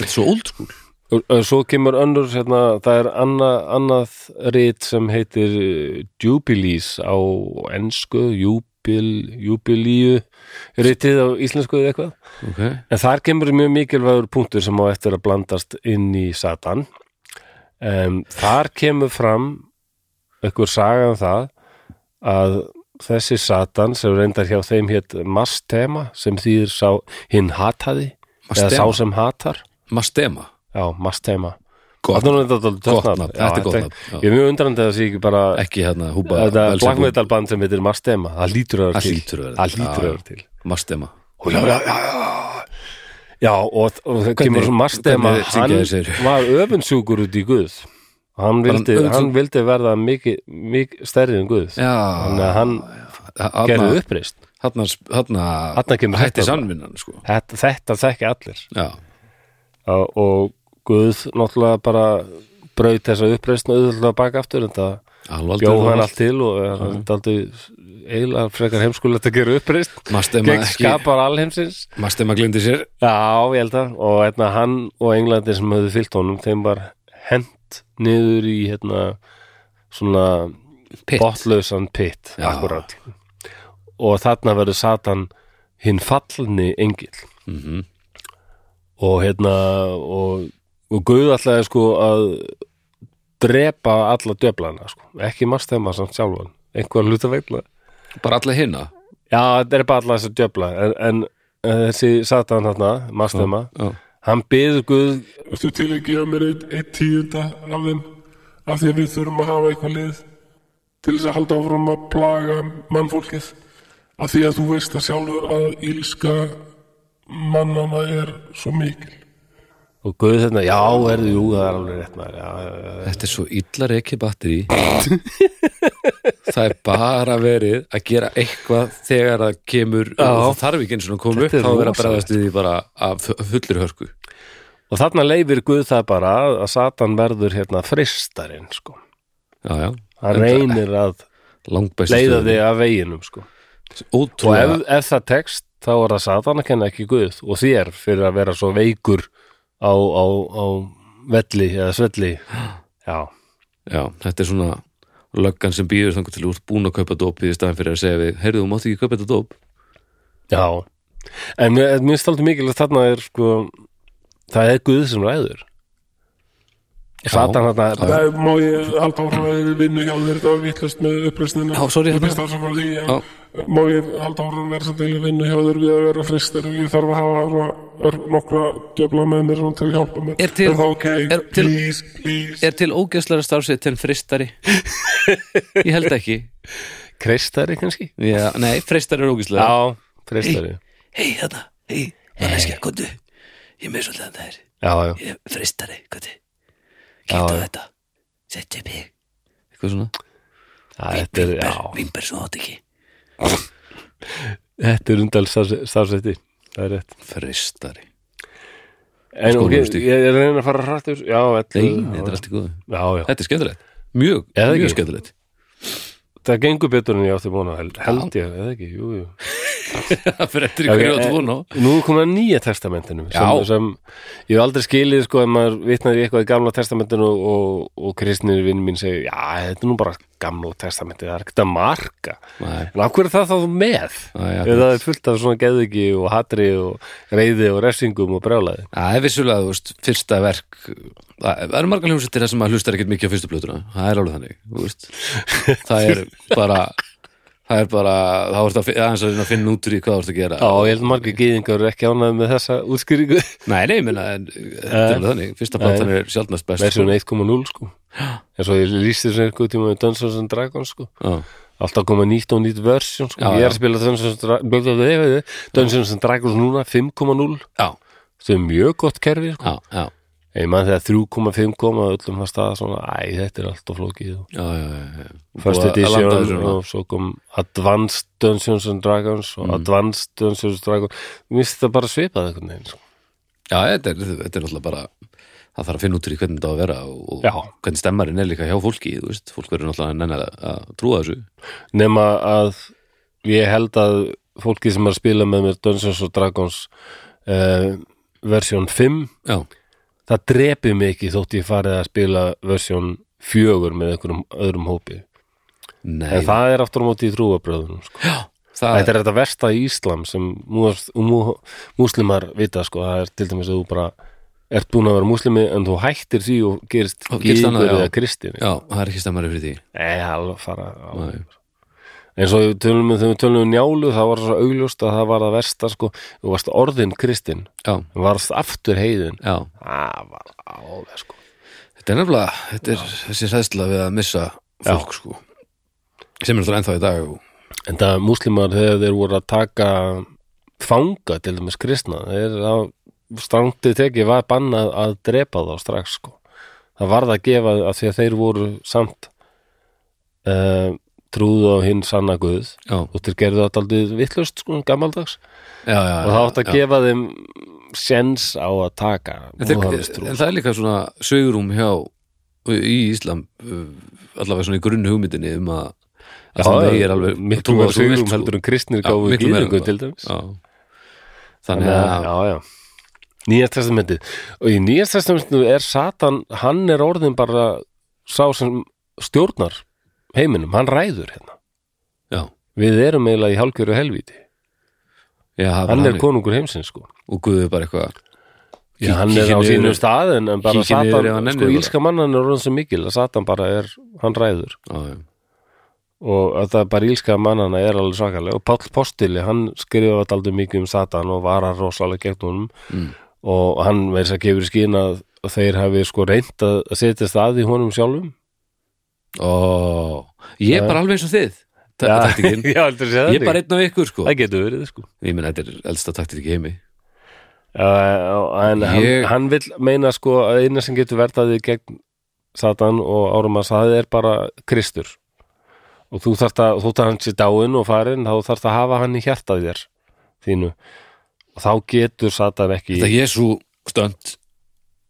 Speaker 2: þetta er svo old school
Speaker 1: Og- og Svo kemur önnur, hérna, það er anna, annað rít sem heitir eh, Jubilees á ensku, júbil, júbilíu rítið á íslensku eða eitthvað.
Speaker 2: okay.
Speaker 1: En þar kemur mjög mikilvægur punktur sem á eftir að blandast inn í Satan. Um, þar kemur fram einhver saga um það að þessi Satan sem reyndar hjá þeim hétt Mastema sem þýðir sá hinn hataði eða sá
Speaker 2: Mastema?
Speaker 1: sem hatar.
Speaker 2: Mastema,
Speaker 1: Já, Mastema.
Speaker 2: Gott.
Speaker 1: Þetta er nú þetta dálítið
Speaker 2: Gott
Speaker 1: töff
Speaker 2: nafn,
Speaker 1: Já,
Speaker 2: þetta er gott nafn, já.
Speaker 1: Ég er mjög undrandi að það sé ekki bara
Speaker 2: ekki hérna húpa
Speaker 1: þetta black metal band sem heitir Mastema, það lítur að vera
Speaker 2: Það
Speaker 1: til
Speaker 2: hlýtur að vera
Speaker 1: Það
Speaker 2: til,
Speaker 1: lítur að
Speaker 2: já.
Speaker 1: vera til
Speaker 2: Mastema
Speaker 1: Ó, Já, já, já, já Já, og, og það kemur svo Mastema
Speaker 2: hvernig
Speaker 1: hann
Speaker 2: syngja þeir sér?
Speaker 1: var öfundsjúkur út í Guð hann
Speaker 2: hann
Speaker 1: vildi,
Speaker 2: öfundsjúkur?
Speaker 1: hann vildi verða mikið, mikið stærri en Guð þannig
Speaker 2: Já,
Speaker 1: að hann gerði
Speaker 2: hann
Speaker 1: uppreist Þarna
Speaker 2: hann
Speaker 1: kemur
Speaker 2: hætti
Speaker 1: þetta bara.
Speaker 2: sannvinnan sko.
Speaker 1: þetta, þetta þekki allir
Speaker 2: Já,
Speaker 1: Já, og Guð náttúrulega bara braut þessa uppreist og auðvitað baka aftur en það
Speaker 2: alveg
Speaker 1: bjóð hann allt til og það er aldrei eiginlega frekar heimskulegt að gera uppreist
Speaker 2: Mastema
Speaker 1: gegn
Speaker 2: ekki-
Speaker 1: skapar alheimsins
Speaker 2: Mastema glemdi sér
Speaker 1: já, ég held að og hérna, hann og englandi sem höfðu fyllt honum þeim var hent niður í hérna, svona
Speaker 2: Pitt.
Speaker 1: botlausan pitt
Speaker 2: Já.
Speaker 1: akkurat og þarna verður Satan hinn fallni engil
Speaker 2: Mhm.
Speaker 1: og hérna og, og Guð alltaf sko að drepa alla döflana sko. ekki mastema samt sjálfan einhver hluta vegna
Speaker 2: bara alla hinna
Speaker 1: já, þetta er bara alla þess að döfla en, en eh, þessi satan þarna mastema,
Speaker 2: Já.
Speaker 1: hann byður Guð
Speaker 3: Ertu til að gefa mér eitt, eitt tíunda af þeim af því að við þurfum að hafa eitthvað lið til þess að halda áfram að plaga mannfólkið af því að þú veist það sjálfur að ílska mannana er svo mikil
Speaker 1: og Guð þarna, já, erðu, jú, það er alveg rétt maður já, já, já.
Speaker 2: Þetta er svo illa reiki
Speaker 1: [laughs]
Speaker 2: batteri Það er bara verið að gera eitthvað þegar það kemur það þarf ekki eins og koma upp
Speaker 1: Þetta er
Speaker 2: þá verður að
Speaker 1: rosalegt.
Speaker 2: bregðast við því bara af fu- fullri hörku
Speaker 1: og þarna leifir Guð það bara að- að satan verður hérna fristarinn sko.
Speaker 2: Já, já,
Speaker 1: hann reynir að
Speaker 2: langbæst
Speaker 1: leiða þig af veginum sko. og ef,
Speaker 2: Ótrúlega,
Speaker 1: ef það tekst þá er það satan að kenna ekki Guð og þér fyrir að vera svo veikur á, á, á velli eða svelli
Speaker 2: [gasps]
Speaker 1: já,
Speaker 2: já, þetta er svona löggan sem býður þangur til úr búin að kaupa dóp í staðan fyrir að segja við, heyrðu, þú mátt ekki kaupa þetta dóp
Speaker 1: já en mér- en mér stáldi mikilvægt þarna er sko það er Guð sem ræður satan þarna
Speaker 3: Það má ég halda áfram að vera í vinnu hjá þér þetta var vittlust með uppreisnina
Speaker 2: Já, sorry,
Speaker 3: Ég
Speaker 2: hérna.
Speaker 3: best afsakar því en
Speaker 2: Já.
Speaker 3: Má ég halda áfram að vera samt í vinnu hjá þér við að vera fristir og ég þarf að hafa svona- er nokkra djöfla með mér svona til að hjálpa mér
Speaker 2: Er til-
Speaker 3: Er það ok?
Speaker 2: er til-
Speaker 3: Please, please
Speaker 2: Er til ógæslara starfsett en fristari? Ég held ekki
Speaker 1: kristari kannski
Speaker 2: Já, nei, freistari er ógæslega
Speaker 1: já, kristari
Speaker 2: hei þarna, hei, manneskja, hérna. hey. kontu ég er með svolítið að það er,
Speaker 1: já, já,
Speaker 2: ég er fristari kontu,
Speaker 1: Já,
Speaker 2: kíkta á
Speaker 1: já.
Speaker 2: þetta setja upp ég eitthvað svona,
Speaker 1: já, þetta er, já.
Speaker 2: vimber svo átt ekki
Speaker 1: Þetta er undal starfsætti það er rétt
Speaker 2: fristari,
Speaker 1: en ok,
Speaker 2: Skólastig.
Speaker 1: ég er að reyna að fara hrætt já,
Speaker 2: nei,
Speaker 1: ellefu,
Speaker 2: þetta er allt í góðu
Speaker 1: já, já
Speaker 2: þetta er skemmtilegt, mjög,
Speaker 1: Eða
Speaker 2: mjög
Speaker 1: ekki?
Speaker 2: skemmtilegt
Speaker 1: það gengur betur en ég átti búin að held, held ég, eða ekki, jú, jú.
Speaker 2: það [laughs] fyrir eftir
Speaker 1: Ok,
Speaker 2: hverju áttu
Speaker 1: eh,
Speaker 2: vona á.
Speaker 1: Nú er komið að nýja testamentinu sem,
Speaker 2: Já.
Speaker 1: sem ég hef aldrei skilið sko ef maður vitnar í eitthvað í gamla testamentinu og, og, og kristnir vinn mín segir já, þetta er nú bara gamla testamentinu það er ekkert að marka
Speaker 2: Nei,
Speaker 1: en af hverju er það þá með?
Speaker 2: Æ,
Speaker 1: Ef
Speaker 2: já,
Speaker 1: það er fullt af svona geðviki og hatri og reyði og refsingum og brjálæði
Speaker 2: það er vissulega, þú veist, fyrsta verk það eru margar hljómsettir það sem maður hlustar ekkert mikið á fyrstu plötuna, það er alveg þannig þú veist. það er bara það er bara, þá ertu að fi- aðeins að reyna að finna út úr í hvað þú ert að gera
Speaker 1: Já, ég held margir gýðingar eru ekki ánægð með þessa útskýringu
Speaker 2: [laughs] Nei, nei, menna, en, þetta
Speaker 1: Eh,
Speaker 2: er alveg þannig Fyrsta platan er sjálfnast best
Speaker 1: Versjón 1.0 sko En svo ég lýsti þessu einhver tíma með Dungeons and Dragons sko
Speaker 2: Já,
Speaker 1: Alltaf koma nýtt og nýtt versjón sko.
Speaker 2: Já,
Speaker 1: Ég
Speaker 2: já.
Speaker 1: er að spila Dungeons and Dra- bla, bla, bla, bla, bla, Dungeons and Dragons núna 5.0
Speaker 2: já,
Speaker 1: sem er mjög gott kerfi sko.
Speaker 2: já, já
Speaker 1: Ég man þegar 3,5 kom að öllum það staða svona, æ, þetta er allt og flókið og
Speaker 2: já, já, já, já.
Speaker 1: First
Speaker 2: Búið að- að landa þessu
Speaker 1: Edition
Speaker 2: núna.
Speaker 1: og svo kom Advanced Dungeons and Dragons
Speaker 2: Mm.
Speaker 1: og Advanced Dungeons and Dragons Mér finnst það bara svipað einhvern veginn sko.
Speaker 2: Já, þetta er, þetta er alltaf bara það þarf að finna út úr í hvernig þetta á að vera og, og
Speaker 1: Já.
Speaker 2: hvernig stemmarinn er líka hjá fólki þú veist, fólk verður náttúrulega að nenna að- að trúa þessu
Speaker 1: Nema að ég held að fólki sem er að spila með mér Dungeons and Dragons uh, versjón 5
Speaker 2: Já,
Speaker 1: það drepi mig ekki þótt ég farið að spila versjón 4 með einhverjum öðrum hópi
Speaker 2: nei
Speaker 1: en það er aftur á móti í trúabröðunum sko.
Speaker 2: það
Speaker 1: Þetta er þetta versta í Íslam sem mús- mú- múslimar vita sko, það er til dæmis að þú bara ert búin að vera múslimi en þú hættir því og gerist
Speaker 2: Og gerist annað,
Speaker 1: gýður
Speaker 2: já.
Speaker 1: eða kristin
Speaker 2: Já, það er ekki stemmari fyrir því
Speaker 1: Nei, alveg fara alveg.
Speaker 2: Nei.
Speaker 1: eins og við tölum, þegar við tölum um njálu það var svo augljóst að það var það versta sko, þú varst orðin kristin
Speaker 2: Já,
Speaker 1: þú varst aftur heiðin
Speaker 2: já,
Speaker 1: það var alveg sko
Speaker 2: þetta er nefnilega þetta er þessi hræðsla við að missa fólk sko sem er náttúrulega ennþá í dag og,
Speaker 1: en það múslimar þegar þeir voru að taka fanga til dæmis kristna þeir á strangtið tekið var bannað að drepa þá strax sko. það varð að gefa að því að þeir voru samt uh, trúðu á hinn sanna guð
Speaker 2: Já,
Speaker 1: og þeir gerðu þetta aldrei vittlust sko, gammaldags
Speaker 2: já, já
Speaker 1: og það átt að
Speaker 2: já.
Speaker 1: gefa þeim sens á að taka
Speaker 2: En, þeir,
Speaker 1: Múhammeðstrú.
Speaker 2: en það er líka svona sögurum hjá í Íslam uh, allavega svona í grunn hugmyndinni um að, að það
Speaker 1: Já,
Speaker 2: megir alveg að
Speaker 1: miklu
Speaker 2: trúa
Speaker 1: meira
Speaker 2: svo vel,
Speaker 1: sigurum
Speaker 2: sko.
Speaker 1: heldur en kristnir
Speaker 2: Já,
Speaker 1: gáfu
Speaker 2: miklu meira en
Speaker 1: gýðingu
Speaker 2: það.
Speaker 1: til dæmis
Speaker 2: Já. Þannig að
Speaker 1: já, já. Nýja testamentið og í nýja testamentinu er Satan hann er orðin bara sá sem stjórnar heiminum, hann ræður hérna
Speaker 2: Já,
Speaker 1: við erum eiginlega í hálfgjöru helvíti
Speaker 2: já, það
Speaker 1: hann
Speaker 2: var
Speaker 1: er konungur heimsins sko
Speaker 2: og Guð er bara eitthvað
Speaker 1: Já, hann er á
Speaker 2: Kíkir
Speaker 1: sínu
Speaker 2: niður-
Speaker 1: stað en, en bara
Speaker 2: kíkir niður ef hann
Speaker 1: Satan,
Speaker 2: nennir
Speaker 1: sko
Speaker 2: bara.
Speaker 1: ílska mannan er orðin svo mikil að Satan bara er, hann ræður
Speaker 2: Já, já.
Speaker 1: og að það bara ílska mannana er alveg svakalega og Páll Postili, hann skrifaði þetta aldrei mikið um Satan og var hann rosalega gegn honum
Speaker 2: Mm.
Speaker 1: og hann með þess að gefur í skýn að þeir hafi sko reynt að að setja stað í honum sjálfum
Speaker 2: Ó, ég er bara alveg eins og þið ta- taktíkin,
Speaker 1: [laughs] já, heldur sér
Speaker 2: ég er bara einn af ykkur sko
Speaker 1: það getur verið sko
Speaker 2: Ég meina, þetta er elsta taktík í heimi
Speaker 1: uh, en
Speaker 2: Ég-
Speaker 1: hann, hann vil meina sko að eina sem getur verðaði gegn Satan og Árumas það er bara Kristur og þú þarft að, þú þarft hann sér dáin og farin þá þarft að hafa hann í hjartaði þér þínu og þá getur Satan ekki
Speaker 2: Þetta er svo stönd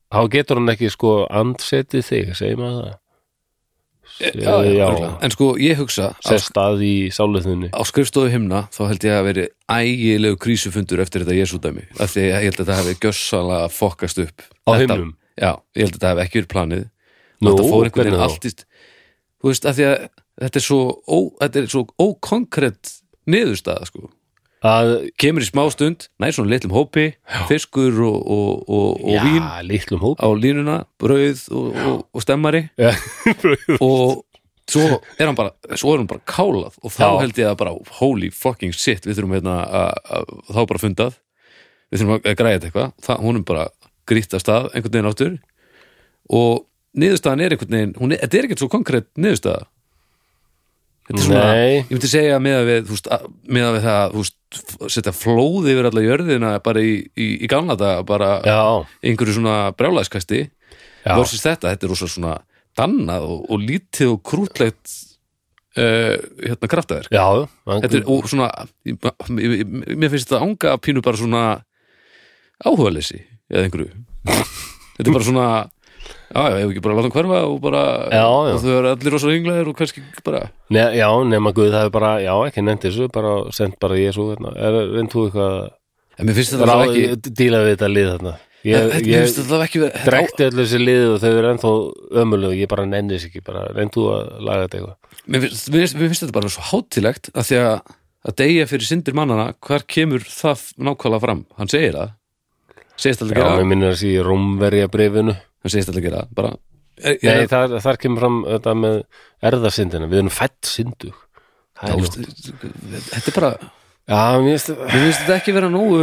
Speaker 1: þá getur hann ekki sko andsetið þig, segir maður það
Speaker 2: já,
Speaker 1: Eh, já.
Speaker 2: En sko, ég hugsa á,
Speaker 1: sest að í sáluðinni
Speaker 2: á skrifstofu himna, þá held ég að veri ægilegu krísufundur eftir þetta Jesúdæmi af því að ég held að þetta hefði gjössalega fokkast upp
Speaker 1: á
Speaker 2: Þetta-
Speaker 1: himnum
Speaker 2: Já, ég held að þetta hefði ekki verið planið
Speaker 1: Nú,
Speaker 2: þetta fór einhvern
Speaker 1: hvernig
Speaker 2: veginn
Speaker 1: þá?
Speaker 2: allt í st- þú veist, af því að þetta er svo, ó, þetta er svo ókonkret niðurstaða, sko
Speaker 1: að,
Speaker 2: kemur í smá stund, nær svona litlum hópi fiskur og, og, og, og
Speaker 1: já,
Speaker 2: vín
Speaker 1: lítlum hóp
Speaker 2: á línuna, brauð og, og, og stemmari
Speaker 1: Já. [laughs]
Speaker 2: og svo er hann bara svo er hann bara kálað og þá
Speaker 1: Já.
Speaker 2: held ég að bara holy fucking shit, við þurfum hérna að- að þá bara fundað við þurfum að að græja þetta eitthvað, það, hún er bara grýttast af einhvern veginn áttur og niðurstaðan er einhvern veginn hún er, þetta er ekkert svo konkrétt niðurstaða þetta er svona,
Speaker 1: Nei.
Speaker 2: ég myndi segja með að við, þú veist, að- með að við það þú veist, f- setja flóði yfir alla jörðina bara í, í, í gamla daga bara
Speaker 1: já,
Speaker 2: einhverju svona brjálæðskasti
Speaker 1: Já.
Speaker 2: versus þetta, þetta er rosa svona dannað og, og lítið og krútlegt uh, hérna kraftaverk
Speaker 1: já
Speaker 2: þetta er og svona ég- ég- ég- mér finnst þetta ánga pínu bara svona áhugaleysi eða einhverju [laughs] þetta er bara svona já, já, ef ekki bara láta hann hverfa og bara
Speaker 1: Já, já.
Speaker 2: og þau eru allir rosa ynglaðir og kannski bara
Speaker 1: Ne, já, nema Guð það er bara, já, ekki nefnt þessu, bara sendt bara Jésu, hérna, er, reynd þú eitthvað að
Speaker 2: en mér finnst þetta
Speaker 1: ráð,
Speaker 2: alveg ekki
Speaker 1: díla við þetta lið þarna.
Speaker 2: ég,
Speaker 1: Ég,
Speaker 2: þetta, mér
Speaker 1: ég
Speaker 2: finnst þetta alveg ekki þetta á-
Speaker 1: drekti allir þessi lið og þau eru ennþá ömuleg, ég bara nennis ekki, bara reynd þú að laga þetta eitthvað.
Speaker 2: mér finnst, mér, finnst, mér finnst þetta bara svo hátilegt að því að að deyja fyrir syndir mannana hvar kemur það nákvæmlega fram hann segir það segist alltaf
Speaker 1: Já,
Speaker 2: gera,
Speaker 1: mér minnir þessi í Rómverja brefinu.
Speaker 2: hann segist alltaf gera bara, e, er,
Speaker 1: Nei,
Speaker 2: er,
Speaker 1: þar, þar kemur fram þetta með erðasyndina, við erum fætt syndug. Það
Speaker 2: það,
Speaker 1: er
Speaker 2: úst,
Speaker 1: ljótt.
Speaker 2: þetta er bara
Speaker 1: Já, mér finnst
Speaker 2: mér finnst þetta ekki vera nógu,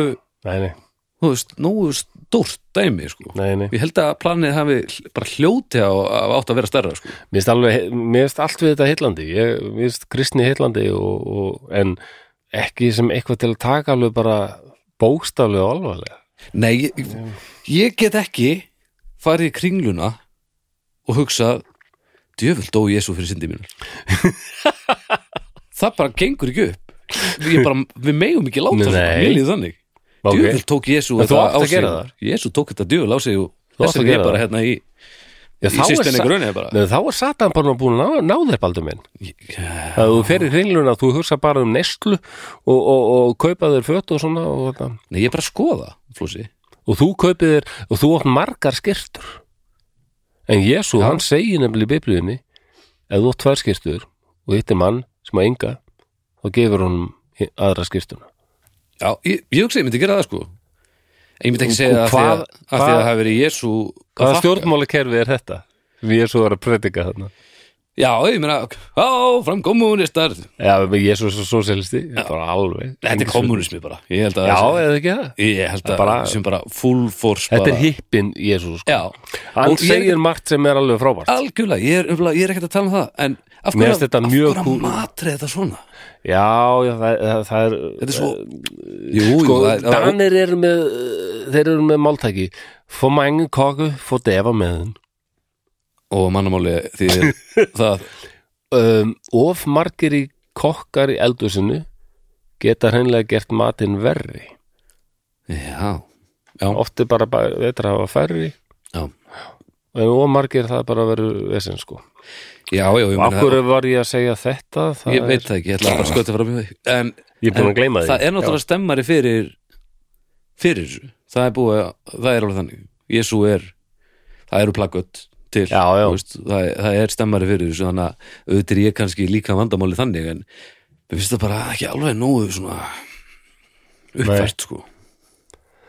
Speaker 1: Nei, nei,
Speaker 2: þú veist, nógu stórt dæmi sko.
Speaker 1: nei, nei.
Speaker 2: ég held að planið hafi hl- bara hljóti á að átt að vera stærra sko.
Speaker 1: Mér finnst alveg, mér finnst allt við þetta heillandi ég, mér finnst kristni heillandi og, og, en ekki sem eitthvað til að taka alveg bara bókstaflega og alvarlega
Speaker 2: nei, ég, ég get ekki farið í kringluna og hugsa djöfull dó Jésu fyrir syndi
Speaker 1: [laughs]
Speaker 2: mínur það bara gengur ekki upp Ég bara, við megum ekki láta það
Speaker 1: Nei.
Speaker 2: mér líður þannig
Speaker 1: Ok.
Speaker 2: djöfull tók Jésu
Speaker 1: En þú
Speaker 2: þetta
Speaker 1: átt
Speaker 2: á
Speaker 1: að
Speaker 2: sig.
Speaker 1: gera það.
Speaker 2: Jésu tók þetta djöfull á sig og
Speaker 1: átt
Speaker 2: þess
Speaker 1: að
Speaker 2: að ég
Speaker 1: gera
Speaker 2: bara
Speaker 1: það.
Speaker 2: hérna í
Speaker 1: Já,
Speaker 2: í sýstinni grunni bara
Speaker 1: Nei, þá er Satan bara búin að ná, ná þér baldur minn
Speaker 2: Já,
Speaker 1: að þú ferir hringluna, þú hugsa bara um neslu og, og, og kaupa þér föt og svona og, þetta.
Speaker 2: Nei, ég er bara að skoða, flúsi
Speaker 1: og þú kaupir þér og þú átt margar skirtur en Jésu, hann segir nefnilega í biblíunni ef þú átt tvær skirtur og hitt er mann sem að enga þá gefur honum hi- aðra skirtuna
Speaker 2: Já, ég, ég hugsa, ég myndi gera það sko En ég myndi ekki
Speaker 1: Og-
Speaker 2: segja
Speaker 1: og
Speaker 2: að því að,
Speaker 1: hvað-
Speaker 2: að því að
Speaker 1: hvað-
Speaker 2: það hafi verið Jésu
Speaker 1: hvaða stjórnmálakerfi er þetta? sem Jésu var að predika þarna
Speaker 2: Já, ég meina, á, fram kommunistar Þetta
Speaker 1: Já, menn Jésu er svo sosialisti bara alveg
Speaker 2: er kommunismi bara Ég held að
Speaker 1: Já,
Speaker 2: það sé-
Speaker 1: eða ekki það
Speaker 2: Ég held að
Speaker 1: Bara-
Speaker 2: sem bara full force
Speaker 1: Þetta er
Speaker 2: bara,
Speaker 1: hippin Jésu sko.
Speaker 2: Já,
Speaker 1: Hann
Speaker 2: Og ég er
Speaker 1: segir margt sem er alveg frábært
Speaker 2: Algjörlega, ég er, umlega, ég er ekkert að tala um það En af
Speaker 1: Mér
Speaker 2: hverju
Speaker 1: finnst þetta
Speaker 2: af
Speaker 1: mjög
Speaker 2: hverju
Speaker 1: kúl.
Speaker 2: matrið þetta svona?
Speaker 1: Já, já það, það, það er
Speaker 2: Þetta er svo Jú,
Speaker 1: sko,
Speaker 2: jú, það, það,
Speaker 1: Danir eru með uh, þeir eru með máltæki Få mængu koku, få defa með henn
Speaker 2: Og mannamáli því
Speaker 1: [laughs]
Speaker 2: það
Speaker 1: um, Of margir í kokkar í eldusinu geta hreinlega gert matinn verri
Speaker 2: Já,
Speaker 1: Oft er bara bara betra að hafa færri
Speaker 2: já,
Speaker 1: en of margir það er bara að vera vesinn sko
Speaker 2: já, já ég
Speaker 1: Og
Speaker 2: meina
Speaker 1: af hverju var ég að segja þetta? Það
Speaker 2: Ég veit
Speaker 1: er,
Speaker 2: það ekki, ég ætla bara að skoða þetta frá mjög En
Speaker 1: Ég er búin að gleyma því
Speaker 2: það er náttúrulega stemmari fyrir fyrir þessu það er búið, að- það er alveg þannig Jésu er, það eru plaggött til,
Speaker 1: Já, já.
Speaker 2: þú Veist, það, er- það er stemmari fyrir þessu þannig að auðvitað er ég kannski líka vandamáli þannig en mér finnst það bara ekki alveg nógu svona uppfært sko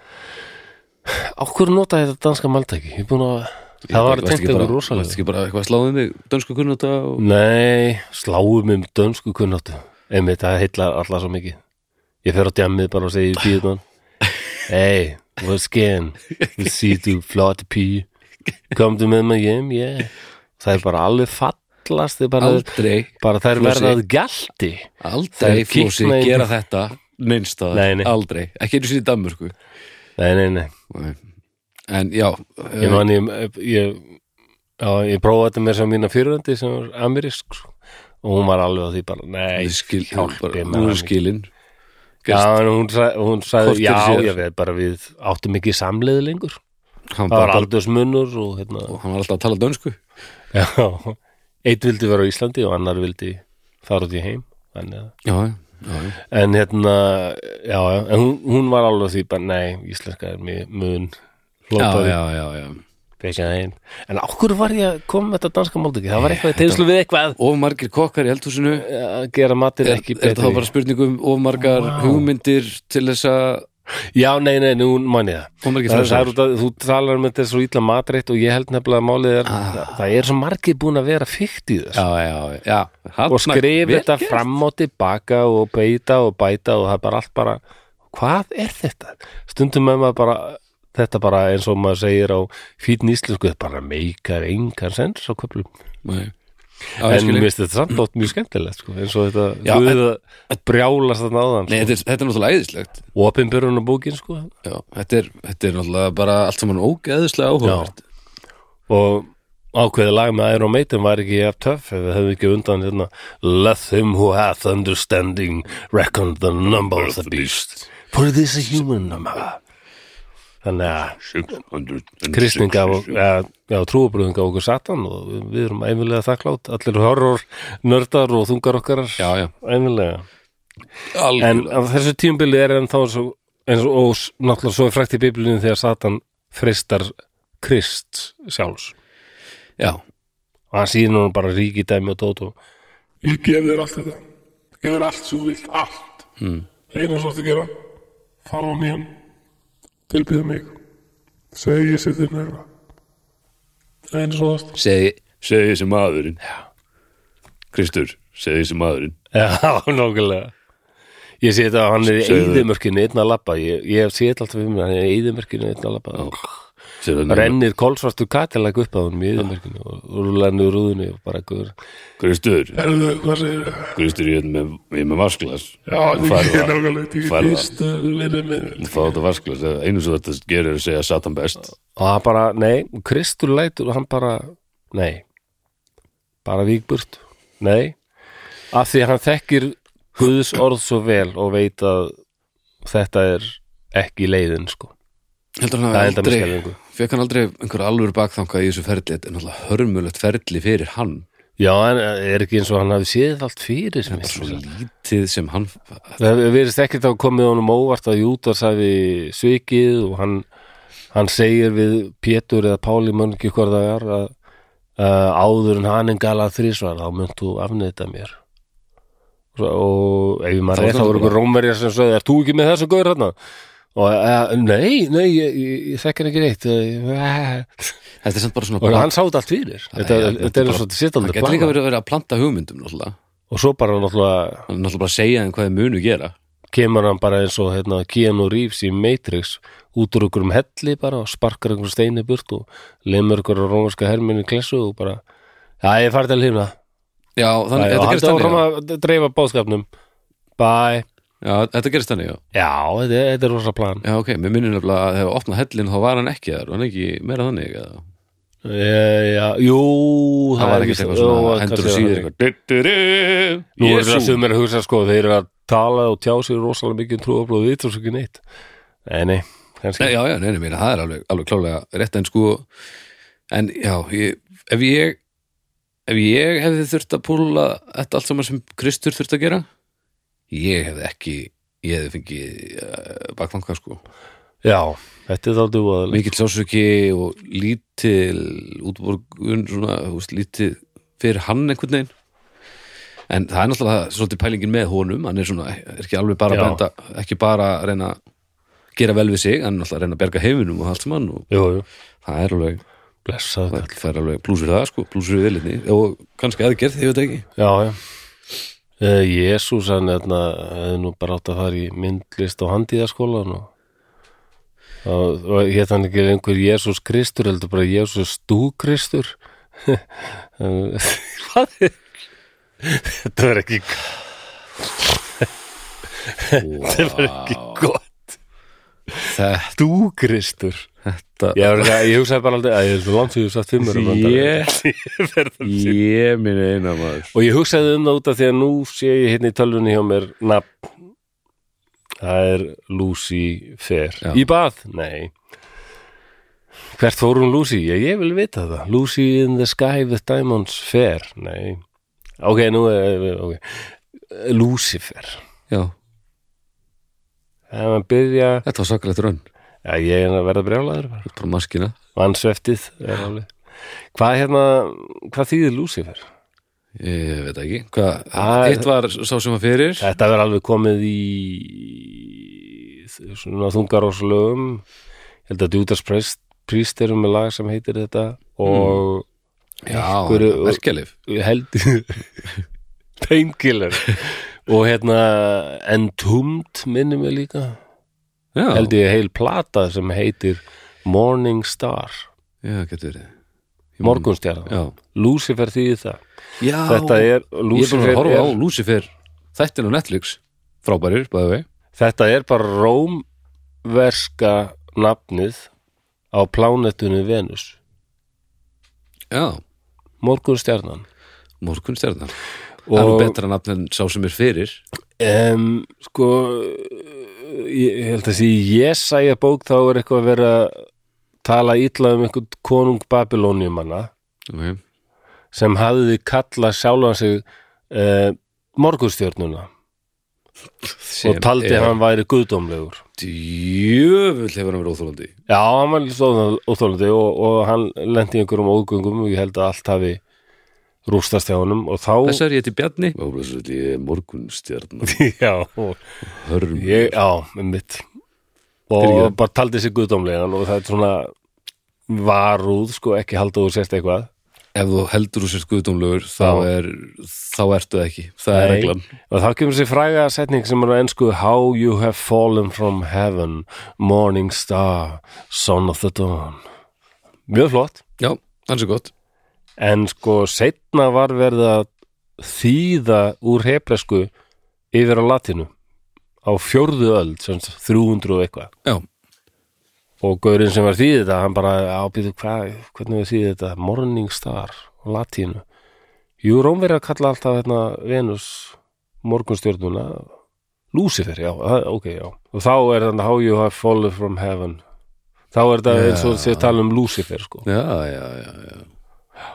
Speaker 1: Já. Af hverju nota ég þetta danska máltæki? Ég er búin að Það var tengt einhver rosalega
Speaker 2: varst ekki bara eitthvað sláðið mig, dönsku kunnáta og...
Speaker 1: Nei, sláum um dönsku kunnáttu Einmitt, það heillar alla svo mikið Ég fer á djammið bara og segi í tíðan Hey, what's going? Við sýtu flott pí Komdu með mig hjem, yeah Það er bara alveg fallast þið bara,
Speaker 2: aldrei,
Speaker 1: bara það er
Speaker 2: Flósi.
Speaker 1: verðað gælti Það
Speaker 2: aldrei
Speaker 1: er
Speaker 2: flósi
Speaker 1: kikna í-
Speaker 2: gera þetta neinst að,
Speaker 1: Nei, nei.
Speaker 2: aldrei ekki einu sinni í Danmörku
Speaker 1: Nei, nei, nei
Speaker 2: en já,
Speaker 1: Ég man, ég, ég, já, ég prófaði þetta með sem mína fyrirandi sem var amerísk sko. og hún var alveg á því bara Nei,
Speaker 2: Ég skil,
Speaker 1: hjálpi
Speaker 2: bara,
Speaker 1: mér
Speaker 2: hún er
Speaker 1: hann.
Speaker 2: skilin
Speaker 1: Já, en hún, sa- hún
Speaker 2: Korter
Speaker 1: sagði, já,
Speaker 2: síðar.
Speaker 1: ég veit bara við áttum ekki samleið lengur.
Speaker 2: hann,
Speaker 1: Það var
Speaker 2: bara,
Speaker 1: aldursmunur og hérna,
Speaker 2: hann var alltaf að tala dönsku
Speaker 1: já, eitt vildi vera á Íslandi og annar vildi fara út í heim. Þannig að,
Speaker 2: já, já, já.
Speaker 1: en hérna, já, já, en hún, hún var alveg því bara, nei, íslenska er mjög mun,
Speaker 2: já,
Speaker 1: hlópaði,
Speaker 2: já, já, já.
Speaker 1: pekjaði heim. En á hverju var ég að koma með þetta danska máltöki? Það var eitthvað í tegnslu við eitthvað
Speaker 2: of margir kokkar í eldhúsinu er,
Speaker 1: að gera matir
Speaker 2: er
Speaker 1: ekki
Speaker 2: þetta
Speaker 1: betri.
Speaker 2: þá bara spurningum of margar hugmyndir til þess að
Speaker 1: Já, nei, nei, nú man ég það.
Speaker 2: of margir
Speaker 1: Það er, það er
Speaker 2: frásar
Speaker 1: út að þú talar um þetta er svo illa matreitt og ég held nefnilega að málið er það, er svo margir búin að vera fyrt í þess
Speaker 2: Ah. já, já, já
Speaker 1: og skrifa þetta fram og tilbaka og beita og bæta og það er bara allt bara hvað er þetta? Stundum með maður bara þetta bara eins og maður segir á fítin íslensku, þetta bara meikar engan sens á köflum en mér
Speaker 2: en,
Speaker 1: finnst þetta samt átt mjög skemmtilegt sko, eins og þetta
Speaker 2: Já,
Speaker 1: guð að brjálast þarna áðan
Speaker 2: Nei, þetta, er, þetta er náttúrulega æðislegt
Speaker 1: og opinbyrjun og bókin sko
Speaker 2: já, þetta, er, þetta er náttúrulega bara allt saman ógeðislega áhugavert
Speaker 1: og ákveðið lag með Iron Maiden var ekki jafn töff ef við hefðum ekki undan hérna Let him who hath understanding reckon the number of the beast for this is human number þannig að kristning gaf ok- ja, já, trúabröðum gaf okkur satan og við- við erum einvilega þakklátt allir horror nördar og þungar okkar
Speaker 2: já, já,
Speaker 1: einvilega en
Speaker 2: algjörlega
Speaker 1: á þessu tímbili er ennþá eins og, eins og, og s- náttúrulega svo er frækt í biblíunum þegar satan fristar krist sjálfs
Speaker 2: já,
Speaker 1: og hann sýnir hún bara ríkidæmi og dót og
Speaker 3: Ég gef þér allt þetta Ég gef þér allt sem þú vilt, allt mm. Einu svo að gera Fara á nýjan Tilbyða mig Segja ég sér þér nærra Það er einu svo það
Speaker 2: segi, segi sem maðurinn Kristur, segi sem maðurinn
Speaker 1: já, [laughs] nákvæmlega ég sé þetta að hann er í
Speaker 2: Segðu.
Speaker 1: eyðimörkinu einn að labba ég, ég sé þetta alltaf fyrir mig hann er í eyðimörkinu einn að labba
Speaker 2: Sér það nefnir.
Speaker 1: rennir kolsvartu katilag upp að honum í yðurmerkinu og rúlanur rúðinu og bara guður
Speaker 2: Kristur,
Speaker 3: Erðu, hvað segir
Speaker 2: Kristur, ég er með, ég er með vasklas
Speaker 3: Já,
Speaker 2: Farðu
Speaker 3: ég er
Speaker 2: að-
Speaker 3: nákvæmlega Ég
Speaker 2: farðu að-
Speaker 3: er fyrst verið með
Speaker 2: Fá þetta vasklas, einu sem þetta gerir er að segja Satan best
Speaker 1: og hann bara, nei, Kristur lætur og hann bara, nei bara víkburt nei, af því að hann þekkir Guðs orð svo vel og veit að þetta er ekki leiðin sko
Speaker 2: Heldur hann
Speaker 1: Það
Speaker 2: hafi
Speaker 1: er þetta með
Speaker 2: aldrei,
Speaker 1: skelfingu.
Speaker 2: fekk hann aldrei einhver alvöru bakþanga í þessu ferli Þetta er náttúrulega hörmulegt ferli fyrir hann
Speaker 1: já, en eh, er ekki eins og hann hafi séð allt fyrir sem
Speaker 2: Svo lítið sem hann
Speaker 1: Það verðist ekkert að komið honum óvart að Júdas hafi svikið og hann, hann segir við Pétur eða Páli möngi hvað það er að uh, áður en hann en galað þrísvar þá munt þú afneita mér Svo- og ef
Speaker 2: Þá
Speaker 1: maður rétt þá
Speaker 2: stendur bara-
Speaker 1: voru einhver rómverjar sem sagði, er þú ekki með þessu gaur hérna? og uh, nei, nei, ég, ég, ég þekkir ekki reitt uh,
Speaker 2: Þetta er samt bara svona
Speaker 1: [laughs] og hann sáði allt fyrir þetta,
Speaker 2: Nei,
Speaker 1: þetta er
Speaker 2: bara-
Speaker 1: svo
Speaker 2: Hann
Speaker 1: sittaldur
Speaker 2: getur líka
Speaker 1: plan
Speaker 2: verið að vera að planta hugmyndum náttúrulega
Speaker 1: og svo bara náttúrulega
Speaker 2: Hann er náttúrulega bara að segja þeim hvað þeir munu gera
Speaker 1: kemur hann bara eins og hérna, Keanu Reeves í Matrix út úr einhverjum helli bara og sparkar einhverjum steini burt og lemur einhverjum rómarska herminu í klessu og bara, já ég farið til himna
Speaker 2: Já, þannig,
Speaker 1: Bæ, og
Speaker 2: þetta
Speaker 1: hann
Speaker 2: gerist
Speaker 1: áfram
Speaker 2: þannig já.
Speaker 1: að dreifa báðskapnum bye,
Speaker 2: Já, þetta gerist þannig, já
Speaker 1: já þetta, er- þetta er rosa plan
Speaker 2: Já, ok, mér minnir nefnilega að þegar opnað hellin þá var hann ekki þar, var hann ekki meira þannig eða?
Speaker 1: e, já, jú
Speaker 2: Það var
Speaker 1: er
Speaker 2: ekki
Speaker 1: víst-
Speaker 2: eitthvað
Speaker 1: jú,
Speaker 2: svona
Speaker 1: kannski
Speaker 2: hendur og
Speaker 1: var
Speaker 2: síður
Speaker 1: það.
Speaker 2: eitthvað "Duddudu,
Speaker 1: nú er það
Speaker 2: Jesú."
Speaker 1: sumir að hugsa sko þeir eru að tala og tjá sig rosalega mikið um trúaflóð við þú svo ekki neitt nei, nei,
Speaker 2: Nei,
Speaker 1: kannski
Speaker 2: já, já, neina, meina, það er alveg, alveg klálega rétt en sko en já, ég, ef ég ef ég hefði þurft að púla þetta allt saman sem Kristur þurft að gera ég hefði ekki ég hefði fengið uh, bakfanga sko
Speaker 1: já, þetta er þáttu voðalega
Speaker 2: mikill sásöki og lítil útborgun svona, þú veist, lítið fyrir hann einhvern veginn en það er náttúrulega svolítið pælingin með honum hann er svona, er ekki alveg bara að
Speaker 1: Já.
Speaker 2: benda, ekki bara að reyna að gera vel við sig, hann er náttúrulega að reyna að berga heiminum og allt saman og
Speaker 1: jú, jú,
Speaker 2: það er alveg,
Speaker 1: blessað
Speaker 2: það er- það er alveg plús við það sko, plús við vilinni og kannski aðgerð, ég veit ekki
Speaker 1: Já, já. Uh, Jésús, hann hérna, hefði nú bara átt að fara í myndlist og handíðaskólan og, og, og hétt hann ekki einhver Jésús Kristur, heldur bara Jésús Stúkristur. [laughs] En- [laughs] Hvað er? Þetta var ekki, þetta var ekki gott.
Speaker 2: þetta,
Speaker 1: Stúkristur.
Speaker 2: þetta
Speaker 1: Ég, var eitthvað- ég hugsaði bara aldrei að ég er svo langt sem ég hef sagt fimmur.
Speaker 2: ég ég minn eina maður
Speaker 1: Og ég hugsaði um það út af því að nú sé ég hérna í tölvunni hjá mér nafn Það er Lucy Fair
Speaker 2: Já.
Speaker 1: Í bað? Nei Hvert fór hún Lucy? Já, ég vil vita það Lucy in the sky with diamonds fair Nei Ok, nú er okay. Lucifer
Speaker 2: já,
Speaker 1: Það er að byrja
Speaker 2: þetta var sakalegt raun,
Speaker 1: Já, ég er að verða brjálaður bara.
Speaker 2: bara maskina
Speaker 1: Vansveftið er alveg Hvað hérna, hvað þýðir Lucifer?
Speaker 2: ég veit ekki, hvað,
Speaker 1: Það-
Speaker 2: eitt var sá sem var fyrir
Speaker 1: Þetta verður alveg komið í svona þungaróslögum ég held að Dúdas Priest, Priest eru með lag sem heitir þetta og
Speaker 2: já,
Speaker 1: einhverju-
Speaker 2: verkelif
Speaker 1: ég held [laughs] painkiller og hérna Entombed minnum við líka
Speaker 2: já,
Speaker 1: held ég heil plata sem heitir Morning Star
Speaker 2: já, getur verið
Speaker 1: Morgunstjarn,
Speaker 2: Mm. já,
Speaker 1: Lucifer þýði það
Speaker 2: já
Speaker 1: þetta er,
Speaker 2: ég er bara að
Speaker 1: Lucifer
Speaker 2: horfa á
Speaker 1: er,
Speaker 2: Lucifer þættin á Netflix, frábærir bæði vei,
Speaker 1: þetta er bara rómverska nafnið á plánetunni Venus
Speaker 2: já,
Speaker 1: Morgunstjarnan
Speaker 2: morgunstjarnar það er nú
Speaker 1: og
Speaker 2: betra nafn en sá sem er fyrir
Speaker 1: um, sko ég ég held að því ég sæja bók þá er eitthvað að vera að tala illa um einhvern konung Babilóniumanna
Speaker 2: okay.
Speaker 1: sem hafði kalla sjálfan sig uh, morgunstjörnuna og taldi
Speaker 2: er-
Speaker 1: hann væri guðdómlegur
Speaker 2: djöfull hefur hann verið óþólandi
Speaker 1: Já, hann var stóðan óþólandi og, og hann lendi einhverjum ógöngum og ég held að allt hafi rústast hjá honum og þá
Speaker 2: þessar ég heiti Bjarni og blessu þetta ég er morgunstjarn
Speaker 1: [laughs] Já, og
Speaker 2: hörm
Speaker 1: ég, já, mitt og
Speaker 2: Fyrirgefðu.
Speaker 1: bara taldi sér guðdómlegan og það er svona varúð, sko, ekki halda þú sérst eitthvað
Speaker 2: ef þú heldur úr sér skuðdómlegur þá,
Speaker 1: Já.
Speaker 2: er, þá ertu það ekki það er
Speaker 1: Nei.
Speaker 2: reglan
Speaker 1: og þá kemur sér fræga setning sem er á ennsku How you have fallen from heaven Morning star, son of the dawn mjög flott
Speaker 2: já, hans er gott
Speaker 1: en sko setna var verið að þýða úr hebresku yfir á latinu á fjórðu öld, sem sagt, 300 og eitthvað
Speaker 2: já,
Speaker 1: og gaurinn sem var þýðið þetta, hann bara ábyrðu hvað, hvernig við þýðið þetta Morning Star á latínu Jú, Rómverja kalla alltaf hérna Venus morgunstjörnuna Lucifer, já, það- ok, já og þá er þannig How You Have Fallen From Heaven þá er þetta eins og þið tala um Lucifer, sko
Speaker 2: já, já, já, já.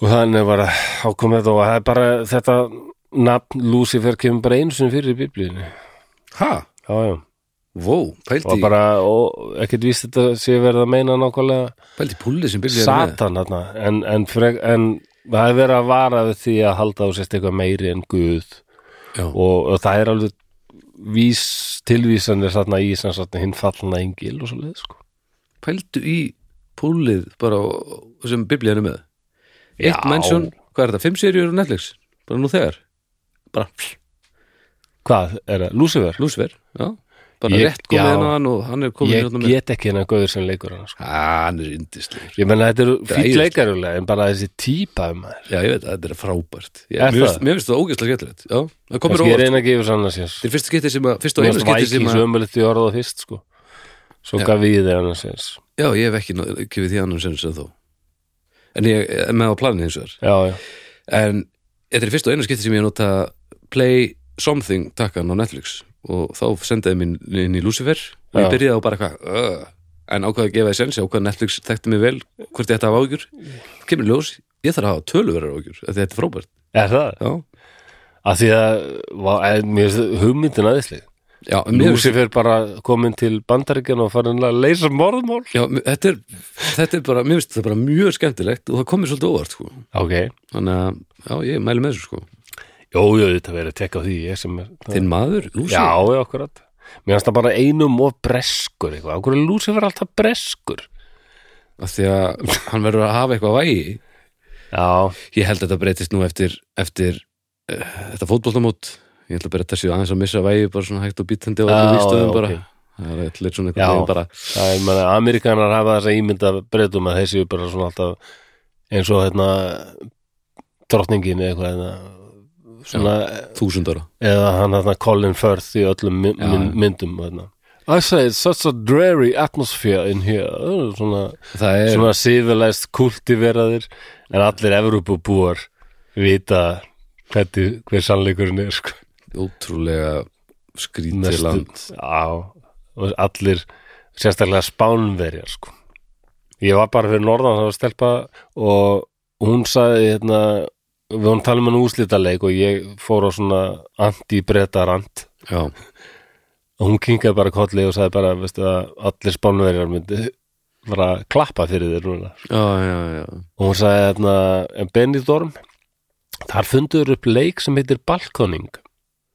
Speaker 1: og þannig var að ákom þetta og það er bara þetta nafn Lucifer kemur bara einu sinni fyrir í biblíunni
Speaker 2: ha,
Speaker 1: já, já,
Speaker 2: vó, pældi
Speaker 1: og
Speaker 2: bara...
Speaker 1: bara og ekkert víst þetta sé verið að meina nákvæmlega
Speaker 2: pældi púlið sem byrjaði
Speaker 1: Satan þarna en, en, frek, en það er verið að vara við því að halda á sérst eitthvað meiri en Guð
Speaker 2: Já.
Speaker 1: og, og það er alveg vís, tilvísanir þarna í sem sagt hinn fallna engil og svo leið sko.
Speaker 2: pældu í púlið bara á- sem biblíðan er með eitt
Speaker 1: Já.
Speaker 2: mennsjón, hvað er þetta, fimm seríur á Netflix bara nú þegar, bara
Speaker 1: Hvað er það? Lúsifer?
Speaker 2: lúsver, já bara
Speaker 1: Ég-
Speaker 2: rétt komið
Speaker 1: já.
Speaker 2: hennan hann og hann er komið
Speaker 1: Ég
Speaker 2: hérna með
Speaker 1: get ekki hennar gauður sem leikur hann sko.
Speaker 2: hann er yndislegur,
Speaker 1: Ég menna þetta er fýtt
Speaker 2: æðislegt.
Speaker 1: leikarulega en bara þessi típa um maður
Speaker 2: já ég veit, þetta er frábært ég, mér,
Speaker 1: Er það?
Speaker 2: finnst, mér finnst það ógeðslega getlegt, já, það komir
Speaker 1: Kannski ég
Speaker 2: óvart
Speaker 1: reyna að gefa sann að sér
Speaker 2: þetta er fyrsta getið sem að, fyrsta og
Speaker 1: Mér
Speaker 2: eina
Speaker 1: finnst
Speaker 2: getið sem
Speaker 1: Vikings um-
Speaker 2: að
Speaker 1: ömulegt í orða fyrst sko. Svo
Speaker 2: Já.
Speaker 1: gaf við þeir annars eins
Speaker 2: já, ég hef ekki náð- gefið því annum sem sem þó en ég, er með á planinu eins og þar
Speaker 1: Já, já,
Speaker 2: en þetta er fyrst og eina skipti sem ég nota play something takkan á Netflix og þá sendaði mín inn í Lucifer og ég
Speaker 1: Já.
Speaker 2: byrjaði á bara eitthvað uh, en ákvaði að gefa þess ensi, ákvaði að Netflix þekkti mig vel hvort ég ætti að hafa ágjur kemur í ljós, ég þarf að hafa töluverar ágjur þetta er frábært,
Speaker 1: er það?
Speaker 2: já,
Speaker 1: að því að vá, eh, mér finnst hugmyndin aðeinsleg
Speaker 2: já, mér, finnst-
Speaker 1: Lúsif er bara komin til bandaríkjan og farin að leysa morðmál
Speaker 2: já mér- þetta, er, þetta er bara, mér finnst þetta bara mjög skemmtilegt og það komið svolítið óvart sko.
Speaker 1: ok,
Speaker 2: þannig að, já, ég mæli með þessu sko.
Speaker 1: jú, jú, þetta verið að tekka á því ég sem er,
Speaker 2: þinn maður, Lucifer
Speaker 1: já, já, akkurat mér finnst það bara einum og breskur eitthvað, okkur er Lúsif er alltaf breskur
Speaker 2: af því að hann verður að hafa eitthvað vægi
Speaker 1: já,
Speaker 2: ég held að þetta breytist nú eftir, eftir uh, þetta fótboltamót ég ætla að byrja þessi aðeins að missa vægi bara svona hægt og bítandi og
Speaker 1: Já,
Speaker 2: allir vístöðum
Speaker 1: já,
Speaker 2: bara
Speaker 1: ok.
Speaker 2: það er allir svona
Speaker 1: Já.
Speaker 2: eitthvað veginn bara
Speaker 1: það er, manna, Amerikanar hafa þess að ímynda breytum að þessi er bara svona alltaf eins og hérna drottningin eða eitthvað hérna, svona,
Speaker 2: þúsund ára
Speaker 1: eða hann hérna Colin Firth í öllum my-
Speaker 2: Já,
Speaker 1: my-
Speaker 2: já.
Speaker 1: myndum hérna. I say it's such a dreary atmosphere in here Uh, svona,
Speaker 2: það er,
Speaker 1: svona civilized kultiveraðir en allir Evrópubúar vita hvernig, hver sannleikurinn er sko.
Speaker 2: ótrúlega skrítið
Speaker 1: Næstum-
Speaker 2: land
Speaker 1: Já, og allir sérstaklega spánverjar sko. ég var bara fyrir norðan það var stelpa og hún sagði hérna, við hún talum um úslitaleik og ég fór á svona anti-bretarant
Speaker 2: já,
Speaker 1: og hún kinkaði bara kolli og sagði bara veistu, að allir spánverjar myndi bara klappa fyrir þér núna
Speaker 2: já, já, já
Speaker 1: og hún sagði hérna en Benidorm þar fundur upp leik sem heitir Balkoning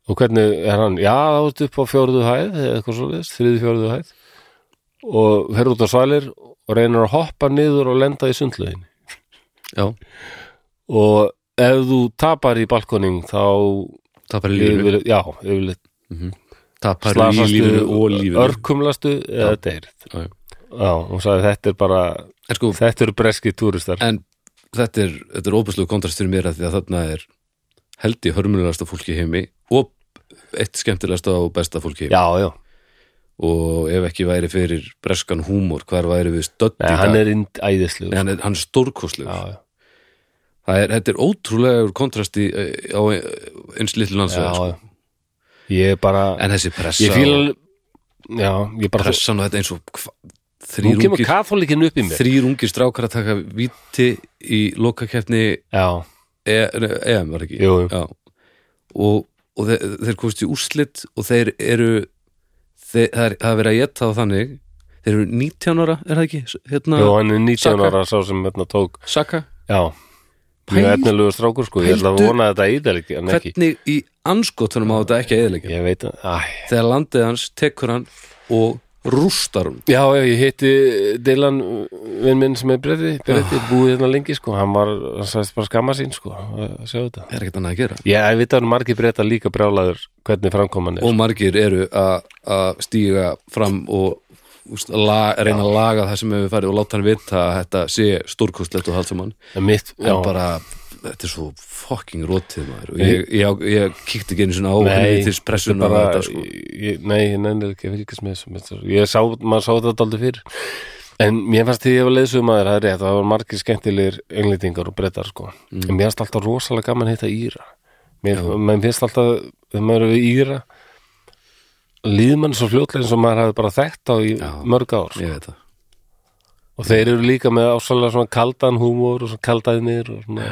Speaker 1: og hvernig er hann já þá ertu upp á fjóruðu hæð eða eitthvað svo leist, þriði fjóruðu hæð og fer út á svalir og reynir að hoppa niður og lenda í sundlögin
Speaker 2: já,
Speaker 1: og ef þú tapar í Balkoning þá
Speaker 2: tapar í lífinu
Speaker 1: yfirleitt- já, yfirleitt
Speaker 2: tapar í lífinu og
Speaker 1: slasastu,
Speaker 2: lífinu
Speaker 1: örkumlastu eða deyrið
Speaker 2: Já, já.
Speaker 1: já, hún sagði þetta er bara
Speaker 2: en sko,
Speaker 1: þetta eru breskið túristar
Speaker 2: en þetta er, þetta er óbúslega kontrast fyrir mér að því að þarna er held í hörmulegasta fólki í heimi og eitt skemmtilegasta og besta fólki í heimi
Speaker 1: já, já,
Speaker 2: og ef ekki væri fyrir breskan húmor, hvar væri við stödd í
Speaker 1: Nei,
Speaker 2: dag
Speaker 1: hann er ind- æðislegur
Speaker 2: Nei, hann er, hann er stórkostlegur
Speaker 1: já, já.
Speaker 2: Það er, þetta er ótrúlegur kontrast í, eh, á eh, eins litlu
Speaker 1: já,
Speaker 2: landsvæða sko.
Speaker 1: já. ég er bara
Speaker 2: en þessi pressa
Speaker 1: ég fíla alveg- já, ég bara
Speaker 2: pressan og þetta eins og hva-
Speaker 1: nú
Speaker 2: þrír
Speaker 1: kemur
Speaker 2: ungir,
Speaker 1: katholikin upp í mér
Speaker 2: þrír ungir strákar að taka víti í lokakeppni
Speaker 1: já,
Speaker 2: E- nei, EM var ekki
Speaker 1: Jú, jú.
Speaker 2: Já. og, og þeir, þeir komst í úrslit og þeir eru þeir, það er það er verið að geta þá þannig þeir eru 19 ára, er það ekki? S- Hérna,
Speaker 1: Jó, hann er 19
Speaker 2: Saka.
Speaker 1: ára sá sem hérna tók
Speaker 2: Saka
Speaker 1: já, mjög
Speaker 2: Pæl-
Speaker 1: efnilegu strákur sko ég ætla að
Speaker 2: Pældu-
Speaker 1: vona að þetta ídælik en ekki,
Speaker 2: hvernig í anskotunum á þetta ekki eðilegja
Speaker 1: ég veit að æ.
Speaker 2: þegar landið hans tekur hann og rústar hún
Speaker 1: já, já, ég hitti Dylan vinn minn sem er breytti, breytti búið hérna lengi sko, hann var, hann sagðist bara skamma sín sko, að sjá þetta
Speaker 2: það er ekkert annað að gera
Speaker 1: Já, ég veit að hann margir breyta líka brjálaður hvernig framkoman er
Speaker 2: og margir eru að að stíga fram og úst, la, reyna að laga það sem hefur farið og láta hann vita að þetta sé stórkostlegt og haldsum hann
Speaker 1: En mitt, já,
Speaker 2: en bara, þetta er svo fucking rótið maður og ég, ég, ég kíkti ekki einu svona á
Speaker 1: Nei,
Speaker 2: henni til
Speaker 1: þetta er
Speaker 2: pressuna
Speaker 1: bara
Speaker 2: þetta, sko.
Speaker 1: ég, Nei, ég nefnir ekki að fylgjast með þessu með þessu. Ég sá, maður sá þetta aldrei fyrr En mér fannst því ég var leiðsögum aður Það er rétt, það var margir skemmtilegir englendingar og brettar sko En mér fannst alltaf rosalega gaman að hitta Íra Mér menn finnst alltaf, þegar maður er við Íra Líður mann svo fljótlega eins og maður hafi bara þekkt á í mörg ár sko.
Speaker 2: ég veit það
Speaker 1: Og þeir eru líka með ásvalega svona kaldan húmór og svona kaldaðinir og svona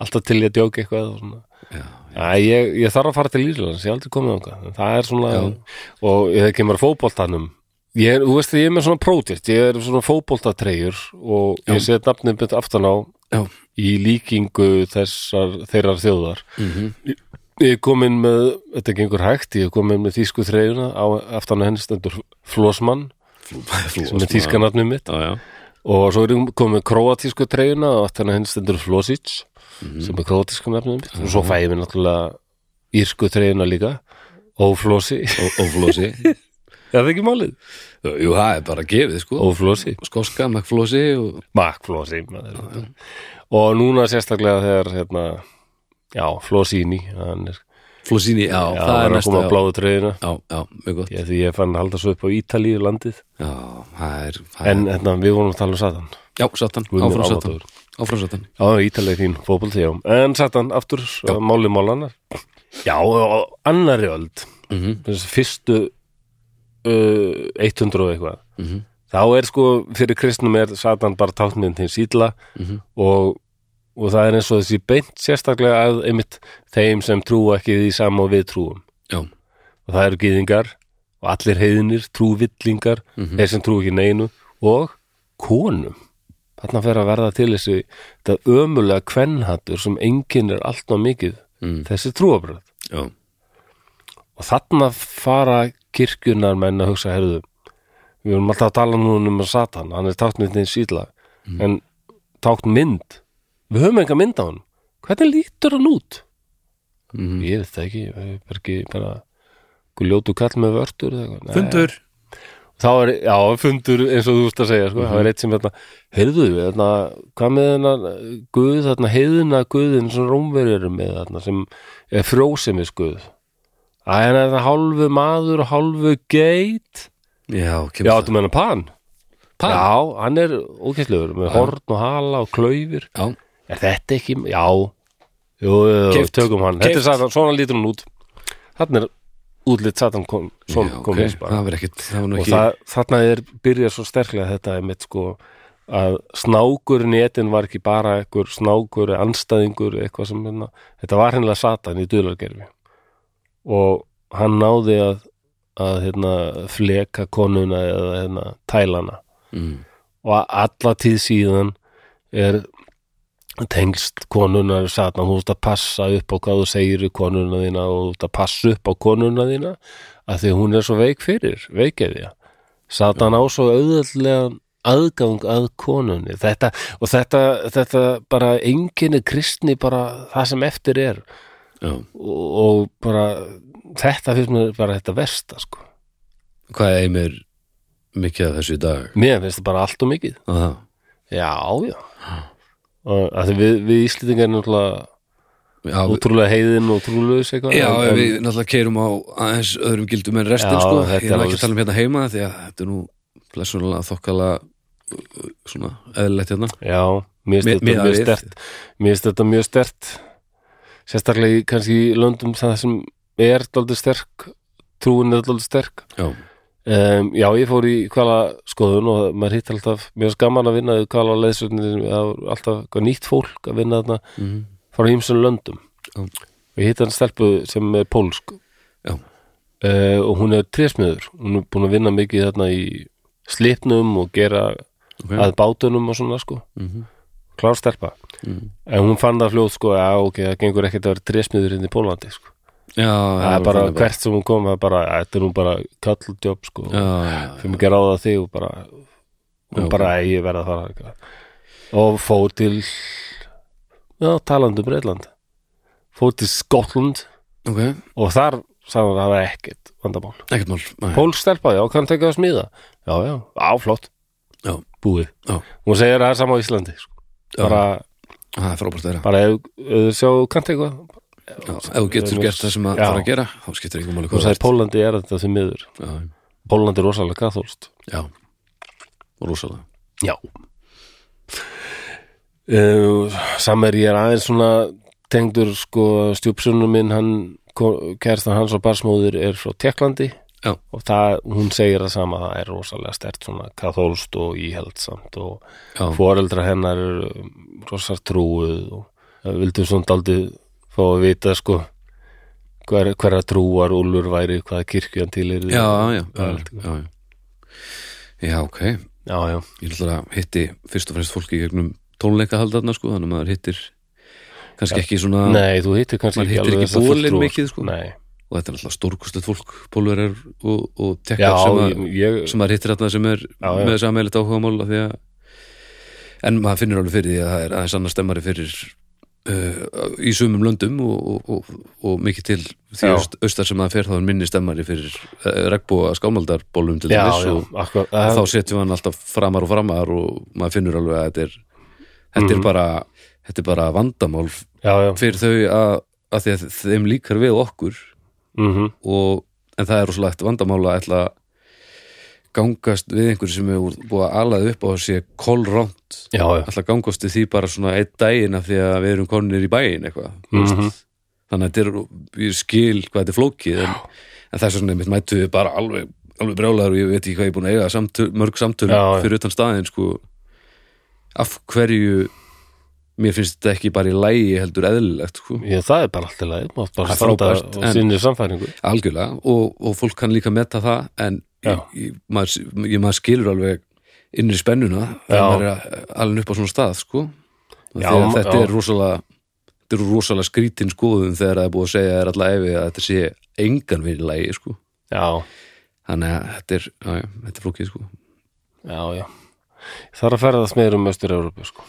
Speaker 1: alltaf til ég að djóka eitthvað og svona
Speaker 2: Já,
Speaker 1: Æ, ég, ég þarf að fara til Írlands, ég hef aldrei komið ánga það er svona, og ég kemur að fótboltanum ég er, þú veist, ég er með svona prótitt, ég er svona fótboltatreyjur og ég set nafnið mitt aftan á
Speaker 2: já,
Speaker 1: í líkingu þessar, þeirrar þjóðar
Speaker 2: Mhm.
Speaker 1: ég, ég er komin með, þetta gengur hægt ég er komin með þýsku treyjuna á, aftan á henni stendur Flosmann sem er þýska nafnið mitt
Speaker 2: já, já,
Speaker 1: og svo erum komið króatísku treyjuna og aftan að henni stendur Flosic
Speaker 2: Mhm.
Speaker 1: sem er króatísku nefnum mitt og svo fæði við náttúrulega írsku treyjuna líka og Flosi [laughs]
Speaker 2: og, og flósi
Speaker 1: er það ekki málið?
Speaker 2: jú, það er bara gefið, sko
Speaker 1: og Flosi,
Speaker 2: skoska, makkflósi og
Speaker 1: Mac Flosi maður.
Speaker 2: Mhm.
Speaker 1: og núna sérstaklega þegar hérna, já, Flosini hann er,
Speaker 2: flósini, já,
Speaker 1: já,
Speaker 2: það
Speaker 1: hann
Speaker 2: er
Speaker 1: er að
Speaker 2: næsta
Speaker 1: koma á
Speaker 2: já,
Speaker 1: bláðu treyjuna
Speaker 2: já, já, mjög gott
Speaker 1: ég, því ég fann að halda svo upp á Ítalíu landið
Speaker 2: já, það er, það er
Speaker 1: en hérna, við vorum að tala um Satan
Speaker 2: já, satan,
Speaker 1: Guð minn
Speaker 2: áfram satan
Speaker 1: almáttugur.
Speaker 2: áfram satan,
Speaker 1: Já, Ítalið þín, fótbolti, já. En Satan, aftur, eh, já. máli málanar. Já, á annari öld,
Speaker 2: Mhm.
Speaker 1: þessi fyrstu uh, 100 og eitthvað,
Speaker 2: Mhm.
Speaker 1: þá er sko, fyrir kristnum er Satan bara táknin til sídla og, og það er eins og þessi beint sérstaklega að einmitt þeim sem trúa ekki því sama og við trúum.
Speaker 2: já,
Speaker 1: Og það eru gýðingar og allir heiðinir, trúvillingar, þeir sem trú ekki neinu og konum þarna fer að verða til þessi þetta ömulega kvennhattur sem enginn er allt á mikið
Speaker 2: Mm.
Speaker 1: þessi trúabröð
Speaker 2: já,
Speaker 1: og þarna fara kirkjunar menn að hugsa herðu við erum alltaf að tala núna um Satan hann er táknmyndin síðla en táknmynd við höfum enga mynd á hann hvernig lítur hann út?
Speaker 2: Mhm.
Speaker 1: ég veit það ekki, ég er ekki bara einhver ljótu kall með vörtur eða eitthvað. Nei.
Speaker 2: fundur
Speaker 1: þá er, já, fundur eins og þú veist að segja, sko, það er
Speaker 2: Mhm.
Speaker 1: eitt sem hérna, heyrðu, hérna, hvað með hérna guð, hérna, heiðina guðin sem rómverjurum með, hérna, sem er frjósemis guð að hérna, hérna, hálfu maður, hálfu geit,
Speaker 2: já,
Speaker 1: já,
Speaker 2: kemur það
Speaker 1: þetta með hérna pan
Speaker 2: Pan?
Speaker 1: já, hann er ókesslegur með horn og hala og klaufir
Speaker 2: já,
Speaker 1: er þetta ekki, já jú, jú, jú,
Speaker 2: Keypt.
Speaker 1: tökum hann, þetta er satan, svona lítur hann út þannig er útlit satan kom,
Speaker 2: já,
Speaker 1: svona
Speaker 2: ok,
Speaker 1: kom sko. eins bara
Speaker 2: það var ekkit það var nú
Speaker 1: og
Speaker 2: ekki,
Speaker 1: það, þarna er byrjað svo sterklega þetta er mitt sko að snákur netin var ekki bara einhver snákur, eða anstæðingur eitthvað sem hérna, þetta var hennilega satan í dulargerfi og hann náði að, að hérna, fleka konuna eða hérna, tælana
Speaker 2: mm,
Speaker 1: og að alla tíð síðan er tengst konunar satan, þú ert að passa upp á hvað þú segir í konuna þína og þú ert að passa upp á konuna þína að því að hún er svo veik fyrir, veikeðja satan á svo auðveldlega aðgang að konunni þetta, og þetta, þetta bara enginni kristni bara það sem eftir er
Speaker 2: já,
Speaker 1: og, og bara þetta finnst mér bara þetta versta sko.
Speaker 2: hvað er mér mikið af þessu í dag
Speaker 1: mér finnst það bara allt og mikið
Speaker 2: Að það,
Speaker 1: Já, já og að því við, við Íslendingar erum náttúrulega
Speaker 2: já, við-
Speaker 1: ótrúlega heiðin og trúlaus eitthvað
Speaker 2: Já,
Speaker 1: en-
Speaker 2: en,
Speaker 1: en-
Speaker 2: við náttúrulega keirum á aðeins öðrum gildum en restin,
Speaker 1: Já,
Speaker 2: sko.
Speaker 1: þetta
Speaker 2: Ég er nú
Speaker 1: er
Speaker 2: ekki
Speaker 1: alveg-
Speaker 2: að tala um hérna heima því að þetta er nú blessunlega þokkala svona eðlilegt hérna.
Speaker 1: Já, mér finnst
Speaker 2: Mi-
Speaker 1: þetta mjög
Speaker 2: miðað við.
Speaker 1: stert Mér finnst þetta mjög stert sérstaklega í kannski í löndum það sem er daldið sterk trúin er daldið sterk
Speaker 2: Já,
Speaker 1: um, Já, ég fór í hvala skoðun og maður hitt alltaf, mér finnst gaman að vinna í hvala leðsögnin, það var alltaf eitthvað nýtt fólk að vinna þarna
Speaker 2: Mhm.
Speaker 1: frá hýmsum löndum
Speaker 2: Já.
Speaker 1: og ég hitt hann stelpu sem er pólsk
Speaker 2: já,
Speaker 1: uh, og hún er trésmiður hún er búin að vinna mikið þarna í slipnum og gera
Speaker 2: ok.
Speaker 1: að bátunum og svona sko
Speaker 2: Mhm.
Speaker 1: klár stelpa
Speaker 2: Mhm.
Speaker 1: en hún fann það fljóð sko að ok, það gengur ekkert að vera trésmiður hérna í Pólandi sko
Speaker 2: já,
Speaker 1: það er
Speaker 2: var
Speaker 1: bara
Speaker 2: þannig
Speaker 1: hvert sem hún kom það er bara, að þetta er nú bara kallutjóp sko
Speaker 2: Já, já,
Speaker 1: fyrir mikið ráða þig og bara hún
Speaker 2: Já.
Speaker 1: bara, "Æ, ég verða að fara eitthvað." og fór til já, talandi um Breitland fór til Skotland
Speaker 2: ok.
Speaker 1: og þar sagði hann að það var ekkert vandamál
Speaker 2: ekkert mál Nei.
Speaker 1: Pól stelpa, já, kann tekja að smíða Já, já, áflott
Speaker 2: Já.
Speaker 1: Búið
Speaker 2: Já.
Speaker 1: Hún segir að það er sama á Íslandi sko.
Speaker 2: Já.
Speaker 1: bara,
Speaker 2: það er frábært að vera
Speaker 1: bara ef ef þau sjá kann tekja
Speaker 2: Já, ef þú getur
Speaker 1: Nú-
Speaker 2: gert það sem að
Speaker 1: Já.
Speaker 2: fara að gera þá skiptir einhver máli
Speaker 1: Hún
Speaker 2: hvað
Speaker 1: sagði Pólandi er þetta því miður
Speaker 2: það er
Speaker 1: Pólandi er rosalega kathólst
Speaker 2: já, rosalega
Speaker 1: Já uh, Sammer ég er aðeins svona tengdur sko stjúpsunum minn hann, kærstan hans og barsmóður er frá Teklandi
Speaker 2: Já.
Speaker 1: og það, hún segir það sama það er rosalega stert svona kathólst og íhaldsamt og
Speaker 2: Já.
Speaker 1: foreldra hennar eru rosar trúið og það vildu svona daldið fá að vita sko hver, hverra trúar úlur væri hvaða kirkju hann til er
Speaker 2: já, já,
Speaker 1: Það
Speaker 2: já,
Speaker 1: er allt í
Speaker 2: já, já. já ok, ég
Speaker 1: já, já.
Speaker 2: ætla að hitti fyrst og fremst fólki í gegnum tónleika haldarna sko, þannig að maður hittir kannski ekki svona
Speaker 1: Nei, þú hittir kannski
Speaker 2: Maður hittir ekki
Speaker 1: þessa
Speaker 2: bolinn
Speaker 1: fulltrúa,
Speaker 2: mikið, sko.
Speaker 1: Nei
Speaker 2: og þetta er alltaf stórkostlegt fólk pólverar og, og
Speaker 1: Já,
Speaker 2: tekkar sem, að-
Speaker 1: ég, ég,
Speaker 2: sem maður hittir þarna sem er
Speaker 1: Já, já.
Speaker 2: með þess aðmeilit áhuga mál því að en maður finnur alveg fyrir því að það er aðeins annar stemmari fyrir uh, í sumum löndum og, og, og, og mikið til því
Speaker 1: Já.
Speaker 2: aust, austar sem það fer þá er minni stemmari fyrir uh, regnbúa skálmaldarbólum til
Speaker 1: já,
Speaker 2: þess
Speaker 1: já,
Speaker 2: og
Speaker 1: akkur,
Speaker 2: þá setjum við hann alltaf framar og framar og maður finnur alveg að þetta er þetta
Speaker 1: Mhm.
Speaker 2: er bara þetta er bara vandamál
Speaker 1: já, já,
Speaker 2: fyrir þau að, að því að þeim líkar við okkur
Speaker 1: mm -hmm,
Speaker 2: og, en það er rosalegt vandamála að ætla að gangast við einhverju sem hefur búið að alað upp á að sé kolrónt
Speaker 1: já, já,
Speaker 2: ætla að gangast við því bara svona einn daginn af því að við erum konir í bæinn eitthvað mm
Speaker 1: Mhm.
Speaker 2: þannig að þetta er ég skil hvað þetta er flókið en, en þess vegna mitt mættu við bara alveg alveg brjálæður og ég veit ekki hvað ég er búin að eiga samtöl, mörg samtöl
Speaker 1: Já, já.
Speaker 2: fyrir utan staðin sko af hverju mér finnst þetta ekki bara í lægi heldur eðlilegt sko.
Speaker 1: ég, það er bara allt í lagi, mátt bara
Speaker 2: Það er
Speaker 1: standa
Speaker 2: frábært,
Speaker 1: og
Speaker 2: en-
Speaker 1: sinni samfæringu
Speaker 2: algjörlega og, og fólk kann líka metta það en
Speaker 1: Já.
Speaker 2: ég, maður, ég, maður skilur alveg innri spennuna
Speaker 1: Já.
Speaker 2: þegar maður er alveg upp á svona stað sko.
Speaker 1: Já,
Speaker 2: já, þetta
Speaker 1: já.
Speaker 2: er rosalega þetta er rosalega skrítin skoðum þegar það er búið að segja þér alla efi að þetta sé engan verið lægi sko.
Speaker 1: Já,
Speaker 2: þannig að þetta er, já, já, þetta er flókið sko.
Speaker 1: já, já Það er að ferðast meir um Östur-Európu sko.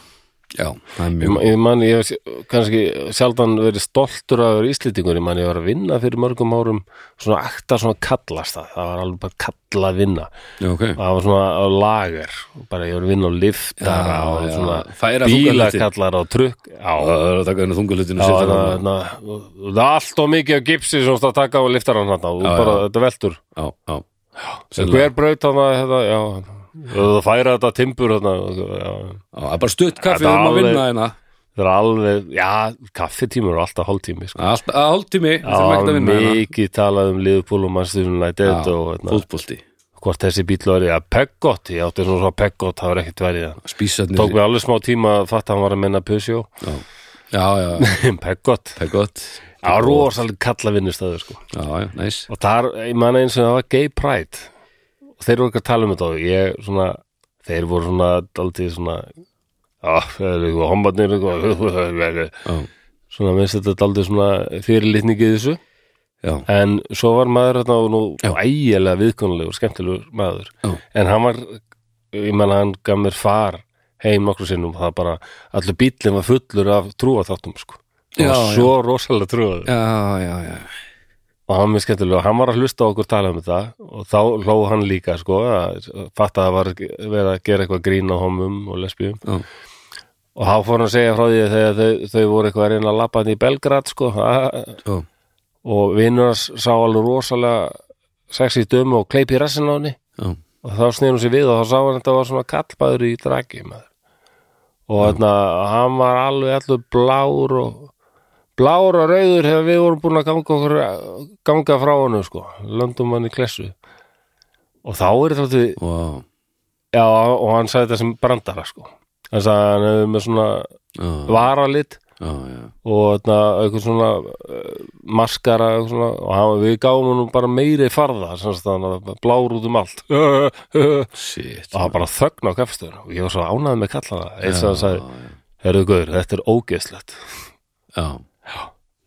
Speaker 2: já, það er
Speaker 1: Ég
Speaker 2: mjög
Speaker 1: man- Ég man, ég hef sj- kannski sjaldan verið stoltur að vera íslendingur Ég man, ég var að vinna fyrir mörgum árum Svona akta svona kallast það Það var alveg bara kalla að vinna
Speaker 2: já, okay.
Speaker 1: Það var svona á lager Bara ég var að vinna á liftara
Speaker 2: Já,
Speaker 1: og
Speaker 2: já.
Speaker 1: svona
Speaker 2: Færa þungaluti.
Speaker 1: bílakallara og trukk Já,
Speaker 2: það er að taka henni þungulutinu
Speaker 1: Já,
Speaker 2: og
Speaker 1: það
Speaker 2: setja
Speaker 1: er
Speaker 2: hana-
Speaker 1: na, það er allt og mikið af gipsi sem þú ert að taka á liftaran hann og
Speaker 2: Já,
Speaker 1: bara
Speaker 2: já.
Speaker 1: þetta veltur
Speaker 2: já, já,
Speaker 1: Sennilega. hver braut hann að þetta, já þarna. og það færa þetta timbur hann þetta
Speaker 2: já, það er bara stutt kaffi
Speaker 1: Þetta
Speaker 2: um að
Speaker 1: alveg-
Speaker 2: vinna hérna
Speaker 1: er alveg, já, kaffitímur er alltaf hálftími, sko
Speaker 2: alltaf hálftími, þetta er ekki
Speaker 1: Já,
Speaker 2: að vinna hérna
Speaker 1: mikið talað um liðupúl og mannstunum
Speaker 2: Já,
Speaker 1: lætið og hérna,
Speaker 2: fótbolti
Speaker 1: hvort þessi bíl var ja, Peggot, ég átti svona svona Peggot það var ekkert verið, það.
Speaker 2: spísarnir
Speaker 1: tók mig alveg smá tíma að fatta að hann var að menna
Speaker 2: [laughs]
Speaker 1: Pusjó
Speaker 2: já, já, já,
Speaker 1: Peggot,
Speaker 2: það er gott
Speaker 1: já, rosalega kalla vinnustöður, sko
Speaker 2: já, já, næs
Speaker 1: og þar, ég man eins og það var gay pride og þeir voru ekki að tala um þetta og ég svona, þeir voru svona daldið svona á, þeir eru eitthvað [laughs] hombarnir eitthvað
Speaker 2: já,
Speaker 1: svona minnst þetta daldið svona fyrirlitningi í þessu
Speaker 2: já,
Speaker 1: en svo var maður þarna og nú ægilega viðkonulegur, skemmtilegur maður
Speaker 2: Já.
Speaker 1: en hann var, ég man hann gaf mér far heim nokkur sinnum og það bara, allur bíllinn var fullur af trúaþáttum sko Það var
Speaker 2: Já,
Speaker 1: svo rosalega trúaður
Speaker 2: já, já, já.
Speaker 1: og hann var mjög skemmtilega og hann var að hlusta á okkur tala um þetta og þá hló hann líka sko að fatta að það var verið að gera eitthvað grín á homum og lesbjum
Speaker 2: Já.
Speaker 1: og þá fór hann að segja frá því að þegar þau, þau voru eitthvað að reyna að labba hann í Belgrad sko að-
Speaker 2: já.
Speaker 1: og vinnur hans sá alveg rosalega sexy dömu og kleip í rassin á henni
Speaker 2: já.
Speaker 1: og þá snýr hún sér við og þá sá hann að þetta var svona kallbæður í draki maður. og þarna, hann var alveg allur blár og blár og rauður hefur við vorum búin að ganga, okkur, ganga frá honum sko, löndum hann í klessu og þá er þetta því-
Speaker 2: Vá.
Speaker 1: já, og hann sagði þetta sem brandara sko hann sagði að hann hefur með svona
Speaker 2: já,
Speaker 1: varalit
Speaker 2: já, já,
Speaker 1: og þarna, eitthvað svona uh, maskara eitthvað svona, og hann, við gáum hann bara meiri farða sem sagt, hann var blár út um allt [laughs]
Speaker 2: shit
Speaker 1: og það var bara þögn á kaffestöðun og ég var svo ánæði með kallana eins
Speaker 2: Já,
Speaker 1: og það sagði, herruðu guður, þetta er ógeðslegt
Speaker 2: já,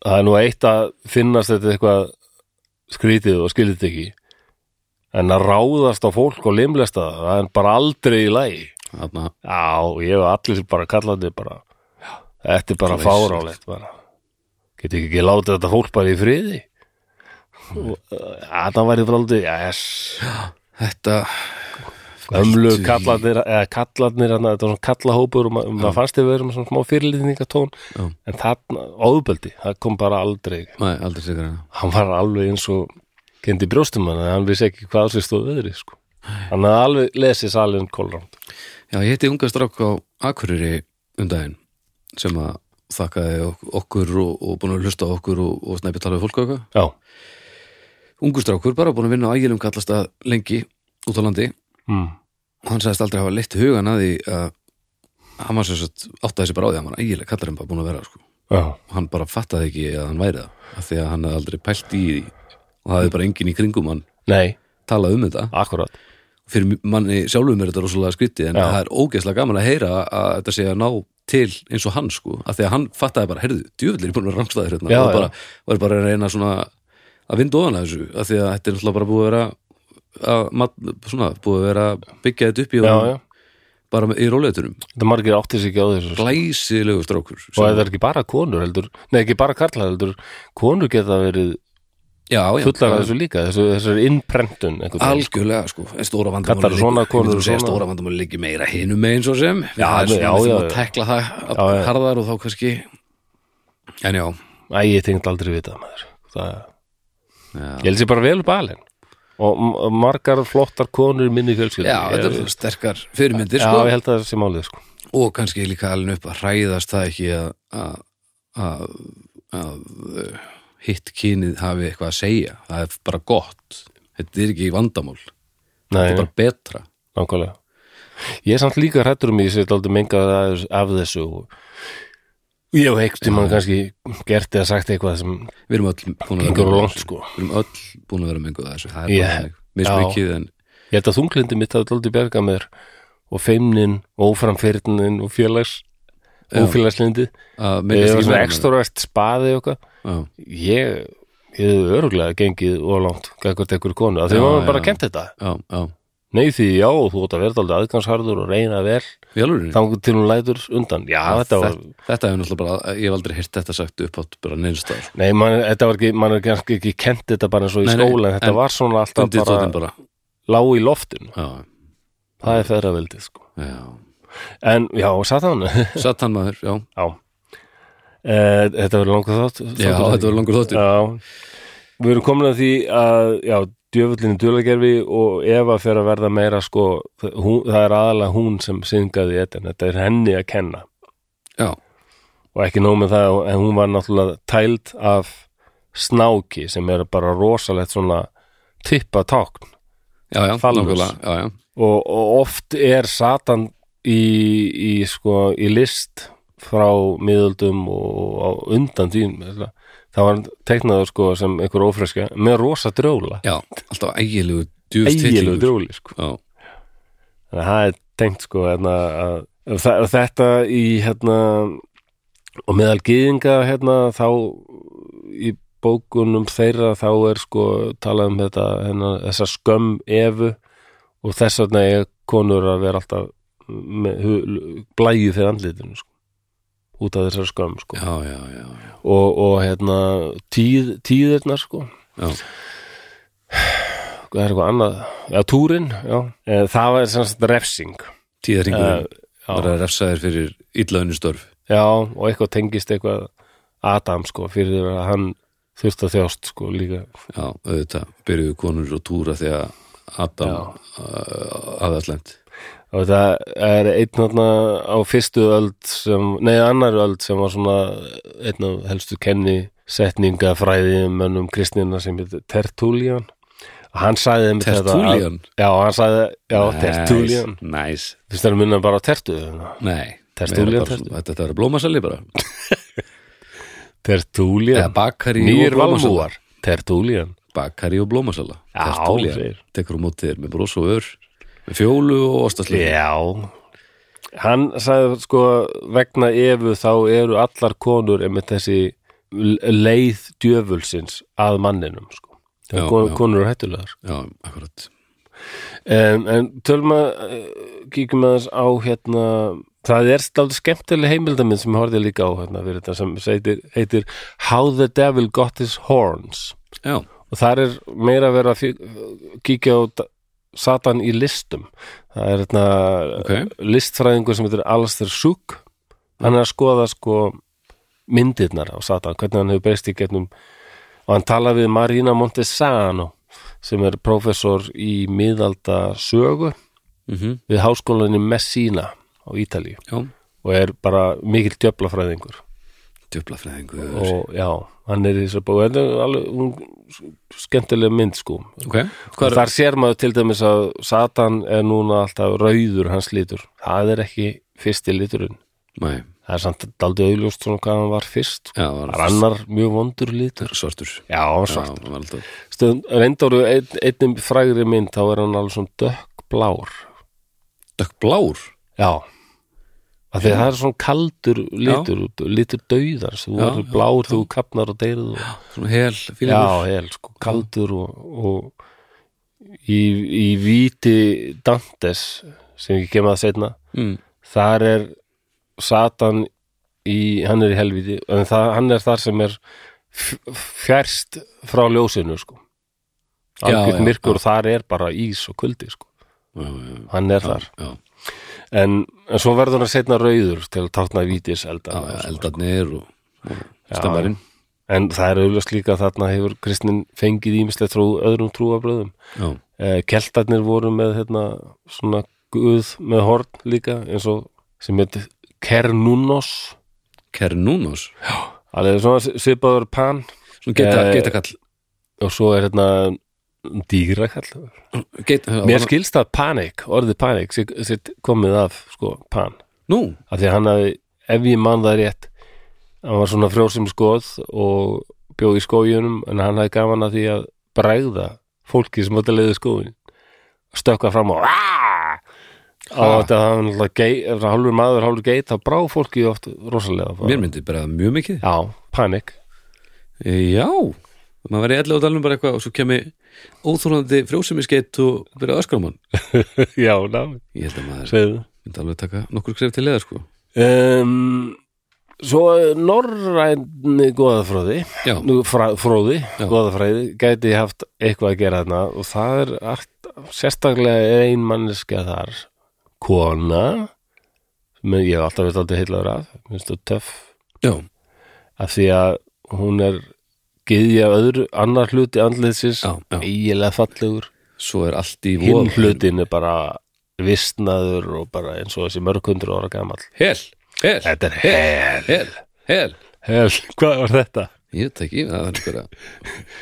Speaker 1: það er nú eitt að finnast þetta eitthvað skrítið og skiljið þetta ekki en að ráðast á fólk og limlesta það, það er bara aldrei í lagi
Speaker 2: þarna
Speaker 1: já, og ég hef allir bara kallandi bara, þetta er bara
Speaker 2: Glæsilegt.
Speaker 1: fárálegt bara. get ekki ekki látið þetta fólk bara í friði uh, Adam væri fráldu, yes
Speaker 2: Þetta
Speaker 1: ömlu
Speaker 2: Ertu í-
Speaker 1: kallarnir eða kallarnir, hann, þetta var svona kallahópur og ma maður fannst þið verið með svona smá fyrirlýningatón
Speaker 2: Já.
Speaker 1: en það, óðböldi það kom bara aldrei,
Speaker 2: Nei, aldrei sigur hana
Speaker 1: hann var alveg eins og kendi brjóstum hann, hann vissi ekki hvað á sér stóð öðri, sko hann hafði alveg lesið salin kólránd
Speaker 2: Já, ég heiti unga strák á Akureyri um daginn sem að þakkaði ok- okkur og, og búin að hlusta á okkur og, og snæpi tala við fólk og eitthvað
Speaker 1: já,
Speaker 2: Ungur strákur bara búin að vinna á ægilum kallast að lengi út á landi
Speaker 1: mm.
Speaker 2: Hmm. hann sagðist aldrei hafa leitt hugan að því að hann var sem sagt áttaði sér bara á því að hann var ægilega kallar en bara búin að vera sko.
Speaker 1: já,
Speaker 2: hann bara fattaði ekki að hann væri það af því að hann hafði aldrei pælt í því og það hefði bara enginn í kringum hann
Speaker 1: nei,
Speaker 2: talað um þetta
Speaker 1: akkurat
Speaker 2: fyrir manni sjálfum er þetta rosalega skrítið en
Speaker 1: Já.
Speaker 2: það er ógeðslega gaman að heyra að þetta sé að ná til eins og hann sko af því að hann fattaði bara, heyrðu, djöfullir búin að vera rangstæðir hérna
Speaker 1: Já,
Speaker 2: og
Speaker 1: já.
Speaker 2: bara, var bara að reyna svona að vinda ofan að þessu af því að þetta er náttúrulega bara búið að vera að, mat- svona, búið að vera að byggja þetta upp í
Speaker 1: já,
Speaker 2: honum
Speaker 1: já,
Speaker 2: bara með- í róleitunum
Speaker 1: þetta margir átti sig ekki á þessu sko.
Speaker 2: glæsilegu strókur
Speaker 1: og þetta er ekki bara konur heldur, nei ekki bara karlar heldur konur geta verið
Speaker 2: já, já,
Speaker 1: fullar af þessu líka, þessu, þessu innprentun einhvern veginn, sko.
Speaker 2: algjörlega sko en stóra
Speaker 1: Kallar
Speaker 2: vandamál
Speaker 1: svona konur svona.
Speaker 2: stóra vandamál liggi meira hinum megin svo sem
Speaker 1: Já,
Speaker 2: það er
Speaker 1: já,
Speaker 2: svona við þurfum
Speaker 1: já,
Speaker 2: að
Speaker 1: já.
Speaker 2: tekla það
Speaker 1: Já, já.
Speaker 2: harðar og þá kannski en já,
Speaker 1: Æ, ég tengd aldrei við það maður það,
Speaker 2: já.
Speaker 1: ég held sér bara vel upp alinn og m- margar flottar konur í minni fjölskyldu
Speaker 2: Já, þetta
Speaker 1: ég,
Speaker 2: eru sterkar fyrirmyndir
Speaker 1: já, ég
Speaker 2: sko,
Speaker 1: held að það sé málið sko.
Speaker 2: og kannski líka alveg upp að hræðast það ekki að, að, að, að uh, hitt kynið hafi eitthvað að segja það er bara gott, þetta er ekki vandamál þetta
Speaker 1: Nei,
Speaker 2: er bara betra
Speaker 1: nákvæmlega ég er samt líka hrættur um mig, ég sé aldrei mengað af- af þessu og ég hef heikt um hann kannski gert eða sagt eitthvað sem
Speaker 2: við erum öll búin að
Speaker 1: gengur
Speaker 2: vera
Speaker 1: langt
Speaker 2: þessu.
Speaker 1: sko
Speaker 2: við erum öll búin að vera menguð þessu það er
Speaker 1: Ég-
Speaker 2: yeah. mismikið en
Speaker 1: ég held að þunglindi mitt hafði aldrei bjargað mér og feimnin, óframfyrnin og félags ófélagslindi
Speaker 2: að mengast
Speaker 1: ég var
Speaker 2: ekki meira
Speaker 1: svona
Speaker 2: með
Speaker 1: ekstra spaði og eitthvað
Speaker 2: það.
Speaker 1: ég, ég hefði öruglega gengið ólangt gækvart einhverju konu af því
Speaker 2: Já,
Speaker 1: maður
Speaker 2: já.
Speaker 1: bara kent þetta
Speaker 2: já, já,
Speaker 1: nei því já, þú átt að verða alveg aðgangsharður og reyna vel
Speaker 2: já í alvörunni?
Speaker 1: þangur til hún lætur undan já, þetta var,
Speaker 2: þetta, þetta hefur náttúrulega bara ég hef aldrei heyrt þetta sagt upp átt bara neinstað
Speaker 1: nei, man, þetta var ekki mann er kannski ekki kent þetta bara eins og í
Speaker 2: Nei, nei,
Speaker 1: skóla en þetta
Speaker 2: en
Speaker 1: var svona alltaf
Speaker 2: stundið
Speaker 1: bara,
Speaker 2: tóttin bara
Speaker 1: lág í loftinu
Speaker 2: já,
Speaker 1: það er feðraveldið sko
Speaker 2: já.
Speaker 1: en já, [laughs] satan já,
Speaker 2: satan maður, já,
Speaker 1: e, þetta verður langur þátt
Speaker 2: já þetta var langur þóttur
Speaker 1: Já, við erum komin að því að já, djöfullinu dulagerfi og Eva fer að verða meira sko, hún, það er aðalega hún sem syngaði þetta, þetta er henni að kenna
Speaker 2: já,
Speaker 1: og ekki nóg með það, en hún var náttúrulega tæld af snáki sem er bara rosalegt svona tippatákn
Speaker 2: já, já,
Speaker 1: Fallus.
Speaker 2: nákvæmlega já, já,
Speaker 1: og, og oft er Satan í, í, sko, í list frá miðöldum og, og undan því það var teiknaður sko sem einhver ófreska með rosa drjóla
Speaker 2: já, alltaf ægilegu djúfst
Speaker 1: eiginlegu drjóli sko.
Speaker 2: já,
Speaker 1: þannig að það er tengt sko hérna, að, að, að þetta í hérna og meðal gyðinga hérna þá í bókunum þeirra þá er sko talað um þetta hérna, þessa skömm efu og þess vegna er konur að vera alltaf með hu- blæju fyrir andlitinu sko út af þessar skömm sko
Speaker 2: já, já, já, já.
Speaker 1: og, og hérna tíð, tíðirnar sko
Speaker 2: Já.
Speaker 1: það er eitthvað annað já, túrin, já, Eh, það var sem sagt refsing
Speaker 2: tíðarringurinn
Speaker 1: Eh, já,
Speaker 2: bara refsaðir fyrir illaunni störf
Speaker 1: já, og eitthvað tengist eitthvað Adam sko, fyrir að hann þurft að þjást sko líka
Speaker 2: já, auðvitað, byrjuðu konur og túra þegar Adam eh, aðallend
Speaker 1: og það er einn þarna á fyrstu öld sem, nei annar öld sem var svona einn af helstu kenni setninga fræði mönnum kristnina sem heitir Tertullian og hann sagði einmitt þetta að-
Speaker 2: Tertullian?
Speaker 1: Já, hann sagði, já, Tertullian
Speaker 2: næs,
Speaker 1: Þú stæðum minna bara á tertu þarna.
Speaker 2: nei
Speaker 1: Tertullian,
Speaker 2: meira bara
Speaker 1: tertu.
Speaker 2: svona- þetta þetta er blómasali bara eða
Speaker 1: Tertullian,
Speaker 2: bakari og
Speaker 1: nýjir
Speaker 2: blómasala.
Speaker 1: valmúar Tertullian,
Speaker 2: bakari og blómasala
Speaker 1: Já,
Speaker 2: tertúlían,
Speaker 1: segir.
Speaker 2: tekur á móti þér með bros og ör með fjólu og ostaslíf
Speaker 1: já Hann sagði sko vegna efu þá eru allar konur með þessi l- leið djöfulsins að manninum sko.
Speaker 2: Já,
Speaker 1: kon,
Speaker 2: já.
Speaker 1: konur eru hættulegar
Speaker 2: já, akkurat
Speaker 1: um, en tölum að uh, kíkjum aðeins á hérna það er stálega skemmtileg heimildaminn sem ég horfði líka á hérna fyrir þetta sem heitir, heitir How the Devil Got His Horns
Speaker 2: já,
Speaker 1: og þar er meira að vera að fí- kíkja á d- Satan í listum það er hérna
Speaker 2: Ok.
Speaker 1: listfræðingur sem heitir Alastair Suk hann er að skoða sko myndirnar á Satan, hvernig hann hefur breyst í getnum og hann tala við Marina Montesano sem er prófessor í miðalda sögu
Speaker 2: mm
Speaker 1: við háskólanum Messina á Ítalíu
Speaker 2: já,
Speaker 1: og er bara mikil djöflafræðingur
Speaker 2: djöflafræðingur
Speaker 1: og já, hann er í þessu bók og þetta er alveg hún, skemmtileg mynd sko
Speaker 2: ok, hvað er
Speaker 1: þar sér maður til dæmis að Satan er núna alltaf rauður hans lítur það er ekki fyrsti líturinn
Speaker 2: Nei,
Speaker 1: það er samt daldið auðljóst svona hvað hann var fyrst
Speaker 2: já, það
Speaker 1: það er
Speaker 2: var
Speaker 1: annar mjög vondur lítur
Speaker 2: svartur
Speaker 1: já, hann var
Speaker 2: Já,
Speaker 1: svart
Speaker 2: það var alltaf
Speaker 1: Stöðum, reyndar úr ein, einnum frægri mynd þá er hann alveg svona dökkblár
Speaker 2: dökkblár
Speaker 1: já Af því að það er svona kaldur lítur, lítur dauðar sem þú
Speaker 2: Já,
Speaker 1: verður
Speaker 2: já,
Speaker 1: blár þegar þú kapnar og deyrið og
Speaker 2: svona hel fílingur
Speaker 1: Já, hel, sko, kaldur og, og í, í víti Dantes sem ég kem að setna
Speaker 2: mm.
Speaker 1: þar er Satan í, hann er í helviti en það, hann er þar sem er f- fjærst frá ljósinu sko
Speaker 2: Já, já,
Speaker 1: algjörn myrkur
Speaker 2: já.
Speaker 1: og þar er bara ís og kuldi sko,
Speaker 2: já, já,
Speaker 1: hann er þar
Speaker 2: já,
Speaker 1: en, en svo verður hann setna rauður til að tákna vítis sko. elda
Speaker 2: já, já, eldarnir og, og
Speaker 1: Já,
Speaker 2: stemmarinn
Speaker 1: en það er auðvitað slíka þarna hefur kristnin fengið ímislega trú, öðrum trúabröðum
Speaker 2: já,
Speaker 1: eh, keltarnir voru með hérna, svona guð með horn líka eins og sem heit Kernunos
Speaker 2: Kernúnos
Speaker 1: alveg svona svipaður pan
Speaker 2: svona geta,
Speaker 1: Eh,
Speaker 2: geta kall
Speaker 1: og svo er hérna dýrakall
Speaker 2: geta,
Speaker 1: mér skilst að panik, orðið panik sé- sé komið af sko pan
Speaker 2: nú,
Speaker 1: af því að hann hafi, ef ég man það rétt hann var svona frjósum skoð og bjóð í skójunum en hann hafi gaman að því að bregða fólki sem átti að leiði skóin stökka fram og "Ah!" og þetta hann náttúrulega gei- ef það hálfur maður, hálfur geit þá brá fólki oft rosalega bara.
Speaker 2: mér myndi bara mjög mikið
Speaker 1: já, panik
Speaker 2: Eh, já, maður verið ellu á dalnum bara eitthvað og svo kemi óþólandi frjósumiskeitt og byrja öskramann
Speaker 1: [laughs] já, ná,
Speaker 2: ég held að maður
Speaker 1: segðu
Speaker 2: myndi alveg taka nokkur skref til leða sko
Speaker 1: um, svo norræni goðafröði
Speaker 2: já,
Speaker 1: Nú, frá, fróði,
Speaker 2: Já.
Speaker 1: goðafræði gæti haft eitthvað að gera þarna og það er allt, sérstaklega er ein manneskja þar kona sem ég hef alltaf veit aldrei heillaður að minnst þú töff
Speaker 2: já,
Speaker 1: af því að hún er gyðja öðru, annar hluti andliðsins
Speaker 2: já, já
Speaker 1: eiginlega fallegur
Speaker 2: svo er allt í
Speaker 1: hinn
Speaker 2: vofa.
Speaker 1: hlutin er bara vistnaður og bara eins og þessi mörg hundru ára gamall
Speaker 2: hel, hel,
Speaker 1: Þetta er hel,
Speaker 2: hel, hel
Speaker 1: hel, hvað var þetta?
Speaker 2: Ég veit ekki, það er einhverja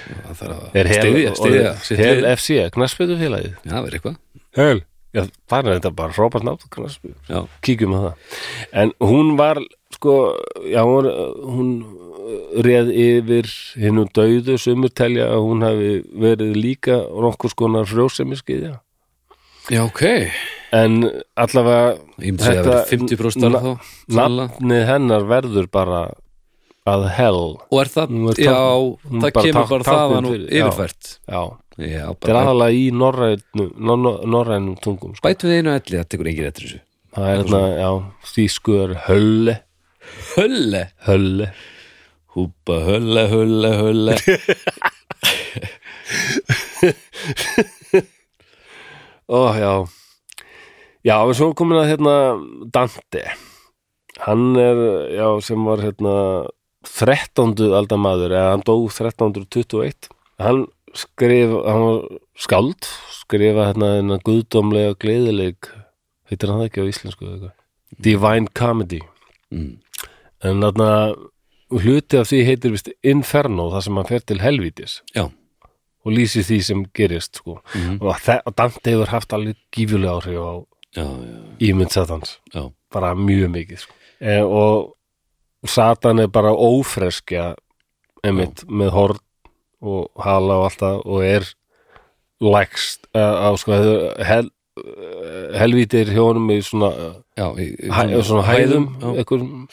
Speaker 2: Það þarf
Speaker 1: Er
Speaker 2: að
Speaker 1: hel,
Speaker 2: stiðja, stiðja sitt
Speaker 1: hel
Speaker 2: lið.
Speaker 1: FC, knarsbytufélagið
Speaker 2: Já, það er eitthvað
Speaker 1: Hel Já, það er þetta bara frábært nátt
Speaker 2: Já,
Speaker 1: Kíkjum að það En hún var sko Já, hún, hún uh, réð yfir hinnum dauðu sumur telja að hún hafi verið líka nokkur skonar frjósemiskyðja
Speaker 2: já ok Ég
Speaker 1: En allavega
Speaker 2: myndi segja að
Speaker 1: Þetta-
Speaker 2: vera 50%
Speaker 1: na-
Speaker 2: þar þá Sannlega.
Speaker 1: nafnið hennar verður bara að hell
Speaker 2: Og er það,
Speaker 1: Hún er
Speaker 2: já,
Speaker 1: tákn- hún
Speaker 2: það
Speaker 1: bara
Speaker 2: kemur
Speaker 1: tákn-
Speaker 2: bara
Speaker 1: táknið
Speaker 2: þaðan og
Speaker 1: fyrir- já.
Speaker 2: yfirfært
Speaker 1: Já,
Speaker 2: Já,
Speaker 1: þetta er
Speaker 2: bara
Speaker 1: aðalega í norrænum, nor- nor- norrænum tungum sko.
Speaker 2: Bætum við einu elli, það tekur engin eftir þessu
Speaker 1: Það er þarna, já, þýsku er hölle
Speaker 2: Hölle
Speaker 1: Hölle
Speaker 2: Húpa, hölle, hölle, hölle
Speaker 1: Ó, já Já, en svo er komin að hérna Dante Hann er, já, sem var hérna 13. aldamaður eða hann dó 1321 Hann skrif, hann var skáld skrifa hérna hérna guðdómlega gleðileg heitir hann það ekki á íslensku eða eitthvað Divine Comedy
Speaker 2: Mm.
Speaker 1: En þarna hluti af því heitir vist Inferno, það sem hann fer til helvítis
Speaker 2: Já,
Speaker 1: og lýsir því sem gerist sko.
Speaker 2: Mhm.
Speaker 1: og, þa- og Dante hefur haft alveg gífulega áhrif á
Speaker 2: já, já,
Speaker 1: ímynd Satans
Speaker 2: já
Speaker 1: bara mjög mikið sko. e, og Satan er bara ófreskja einmitt, með horn og hala og alltaf og er lægst uh, á sko, hel, eh, helvítir hjá honum í svona,
Speaker 2: Já, í- í-
Speaker 1: hæ, svona hæðum,
Speaker 2: já.
Speaker 1: einhverjum,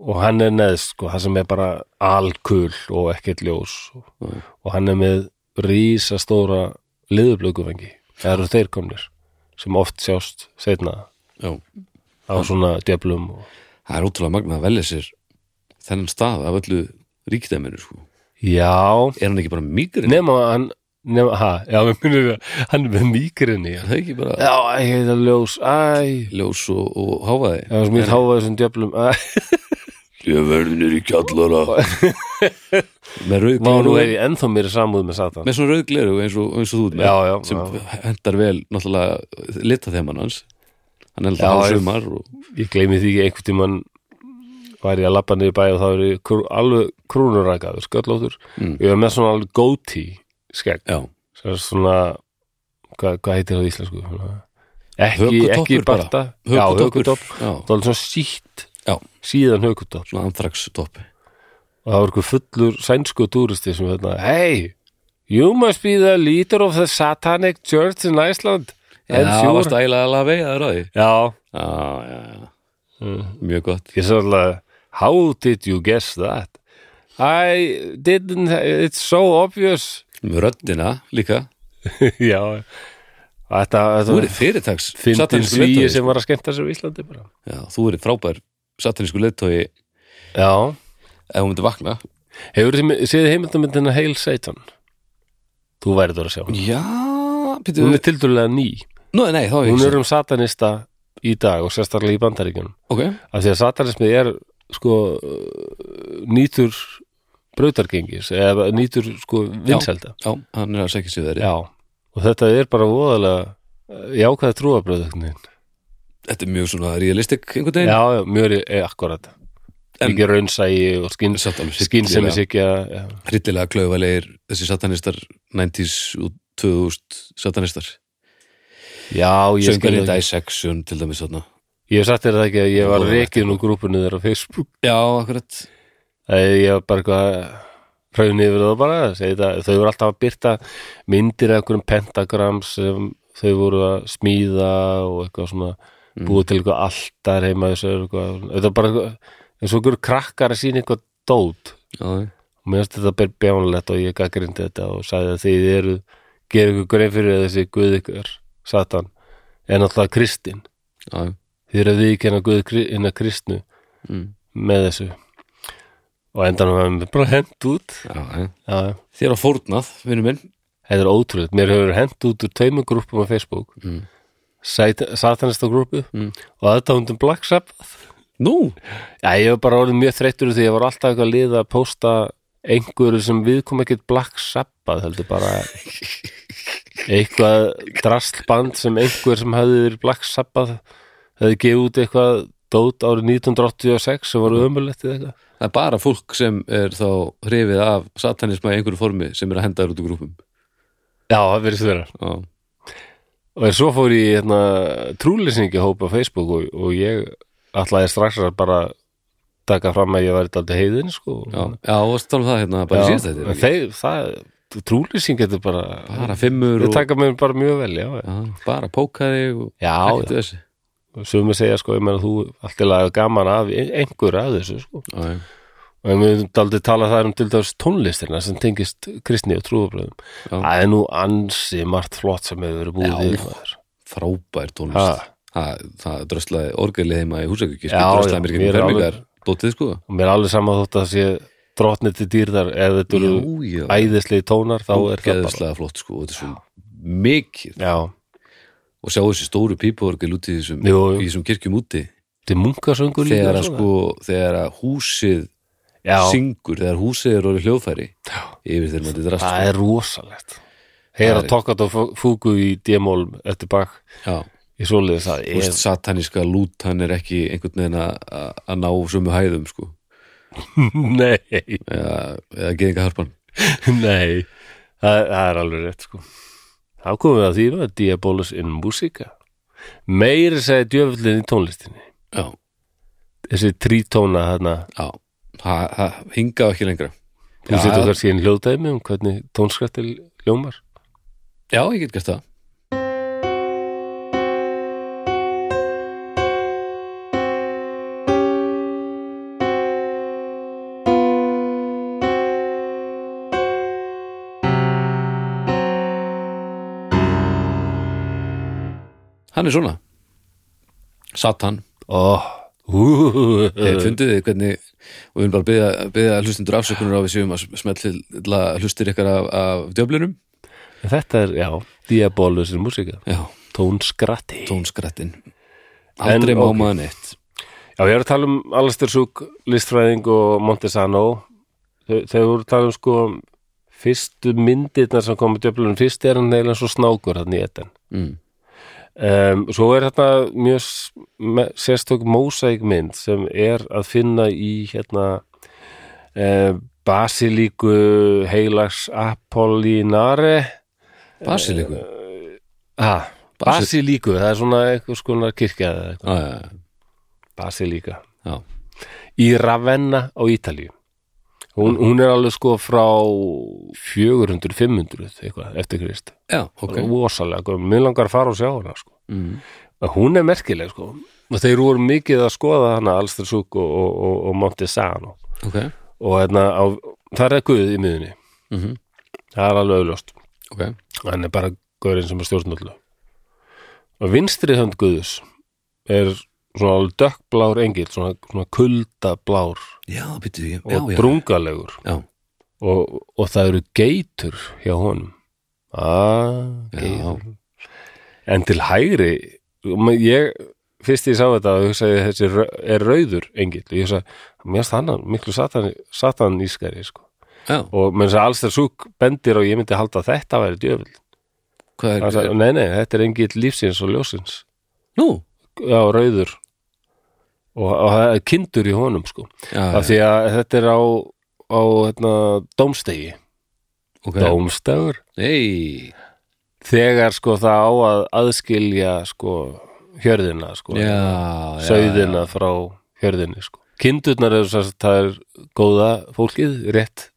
Speaker 1: og hann er neðst sko, það sem er bara alkul og ekkert ljós og
Speaker 2: Já.
Speaker 1: og hann er með rísastóra liðublökuvengi það eru þeir komnir sem oft sjást setna
Speaker 2: Já.
Speaker 1: á svona djöflum og...
Speaker 2: Það er ótrúlega magna að velja sér þennan stað af öllu ríkdæminu, sko
Speaker 1: Já,
Speaker 2: er hann ekki bara mýgrinn?
Speaker 1: nema hann nema, ha, já, við minnum við hann er með mýgrinni
Speaker 2: er það ekki bara
Speaker 1: Já, æ, þetta ljós, æ
Speaker 2: ljós og, og háfaði?
Speaker 1: Já, sem ég táfaði þessum djöflum æ.
Speaker 2: Ég verður nýri kjallara með rauð
Speaker 1: Vá, nú
Speaker 2: gleru
Speaker 1: er ég ennþá mér í samúð með Satan
Speaker 2: með svona rauð gleru eins og, eins og þú ert með
Speaker 1: Já, já,
Speaker 2: sem
Speaker 1: já.
Speaker 2: hendar vel náttúrulega litaþeman hans hann er
Speaker 1: Já,
Speaker 2: náttúrulega
Speaker 1: ég-
Speaker 2: sumar og,
Speaker 1: Ég gleymi því ekki einhvern tímann var ég að labba niður í bæ og þá er ég krú, alveg krúnurakaður, sköllóttur
Speaker 2: Mm.
Speaker 1: Ég var með svona alveg goatee skegg
Speaker 2: já,
Speaker 1: sem er svona, hvað, hvað heitir það í íslensku? Svona- Ekki,
Speaker 2: Hökutoppur
Speaker 1: ekki
Speaker 2: bara.
Speaker 1: barta Já,
Speaker 2: hökutoppur
Speaker 1: hökutopp
Speaker 2: já,
Speaker 1: Það var svona sítt,
Speaker 2: Já.
Speaker 1: síðan hökutopp
Speaker 2: svona anþrakstopp
Speaker 1: og það var eitthvað fullur sænsku túristi sem hérna, hey you must be the leader of the satanic church in Iceland
Speaker 2: en
Speaker 1: And
Speaker 2: það
Speaker 1: sure."
Speaker 2: var stæla að vega það ráði
Speaker 1: já,
Speaker 2: já, já, já
Speaker 1: Mm.
Speaker 2: mjög gott
Speaker 1: ég sagði alltaf how did you guess that I didn't, it's so obvious
Speaker 2: með röddina líka,
Speaker 1: [laughs] já þetta,
Speaker 2: þú
Speaker 1: þetta
Speaker 2: eru fyrirtags
Speaker 1: fyndin
Speaker 2: satanískur
Speaker 1: svíi
Speaker 2: leiðtogi,
Speaker 1: sem var að skemmta sér á Íslandi bara.
Speaker 2: sko. já, þú eru frábær satanísku leittói ef
Speaker 1: já,
Speaker 2: hún myndi vakna
Speaker 1: hefur þið séð heimildamindina Hail Satan þú værið þú að sjá hana.
Speaker 2: já, býttu
Speaker 1: hún er tildurlega ný
Speaker 2: nú, nei, þá hef ég
Speaker 1: hún
Speaker 2: ekki
Speaker 1: er um satanista í dag og sérstaklega í bandaríkjunum
Speaker 2: séð. ok,
Speaker 1: af því að satanismi er sko uh, nýtur brautargengis eða nýtur sko vinselda
Speaker 2: já, hann er að segja sér þeirri
Speaker 1: já, og þetta er bara voðalega eh, jákvæða trúabröðugnin
Speaker 2: þetta er mjög svona realistik einhvern
Speaker 1: já,
Speaker 2: veginn
Speaker 1: já, mjög eh, er, er akkurat
Speaker 2: En-
Speaker 1: ekki raunsægi og skinn
Speaker 2: Samt alveg
Speaker 1: skinnsemi
Speaker 2: hryllilega-
Speaker 1: sikja já,
Speaker 2: hryllilega klaufalegir þessi satanistar 90s og 2000 satanistar
Speaker 1: já ég skil
Speaker 2: söngarinn
Speaker 1: það ekki.
Speaker 2: Dissection til dæmis þarna
Speaker 1: ég hef sagt þér það ekki að ég var
Speaker 2: Voðalega
Speaker 1: reikin úr grúpunni þeirra á Facebook
Speaker 2: já, akkurat
Speaker 1: Það er ég var bara eitthvað hraun yfir það bara, segi það, þau voru alltaf að byrta myndir af einhverjum pentagram sem þau voru að smíða og eitthvað svona
Speaker 2: Mm.
Speaker 1: búið til eitthvað alltar heima þessu eitthvað, þetta er bara eitthvað, eins og einhverjum krakkar að sína eitthvað dót
Speaker 2: já,
Speaker 1: og mér finnst þetta byrja bjánulegt og ég gaggrindi þetta og sagði að þið eru gera ykkur grein fyrir að þessi guð ykkur satan, en alltaf kristinn
Speaker 2: já,
Speaker 1: þið eru að viðkenna guð kri- hinna kristnu
Speaker 2: mm.
Speaker 1: með þessu og endanum hefum við bara hent út
Speaker 2: já, já.
Speaker 1: Já, já.
Speaker 2: þér var fórnað, vinnu minn
Speaker 1: þetta er ótrúlega, mér hefur hent út úr tveimur grúppum á Facebook
Speaker 2: Mm.
Speaker 1: Sat satanista grúppu
Speaker 2: Mm.
Speaker 1: og aðdándum Black Sabbath
Speaker 2: nú,
Speaker 1: Já, ég hef bara orðið mjög þreyttur úr því ég var alltaf eitthvað lið að posta einhverju sem viðkom ekkert Black Sabbath heldur bara eitthvað drastlband sem einhver sem hafði verið Black Sabbath hefði gefið út eitthvað dót árið 1986 sem
Speaker 2: Mm.
Speaker 1: var ömulegt eða eitthvað
Speaker 2: það er bara fólk sem er þá hrifið af satanisma í einhverju formi sem er að henda þér út úr grúpum
Speaker 1: Já, það verið stöðar
Speaker 2: já,
Speaker 1: og svo fór ég í, hérna, trúlýsingi hópa Facebook og, og ég ætlaði strax að bara taka fram að ég var þetta heiðin sko.
Speaker 2: já, já, og stálega það hérna bara síðast þetta ekki?
Speaker 1: þeir, það trúlýsing þetta er bara,
Speaker 2: bara fimmur
Speaker 1: þau
Speaker 2: og
Speaker 1: taka mér bara mjög vel já, já,
Speaker 2: já, bara pókari og
Speaker 1: já,
Speaker 2: ekkert þessi
Speaker 1: já. sumir segja sko, ég meina þú allt í lagi gaman af einhver af þessu sko.
Speaker 2: já, já.
Speaker 1: og ég myndi aldrei tala það um til dæmis tónlistina sem tengist kristni og trúabröðum
Speaker 2: Já.
Speaker 1: það er nú ansi margt flott sem hefur verið
Speaker 2: Já.
Speaker 1: búið í maður.
Speaker 2: frábær
Speaker 1: Ha.
Speaker 2: tónlist það, það dröslaði orgelið heima í húsakjöki
Speaker 1: Já, já,
Speaker 2: dröslaði mér ekki
Speaker 1: mér er
Speaker 2: fermingar dótið sko
Speaker 1: og mér er alveg sama þótt að sé drotnið til dýrðar ef þetta eru
Speaker 2: já,
Speaker 1: æðislegi tónar þá er það bara
Speaker 2: ógeðslega flott sko og þetta er svo mikið
Speaker 1: já,
Speaker 2: og sjá þessi stóru pípuorgel út í þessum,
Speaker 1: Jú, jú.
Speaker 2: í þessum kirkjum úti
Speaker 1: þetta er munkasöngur líka
Speaker 2: þegar að
Speaker 1: svona.
Speaker 2: sko, þegar að húsið
Speaker 1: já,
Speaker 2: syngur, þegar húsið er orðið hljóðfæri yfir þegar maður drast
Speaker 1: það er rosalegt heyra
Speaker 2: Það er-
Speaker 1: tokkat og fúku í djemól eftir bak
Speaker 2: já,
Speaker 1: í svoleiðis að
Speaker 2: þú
Speaker 1: ég,
Speaker 2: veist, sataníska lút hann er ekki einhvern veginn að- að að ná sömu hæðum sko
Speaker 1: nei,
Speaker 2: eða, eða geðinga harpan
Speaker 1: [laughs] nei það, það er alveg rétt sko þá komum við að því með Diabolus in Musica meiri segi djöfullin í tónlistinni
Speaker 2: já,
Speaker 1: þessi trítóna þarna
Speaker 2: já, það það hingað ekki lengra
Speaker 1: þú
Speaker 2: Já,
Speaker 1: setur
Speaker 2: já.
Speaker 1: kannski einn hljóðdæmi um hvernig tónskrættir ljómar
Speaker 2: Já, ég get gert það Hann er svona Satan
Speaker 1: oh, uh,
Speaker 2: Eh, Hefur fundið þið hvernig og við erum bara að byggja, byggja hlustundur afsökunar á við séum að smetla hlustir ykkar af, af djöflunum
Speaker 1: En Þetta er, já, diabólusir músika
Speaker 2: já,
Speaker 1: Tónskratti
Speaker 2: tónskrættin aldrei
Speaker 1: En,
Speaker 2: má
Speaker 1: ok.
Speaker 2: maður neitt
Speaker 1: Já, ég er að tala um Alastair Suk, listfræðing og Montesano Þau, þau voru að tala um sko fyrstu myndirnar sem komu djöflunum fyrst er hann eiginlega svo snákur hann í etan
Speaker 2: mm.
Speaker 1: um, Svo er þetta mjög s- me- sérstök mósækmynd sem er að finna í hérna um, Basilíku heilags Apollinare
Speaker 2: Basilíku
Speaker 1: ha, Basilíku, Ah, það er svona eitthvað skona kirkja eða eitthvað.
Speaker 2: já, já,
Speaker 1: Basilíka
Speaker 2: já,
Speaker 1: í Ravenna á Ítalíu hún, hún er alveg sko frá 400-500 eitthvað eftir Krist
Speaker 2: já, ok
Speaker 1: okay. rosalega, gömul. mig langar að fara og sjá hana sko.
Speaker 2: mm.
Speaker 1: Að hún er merkileg sko og þeir voru mikið að skoða hana Alster Suk og, og, og, og Montesano
Speaker 2: ok,
Speaker 1: og hérna, á, það er guð í miðunni
Speaker 2: mm -hmm.
Speaker 1: það er alveg auðljóst
Speaker 2: ok
Speaker 1: hann er bara gaurinn sem er stjórnullu og vinstri hönd Guðus er svona alveg dökkblár engil svona, svona kuldablár
Speaker 2: já, býttu, já, já,
Speaker 1: og
Speaker 2: já,
Speaker 1: drungalegur
Speaker 2: já.
Speaker 1: og, og það eru geitur hjá honum að
Speaker 2: Já.
Speaker 1: geitur en til hægri men ég, fyrst ég sá þetta og hugsaði þessi rau- er rauður engill og ég hugsaði, mér stann hann miklu satan, satan ískari sko.
Speaker 2: já.
Speaker 1: og menn þess að alls þær súk bendir og ég myndi halda að þetta væri djöfull
Speaker 2: hvað
Speaker 1: Hann
Speaker 2: er,
Speaker 1: sagði, nei, nei, þetta er engill lífsins og ljósins
Speaker 2: nú
Speaker 1: já, rauður og, og það er kindur í honum sko.
Speaker 2: já,
Speaker 1: af því að þetta er á, á hérna, dómstegi
Speaker 2: ok,
Speaker 1: dómstegur
Speaker 2: nei
Speaker 1: þegar sko það á að aðskilja sko hjörðina sko
Speaker 2: já, já, já.
Speaker 1: sauðina frá hjörðinni sko kindurnar eru svo að það er góða fólkið, rétt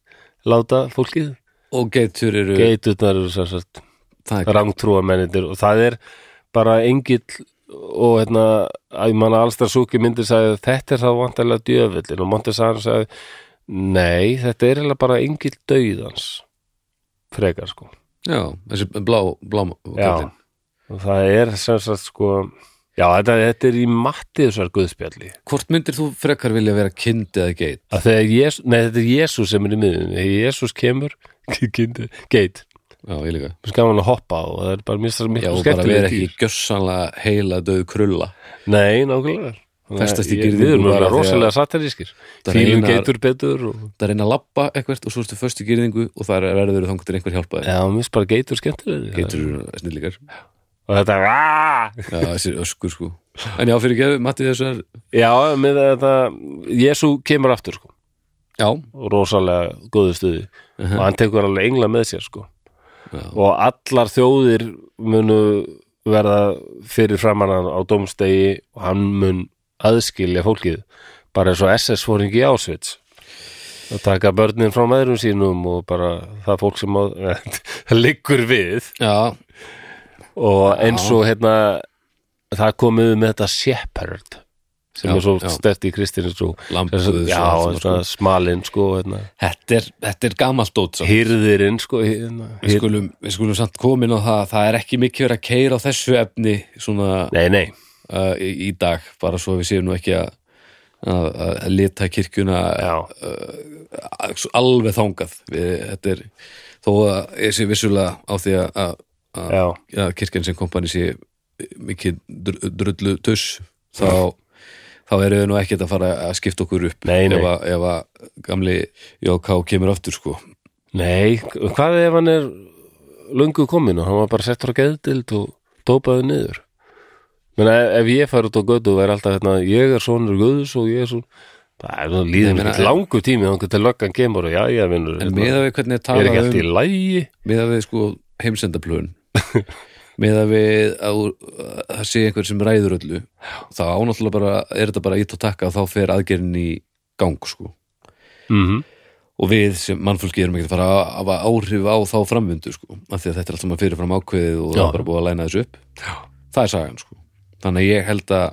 Speaker 1: láta fólkið,
Speaker 2: og getur eru
Speaker 1: geiturnar eru svo að
Speaker 2: það er
Speaker 1: rangtrúa mennindir og það er bara engill og hérna, að ég manna allstar súki myndir sagði þetta er það vantarlega djöfellin og Montes Aron sagði nei, þetta er eiginlega bara engill dauðans frekar sko
Speaker 2: já, þessi blá, blá
Speaker 1: Já, og það er sem sagt sko Já, þetta, þetta er í matti þessar guðspjalli
Speaker 2: hvort myndir þú frekar vilja vera kind eða geit
Speaker 1: að þegar Jésús, nei þetta er Jésús sem er í miðun þegar Jésús kemur [laughs] kindur- geit,
Speaker 2: já, ég líka
Speaker 1: mér skal hann að hoppa og það er bara mjög mjög
Speaker 2: Já,
Speaker 1: mjög
Speaker 2: og bara vera
Speaker 1: skemmtileg
Speaker 2: ekki
Speaker 1: dýr
Speaker 2: gjössanlega heila döð krulla
Speaker 1: Nei, nákvæmlega Þannig að
Speaker 2: Festast í
Speaker 1: ég-
Speaker 2: girðingu
Speaker 1: Við erum
Speaker 2: bara þegar-
Speaker 1: náttúrulega rosalega satirískir
Speaker 2: Það
Speaker 1: Fýlum
Speaker 2: reynar-
Speaker 1: geitur betur og...
Speaker 2: Það er að reyna að labba eitthvað og svo ertu föst í gyrðingu og það er verður þangur til einhver hjálpa þér
Speaker 1: Já, mér finnst bara geitur skemmtilegri
Speaker 2: Geitur eru snillíkar
Speaker 1: Og þetta er "Ah!"
Speaker 2: Já, þessi öskur sko En já, fyrir geðu, Matti þessar
Speaker 1: Já, með þetta Jésú kemur aftur sko
Speaker 2: Já,
Speaker 1: og rosalega góðu stuði og hann tekur alveg engla með sér sko
Speaker 2: Já.
Speaker 1: og allar þjóðir munu verða fyrir framan hann á dómstegi og hann mun aðskilja fólkið bara eins og SS fóringi ásvits að taka börnin frá meðrum sínum og bara það fólk sem að, eh, [laughs] liggur við
Speaker 2: já,
Speaker 1: og eins og hérna það komið með þetta shepherd sem
Speaker 2: Já,
Speaker 1: er svo
Speaker 2: já.
Speaker 1: stert í kristinu svo,
Speaker 2: Lambið og
Speaker 1: já,
Speaker 2: allt svona,
Speaker 1: svona smalinn sko, hérna,
Speaker 2: þetta er, þetta er gamalt dót svo.
Speaker 1: hýrðirinn sko, hérna,
Speaker 2: Við skulum, við skulum samt komin á það að það er ekki mikið verið að keira á þessu efni svona
Speaker 1: nei, nei
Speaker 2: uh, í, í dag, bara svo við séum nú ekki að að, að að lita kirkjuna
Speaker 1: Já,
Speaker 2: að- svo alveg þangað við, þetta er, þó að ég sé vissulega á því að, að, að,
Speaker 1: já,
Speaker 2: að kirkjan sem kompani sé mikið dr- drullu tuss þá, þá eru við nú ekkert að fara að skipta okkur upp
Speaker 1: Nei, nei.
Speaker 2: ef að, ef að gamli Jóká kemur aftur sko
Speaker 1: nei, hvað ef hann er löngu komin og hann var bara settur á geðdild og dópaði niður menn ef, ef ég fær út á götu og væri alltaf hérna, ég er sonur Guðs og ég er svo það er það líður
Speaker 2: Ég meina,
Speaker 1: mér langu tími þannig til löggan kemur og já, já, vinnur
Speaker 2: en
Speaker 1: hérna,
Speaker 2: meða við hvernig er
Speaker 1: er ekki
Speaker 2: talað
Speaker 1: allt í
Speaker 2: um
Speaker 1: lægi
Speaker 2: meða við sko
Speaker 1: [laughs]
Speaker 2: heimsendaplön meða við að úr- að það sé einhver sem ræður öllu þá ánáttúrulega bara, er þetta bara ít og takka og þá fer aðgerinn í gang sko
Speaker 1: mm
Speaker 2: og við sem mannfólki erum ekki að fara að hafa áhrif á þá framvindu sko, af því að þetta er alltaf maður fyrirfram ákveðið og það
Speaker 1: Já.
Speaker 2: er bara búið að læna þessu upp Já. það er sagan sko, þannig að ég held að,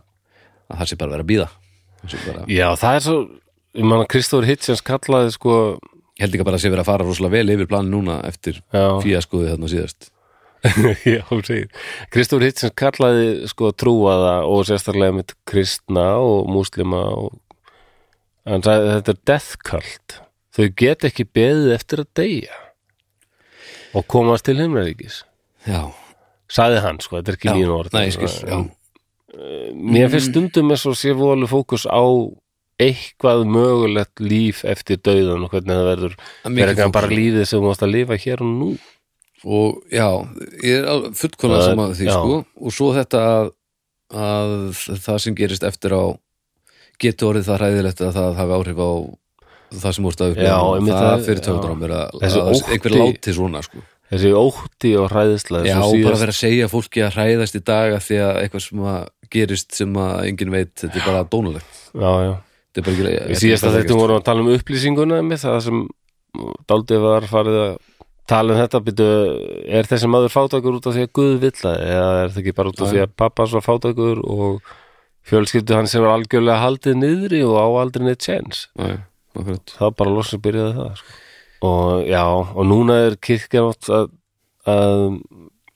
Speaker 2: að það sé bara að vera að býða bara,
Speaker 1: já, það er svo ég man að Kristóður Hitchens kallaði sko
Speaker 2: ég held ekki bara að sé verið að fara rosalega vel yfir planin núna eftir
Speaker 1: já,
Speaker 2: fíaskoði þarna síðast
Speaker 1: Já, hún segir. Kristófur Hitchens kallaði sko trúaða og sérstaklega mitt kristna og múslima og Hann sagði þetta er death cult. Þau get ekki beðið eftir að deyja og komast til himnaríkis.
Speaker 2: já,
Speaker 1: Sagði hann, sko, þetta er ekki
Speaker 2: já,
Speaker 1: mín orð.
Speaker 2: nei, ég skil, já,
Speaker 1: Mér finnst stundum eins og sé vólu fókus á eitthvað mögulegt líf eftir dauðan og hvernig það verður
Speaker 2: Það er mikið
Speaker 1: verður ekki bara
Speaker 2: fókus.
Speaker 1: lífið sem þú ást að lifa hér og nú
Speaker 2: og já, ég er alveg fullkona
Speaker 1: Það er-
Speaker 2: saman því
Speaker 1: já.
Speaker 2: sko og svo þetta að, að það sem gerist eftir á getur orðið það hræðilegt að það hafi áhrif á það sem úrst að
Speaker 1: Já,
Speaker 2: upplifa
Speaker 1: einmitt
Speaker 2: það
Speaker 1: það-
Speaker 2: fyrir
Speaker 1: já.
Speaker 2: tökur á mér að,
Speaker 1: Þessi
Speaker 2: að
Speaker 1: ótti-
Speaker 2: einhver láti svona sko
Speaker 1: þessi ótti og hræðisla
Speaker 2: já,
Speaker 1: þessu
Speaker 2: og bara
Speaker 1: síðast-
Speaker 2: vera að segja fólki að hræðast í dag að því að eitthvað sem að gerist sem að enginn veit, þetta er bara dónulegt
Speaker 1: já, já.
Speaker 2: þetta er bara ekki þetta
Speaker 1: Í
Speaker 2: er
Speaker 1: síðasta
Speaker 2: bara
Speaker 1: þetta
Speaker 2: ekkert.
Speaker 1: vorum við að tala um upplýsinguna með það sem daldið var farið að tala um þetta byrju, er þessi maður fátækur út af því að Guð vill það eða er það ekki bara út af
Speaker 2: Já,
Speaker 1: því að pappas var fátækur og fjölskyldu hann sem var algjörlega haldið niðri og á aldrei neitt tjens
Speaker 2: Nei, akkurat.
Speaker 1: það var bara loksins byrjaði það sko. og já, og núna er kirkjan oft að, að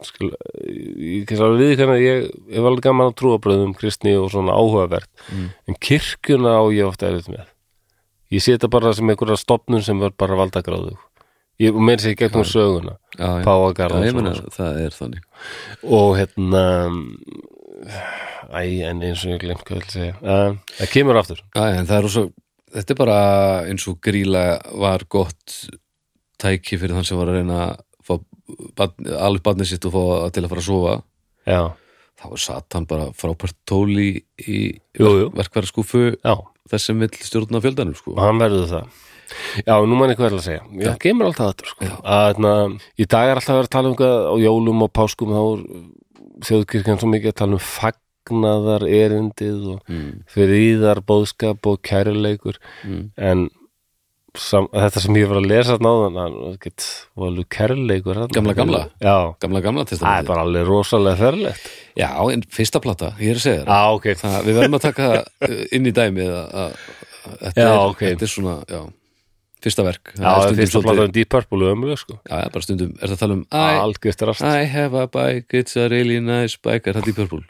Speaker 1: skil, ég kannski alveg við hvernig ég hef alveg gaman að trúabröðum kristni og svona áhugavert
Speaker 2: Mm.
Speaker 1: en kirkjuna á ég ofta erut með ég sé þetta bara sem einhverja stopnun sem var bara valdagráðu ég meir sér gegnum söguna
Speaker 2: Já, já.
Speaker 1: Páfagarð og
Speaker 2: Já, ég meina,
Speaker 1: svona,
Speaker 2: það er þannig
Speaker 1: og hérna æ, en eins og ég glemt hvað ég vil segja uh, það kemur aftur
Speaker 2: Já, en það er rosa, þetta er bara eins og gríla var gott tæki fyrir þann sem var að reyna að fá barn, alveg barnið sitt og fá það til að fara að sofa
Speaker 1: já,
Speaker 2: þá er Satan bara frábært tóli í
Speaker 1: jú, Ah. jú,
Speaker 2: verkværa skúfu
Speaker 1: já
Speaker 2: þess sem vill stjórna fjöldanum sko.
Speaker 1: og hann verður það já, nú mann ég hvað er að segja já, kemur alltaf þetta sko. að, na, í dag er alltaf að vera að tala um hvað á jólum og páskum þá er þjóðkirkjan svo mikið að tala um fagnaðar erindið og
Speaker 2: mm.
Speaker 1: friðar bóðskap og kærleikur
Speaker 2: Mm.
Speaker 1: en sam, þetta sem ég var að lesa náðan hann var ekkert alveg kærleikur þarna.
Speaker 2: Gamla, gamla?
Speaker 1: já,
Speaker 2: gamla gamla
Speaker 1: það er
Speaker 2: testamenti
Speaker 1: bara alveg rosalega ferlegt
Speaker 2: já, en fyrsta plata, ég er að segja þér
Speaker 1: já, ok,
Speaker 2: það, við verðum að taka það uh, inn í dæmið að, að, að þetta,
Speaker 1: Já,
Speaker 2: er,
Speaker 1: ok.
Speaker 2: þetta er svona já, fyrsta verk
Speaker 1: já,
Speaker 2: Það er stundum
Speaker 1: fyrst að
Speaker 2: svolítið-
Speaker 1: plata Ah. um Deep Purple um ömuleg sko,
Speaker 2: já, já, bara stundum, er það að tala um æ,
Speaker 1: algjörst rast
Speaker 2: I have a bike, it's a really nice bike Er það Deep Purple?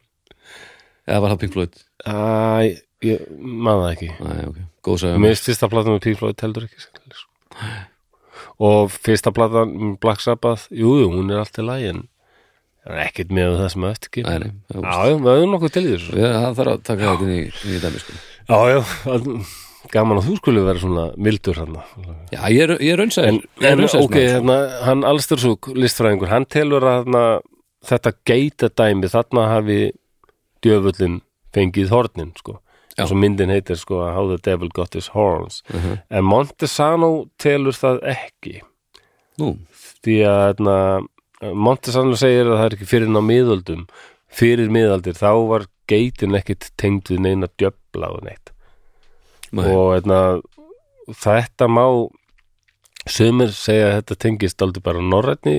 Speaker 2: Eða var það Pink Floyd?
Speaker 1: æ, ég man það ekki
Speaker 2: Nei, ok, góð sagði
Speaker 1: Mér finnst fyrsta platan með Pink Floyd heldur ekki skemmtileg, sko. og fyrsta platan með Black Sabbath, jú, jú, hún er alltaf læg en en ekkert með það sem eftir ekki
Speaker 2: Nei, nei, já,
Speaker 1: Já, já, við höfum nokkuð til í þessu
Speaker 2: við- það þarf að taka þetta inn í, inn í dæmi sko.
Speaker 1: Já, já, að- gaman að þú skulle vera svona mildur hann
Speaker 2: Já, ég er, ég er raunsæður
Speaker 1: En, en ok, hérna, hann Alstersúk listfræðingur, hann telur að hérna, þetta geita dæmi, þarna hafi djöfullin fengið hornin, sko
Speaker 2: Já.
Speaker 1: eins og myndin heitir sko How the Devil Got His Horns en Montesano telur það ekki
Speaker 2: Nú,
Speaker 1: því að hérna, Montesano segir að það er ekki fyrir ná miðöldum fyrir miðaldir, þá var geitin ekkit tengd við neina djöfla og neitt
Speaker 2: nei,
Speaker 1: og hérna, þetta má sömur segja að þetta tengist aldrei bara norrætni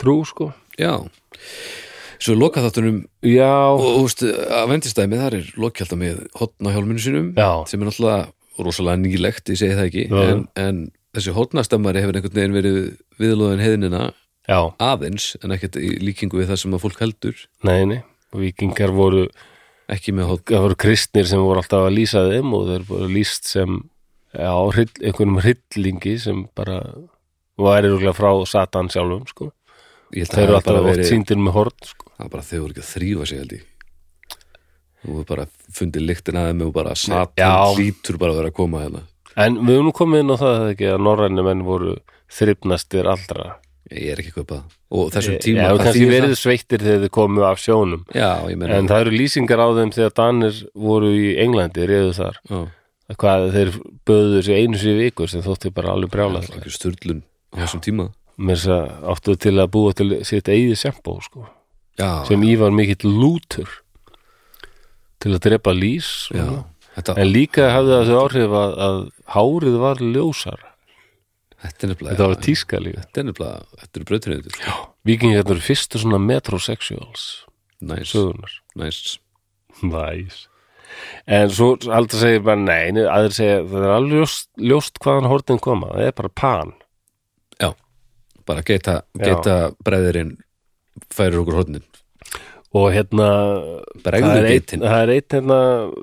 Speaker 1: trú sko
Speaker 2: já Svo loka þáttunum
Speaker 1: já,
Speaker 2: og þú veist, að vendist dæmi þar er loki alltaf með hotna hjálminu sínum
Speaker 1: Já.
Speaker 2: sem er náttúrulega rosalega nýlegt, ég segi það ekki
Speaker 1: Já.
Speaker 2: en, en þessi hotnastemmari hefur einhvern veginn verið viðlóðin heiðnina
Speaker 1: já,
Speaker 2: aðeins, en ekkert í líkingu við það sem að fólk heldur
Speaker 1: neini vikingar voru,
Speaker 2: ekki með hotn
Speaker 1: það voru kristnir sem voru alltaf að lýsa þeim og þeir voru lýst sem já, hryll, einhvernum hryllingi sem bara væri rúglega frá Satan sjálfum sko
Speaker 2: Ég held að
Speaker 1: þeir eru
Speaker 2: hafi
Speaker 1: alltaf
Speaker 2: bara
Speaker 1: oft
Speaker 2: verið-
Speaker 1: síndir með horn sko.
Speaker 2: Það er bara þau voru ekki að þrýfa sig held ég Þú hefur bara fundið lyktin að þeim og bara satan
Speaker 1: Já.
Speaker 2: hlýtur bara að vera að koma hérna
Speaker 1: en við höfum nú komið inn á það ekki að norræni menn voru þrifnastir allra
Speaker 2: Ég er ekki kaupað það Og þessum
Speaker 1: Já,
Speaker 2: tíma
Speaker 1: og
Speaker 2: hvað
Speaker 1: kannski
Speaker 2: þýðir
Speaker 1: verið sveittir þegar þið komu af sjónum
Speaker 2: það? Já, ég meina
Speaker 1: en það eru lýsingar á þeim þegar Danir voru í Englandi reyðu þar
Speaker 2: Já,
Speaker 1: hvað þeir böðu sér einu sér viku sem þótti bara alveg brjála
Speaker 2: það er ekki sturlun á þessum tíma
Speaker 1: með þess að áttu til að búa til sitt eigið sempó sko,
Speaker 2: Já,
Speaker 1: sem í var mikill lútur til að drepa lýs
Speaker 2: já
Speaker 1: svona.
Speaker 2: Þetta,
Speaker 1: en líka hafði það þau áhrif að, að hárið var ljósar
Speaker 2: þetta er nefnilega
Speaker 1: þetta var tíska líka
Speaker 2: Þetta er nefnilega, þetta eru hérna. brautinni Já,
Speaker 1: vikingarnir eru fyrstu svona metrosexuals
Speaker 2: næs,
Speaker 1: sögunar
Speaker 2: næs
Speaker 1: Næs. En svo aldrei segir bara nei, nei, aðrir segja það er alveg ljóst, ljóst hvaðan hortin koma, það er bara pan.
Speaker 2: Já, bara geta, geta breðirinn færir okkur hodnin
Speaker 1: og hérna
Speaker 2: Bregður
Speaker 1: það er
Speaker 2: bitin.
Speaker 1: einn það er einn hérna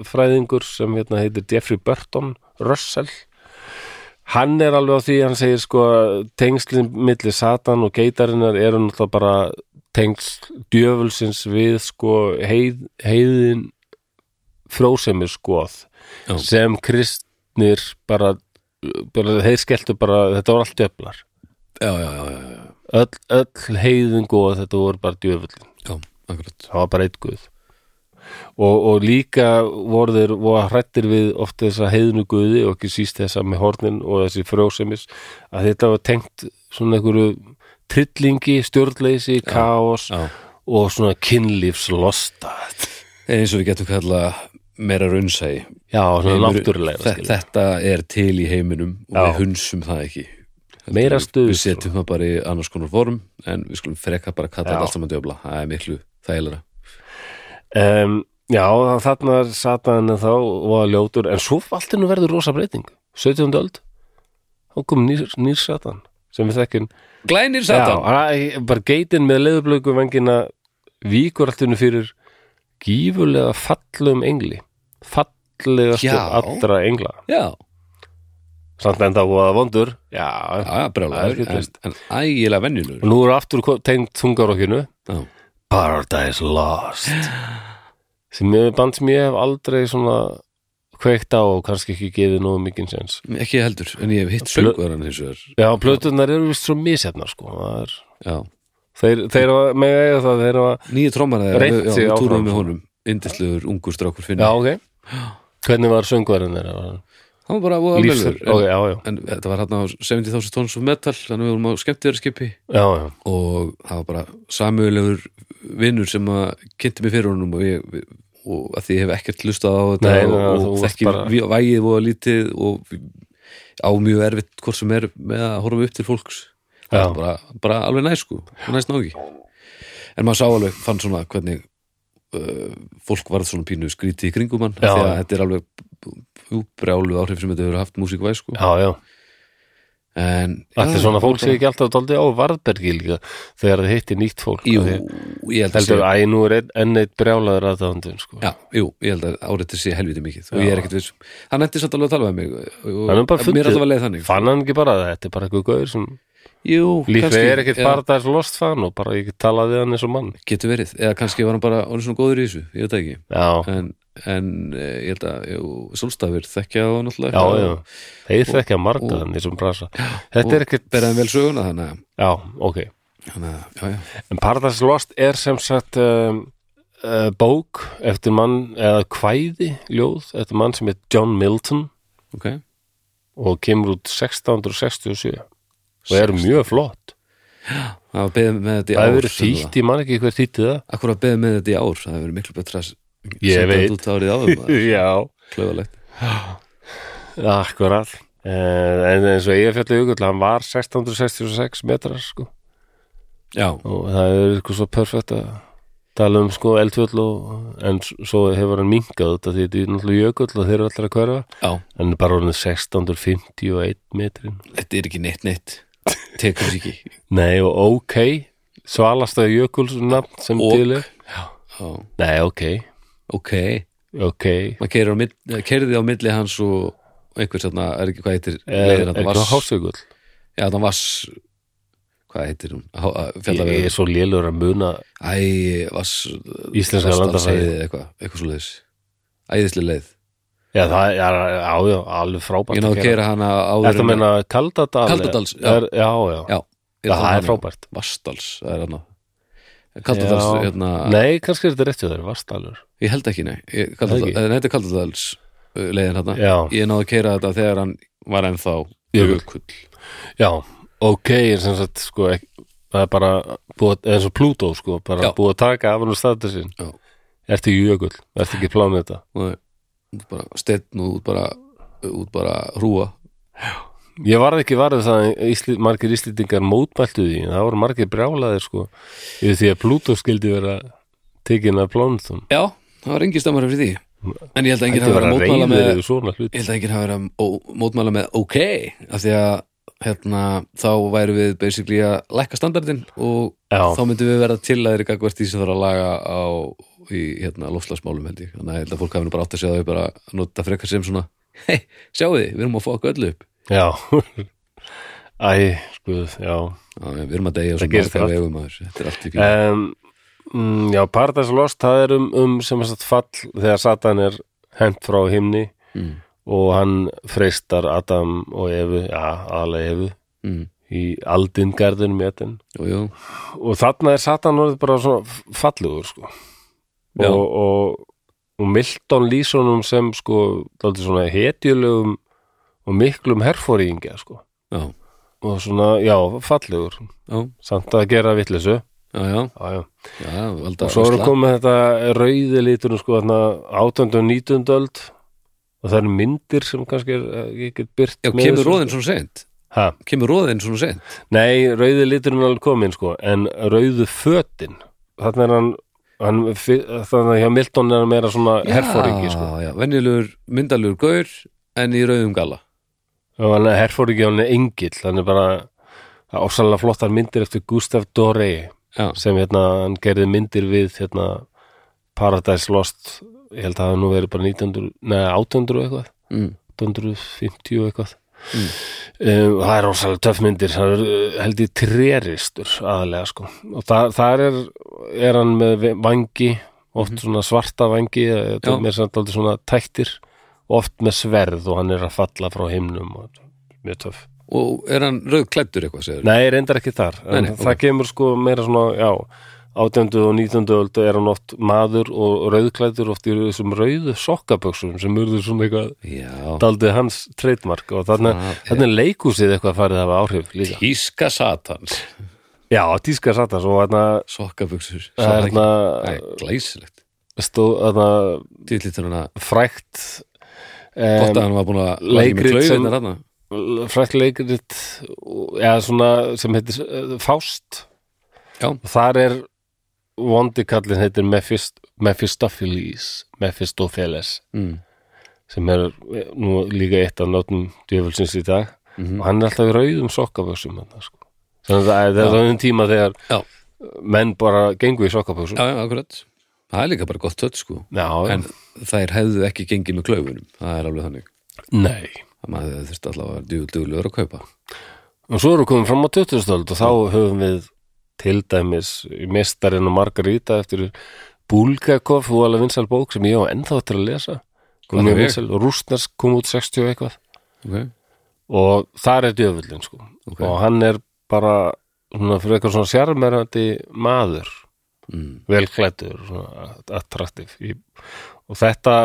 Speaker 1: fræðingur sem hérna heitir Jeffrey Burton Russell hann er alveg á því, hann segir sko tengslin milli Satan og geitarinnar eru náttúrulega bara tengsl djöfulsins við sko heið, heiðin frósemir skoð
Speaker 2: Já.
Speaker 1: sem kristnir bara, bara þeir skelltu bara, þetta voru allt djöflar
Speaker 2: já, já, já, já, já,
Speaker 1: öll, öll heiðin góð þetta voru bara djöfullin
Speaker 2: já, akkurat
Speaker 1: það var bara einn guð og, og líka voru þeir voru hrættir við oft þessa heiðinu guði og ekki síst þessa með hornin og þessi frjósemis að þetta var tengt svona einhverju trillingi, stjórnleysi, kaos
Speaker 2: já.
Speaker 1: og svona kynlífslosta
Speaker 2: eins og við getum kalla meira raunsæi
Speaker 1: já, svona
Speaker 2: Heimur-
Speaker 1: náttúrulega
Speaker 2: þe-
Speaker 1: skilur.
Speaker 2: þetta er til í heiminum og
Speaker 1: Já.
Speaker 2: við hunsum það ekki Heldur
Speaker 1: Meira
Speaker 2: við-
Speaker 1: stuð,
Speaker 2: við setjum það bara í annars konar form en við skulum freka bara kalla
Speaker 1: Já.
Speaker 2: þetta allt saman döfla það er miklu þægilega
Speaker 1: um, Já, þarna er Satan en þá var ljótur, en svo allt hennu verður rosa breyting, 17. öld þá kom nýr, nýr Satan sem við þekkjum
Speaker 2: glænir
Speaker 1: Já,
Speaker 2: satan
Speaker 1: hann- bara geitin með leðublöku vengina víkur allt hennu fyrir gífurlega fallum engli fallegastu
Speaker 2: Já.
Speaker 1: allra engla
Speaker 2: já,
Speaker 1: samt enda voða vondur Já,
Speaker 2: já, já
Speaker 1: Það er
Speaker 2: brjálæður en,
Speaker 1: hlutleyst.
Speaker 2: en ægilega
Speaker 1: og
Speaker 2: vennilur
Speaker 1: nú er aftur ko- tengd þungarokkinu
Speaker 2: já,
Speaker 1: Paradise Lost [gasps] sem er band sem ég hef aldrei svona kveikt á og kannski ekki gefið nógu mikið sens
Speaker 2: ekki heldur, en ég hef hitt söngvaran hins vegar
Speaker 1: Já, plötunar eru vist svo misjafnar sko það er,
Speaker 2: já,
Speaker 1: þeir, þeir hafa, með eiga það þeir hafa,
Speaker 2: nýju trómar
Speaker 1: Reynt
Speaker 2: já,
Speaker 1: sig
Speaker 2: við
Speaker 1: áfram.
Speaker 2: túrum með honum indislegur ungur strákur finni
Speaker 1: já
Speaker 2: [gasps]
Speaker 1: ok hvernig var söngvarinn þeirra var hann
Speaker 2: hann var bara voða
Speaker 1: Lífs-
Speaker 2: vennilur
Speaker 1: ok, já, já,
Speaker 2: en þetta var hérna á 70.000 tons of metal þannig við vorum á skemmtiðar skipi
Speaker 1: já, já
Speaker 2: og það var bara samögulegur vinnur sem að kynnti mig fyrir honum og ég við- og að því ég hef ekkert hlustað á þetta
Speaker 1: Nei, nei,
Speaker 2: og,
Speaker 1: þú
Speaker 2: og
Speaker 1: varst
Speaker 2: þekki
Speaker 1: bara-
Speaker 2: bara... vægið og lítið og á mjög erfitt hvort sem er með að horfa upp til fólks
Speaker 1: Já.
Speaker 2: Það var bara, bara alveg næst sko næst nági en maður sá alveg, fann svona hvernig uh, fólk varð svona pínu skrítið í kringum hann af
Speaker 1: Já.
Speaker 2: því að þetta er alveg úbrjálu áhrif sem þetta hefur haft músíkvæð sko
Speaker 1: Já, já,
Speaker 2: en
Speaker 1: allir
Speaker 2: já,
Speaker 1: svona fólk
Speaker 2: bara-
Speaker 1: sé ekki alltaf daldið á varðbergi líka þegar þið hitti nýtt fólk
Speaker 2: Jú,
Speaker 1: Af því-
Speaker 2: ég held að
Speaker 1: heldur
Speaker 2: sé-
Speaker 1: að nú er einn- enn eitt brjálaður aðdáðandun sko.
Speaker 2: Já, jú, ég held að áreittir sé helviti mikið og
Speaker 1: Já.
Speaker 2: ég er ekkert vissum. Hann endi samt alveg að tala við mig og
Speaker 1: Hann er bara
Speaker 2: mér
Speaker 1: fundið.
Speaker 2: er alltaf að leið þannig. sko.
Speaker 1: fann hann ekki bara að þetta er bara eitthvað gauður sem
Speaker 2: Jú,
Speaker 1: lífið
Speaker 2: kannski,
Speaker 1: er ekkert
Speaker 2: eða-
Speaker 1: Paradise Lost fan og bara ég talaði við hann eins og mann
Speaker 2: Getur verið, eða kannski var hann bara orðin svona góður í þessu, ég veit það ekki.
Speaker 1: já,
Speaker 2: En, en eh, ég held að jú, sólstafir þekkja á náttúrulega.
Speaker 1: já,
Speaker 2: eitthvað
Speaker 1: já
Speaker 2: og-
Speaker 1: þeir þekkja marga
Speaker 2: og-
Speaker 1: hann í þessum brasa þetta
Speaker 2: og
Speaker 1: er ekkert,
Speaker 2: Beraði vel söguna þannig að,
Speaker 1: já, ok
Speaker 2: þannig að, já, já.
Speaker 1: en Paradise Lost er sem sagt um, uh, bók eftir mann, eða kvæði ljóð, eftir mann sem heit John Milton
Speaker 2: Ok,
Speaker 1: og kemur út 1667 og er mjög flott
Speaker 2: það var beðið með þetta í ár.
Speaker 1: það hefur verið
Speaker 2: sem
Speaker 1: þýtt, ég man ekki hver þýtti það
Speaker 2: Akkur að beðið með þetta í ár, það hefur verið miklu betra að
Speaker 1: Ég
Speaker 2: senda
Speaker 1: veit.
Speaker 2: þetta út árið áður,
Speaker 1: [laughs]
Speaker 2: maður.
Speaker 1: já,
Speaker 2: Klauðalegt.
Speaker 1: akkurat Eh, en eins og ég fjallið ykkur hann var 1666 metrar sko.
Speaker 2: Já,
Speaker 1: og það er eitthvað svo perfekt að tala um sko eldfjöll og en s- svo hefur hann minkað þetta því þetta er náttúrulega jökull og þeir eru allir að hverfa
Speaker 2: já,
Speaker 1: hann er bara orðin 1651 metrin
Speaker 2: þetta er ekki neitt neitt. Tekur sér ekki.
Speaker 1: nei og ok svalasta jökulsnafn sem
Speaker 2: Ok.
Speaker 1: til er
Speaker 2: Já.
Speaker 1: nei ok,
Speaker 2: ok,
Speaker 1: ok
Speaker 2: maður keirir á milli, keiriði á milli hans og einhver sérna, er ekki hvað heitir
Speaker 1: er
Speaker 2: leiðin
Speaker 1: er
Speaker 2: þarna,
Speaker 1: eitthvað
Speaker 2: Vass-
Speaker 1: hásökull
Speaker 2: já, þannig vass hvað heitir hún,
Speaker 1: ég, ég
Speaker 2: fjallavegður
Speaker 1: er svo lélur að muna
Speaker 2: æ, vass
Speaker 1: Íslenska landafræði.
Speaker 2: landafæði eitthvað, eitthvað svo leiðis æðislega leið,
Speaker 1: já það er ájá, alveg frábært
Speaker 2: ég náðu að keira hana áður
Speaker 1: Þetta
Speaker 2: en-
Speaker 1: meina Kaldadal
Speaker 2: Kaldadals, já.
Speaker 1: já er, Já, já,
Speaker 2: já,
Speaker 1: já það er frábært
Speaker 2: vassdals, það er hana
Speaker 1: Já.
Speaker 2: Kaldadals, hérna,
Speaker 1: Nei, kannski er þetta rétt hjá þér, Vastalur
Speaker 2: ég held ekki, nei Ég-
Speaker 1: Ekki?
Speaker 2: Kaldadal- eh, nei, þetta er Kaldadals uh, leiðin hérna,
Speaker 1: Já.
Speaker 2: ég náðu að keira þetta þegar hann var ennþá
Speaker 1: Jökull.
Speaker 2: jökull.
Speaker 1: Já, ok, er sem sagt sko, ek, það er bara búið, eða svo Plútó sko, bara
Speaker 2: Já.
Speaker 1: búið að taka af hann statusinn
Speaker 2: Já.
Speaker 1: Ertu ekki jökull, ertu ekki pláneta
Speaker 2: Nei, út bara steinn og út bara, út bara hrúa
Speaker 1: Ég varð ekki varðið það að Ísli, margir Íslendingar mótmæltu því en það voru margir brjálaðir sko yfir því að Plútó skildi vera tekin af plánetum
Speaker 2: Já, það var engin stemmari fyrir því En ég held að enginn hafa
Speaker 1: Þetta
Speaker 2: verið
Speaker 1: vera
Speaker 2: að mótmæla
Speaker 1: reyður
Speaker 2: með
Speaker 1: yfir svona
Speaker 2: Ég
Speaker 1: hlut
Speaker 2: held að enginn hafa verið að ó- mótmæla með ok af því að hérna, þá værum við basically að lækka standardin og
Speaker 1: Já.
Speaker 2: þá myndum við vera til að þeirra gagvart því sem þarf að laga á í hérna, lofslagsmálum held ég þannig að ég held að fólk hafi nú bara átt að segja það við bara að nota frekar sem svona hei, sjáu þið, við erum að fokka öllu upp
Speaker 1: Já [laughs] Æ, skuð, já
Speaker 2: Já, við erum að deyja á svo
Speaker 1: gerist
Speaker 2: margar
Speaker 1: allt.
Speaker 2: vegum að þessu, þetta er allt í fíl
Speaker 1: um, mm, Já, Paradise Lost það er um, um sem sagt fall þegar Satan er hent frá himni
Speaker 2: Mm.
Speaker 1: og hann freistar Adam og Evu já, aðlega Evu
Speaker 2: mm.
Speaker 1: í aldingarðinum í etin
Speaker 2: Jú, jú,
Speaker 1: og þarna er Satan orðið bara svona fallegur sko.
Speaker 2: Já.
Speaker 1: og, og, og Milton Lísonum sem sko, dálítið svona hetjulegum og miklum herfóringja sko.
Speaker 2: já,
Speaker 1: og svona, já, fallegur
Speaker 2: já,
Speaker 1: samt að gera vitleysu
Speaker 2: já, já,
Speaker 1: já, já.
Speaker 2: já valda
Speaker 1: og svo eru
Speaker 2: veisla.
Speaker 1: komið þetta rauði litunum sko þarna 18. og 19. öld og það eru myndir sem kannski er eh, ekki byrt
Speaker 2: Já, kemur róðin svona sent
Speaker 1: ha,
Speaker 2: Kemur róðin svona sent
Speaker 1: Nei, rauði liturinn er alveg komin sko en rauðu fötin þarna er hann, hann þannig að hjá Milton er hann meira svona herfóringi sko
Speaker 2: Já, já, venjulegur, myndalugur gaur en í rauðum gala
Speaker 1: og hann er herfóringi, hann er engill hann er bara það er ósalega flottar myndir eftir Gustaf Doré
Speaker 2: Já,
Speaker 1: sem hérna, hann gerði myndir við hérna, Paradise Lost ég held að það hafi nú verið bara 1900, neða 800 og eitthvað
Speaker 2: mm.
Speaker 1: 850 og eitthvað um, og það er rosalega töff myndir það er uh, held ég treristur aðalega sko og það, þar er, er hann með ve- vangi oft svona svarta vangi eh, þetta
Speaker 2: Mhm. Já.
Speaker 1: er mér samt aldrei svona tættir oft með sverð og hann er að falla frá himnum og þetta er mjög töff
Speaker 2: Og er hann rauðklæddur eitthvað, segir
Speaker 1: Nei, reyndar ekki þar en
Speaker 2: Nei, nei,
Speaker 1: það kemur sko meira svona, já átjöndu og nítjöndu öldu er hann oft maður og rauðklæður oft í þessum rauðu sokkaböksum sem urðu svona eitthvað
Speaker 2: Já,
Speaker 1: daldið hans treytmark og þannig,
Speaker 2: Það er-
Speaker 1: þannig leikúsið eitthvað farið að hafa áhrif líka.
Speaker 2: tíska satans
Speaker 1: Já, tíska satans og þarna
Speaker 2: Sokkabuxur
Speaker 1: Það er
Speaker 2: Sokkabuxur.
Speaker 1: þarna-
Speaker 2: Æ, Glæsilegt
Speaker 1: stóð þarna
Speaker 2: Dýrlítur hann að
Speaker 1: frækt
Speaker 2: Gott að
Speaker 1: um,
Speaker 2: hann var búin að
Speaker 1: leikrit sem-
Speaker 2: sem hann.
Speaker 1: frækt leikrit eða svona sem heitir eh, Fást
Speaker 2: Já.
Speaker 1: og þar er vondi kallinn heitir Mephist- Mephistopheles Mephistopheles
Speaker 2: Mm.
Speaker 1: sem er eh, nú líka eitt af náttum djöfulsins í dag
Speaker 2: Mhm.
Speaker 1: og hann er alltaf í rauðum sokkaböksum hann, sko. þannig að það er þannig tíma þegar
Speaker 2: Já.
Speaker 1: menn bara gengu í sokkaböksum
Speaker 2: Já, já, akkurat Það er líka bara gott tött, sko
Speaker 1: Já,
Speaker 2: En þær hefðu ekki gengið með klaufunum Það er alveg þannig
Speaker 1: nei
Speaker 2: að maður þurfti allavega að djúl djúlugur að kaupa
Speaker 1: og svo erum við komin fram á 20. öld og þá höfum við til dæmis mestarinn og Margarita eftir Bulgakov og alveg vinsæl bók sem ég á ennþá eftir að lesa
Speaker 2: Hvað
Speaker 1: Hún er
Speaker 2: er ég?
Speaker 1: vinsæl, Rústnarsk kom út 60 og eitthvað
Speaker 2: okay.
Speaker 1: og þar er djöfullin sko
Speaker 2: Ok.
Speaker 1: og hann er bara svona fyrir eitthvað svona sjarmerandi maður
Speaker 2: mm.
Speaker 1: velklættur svona attraktiv í, og þetta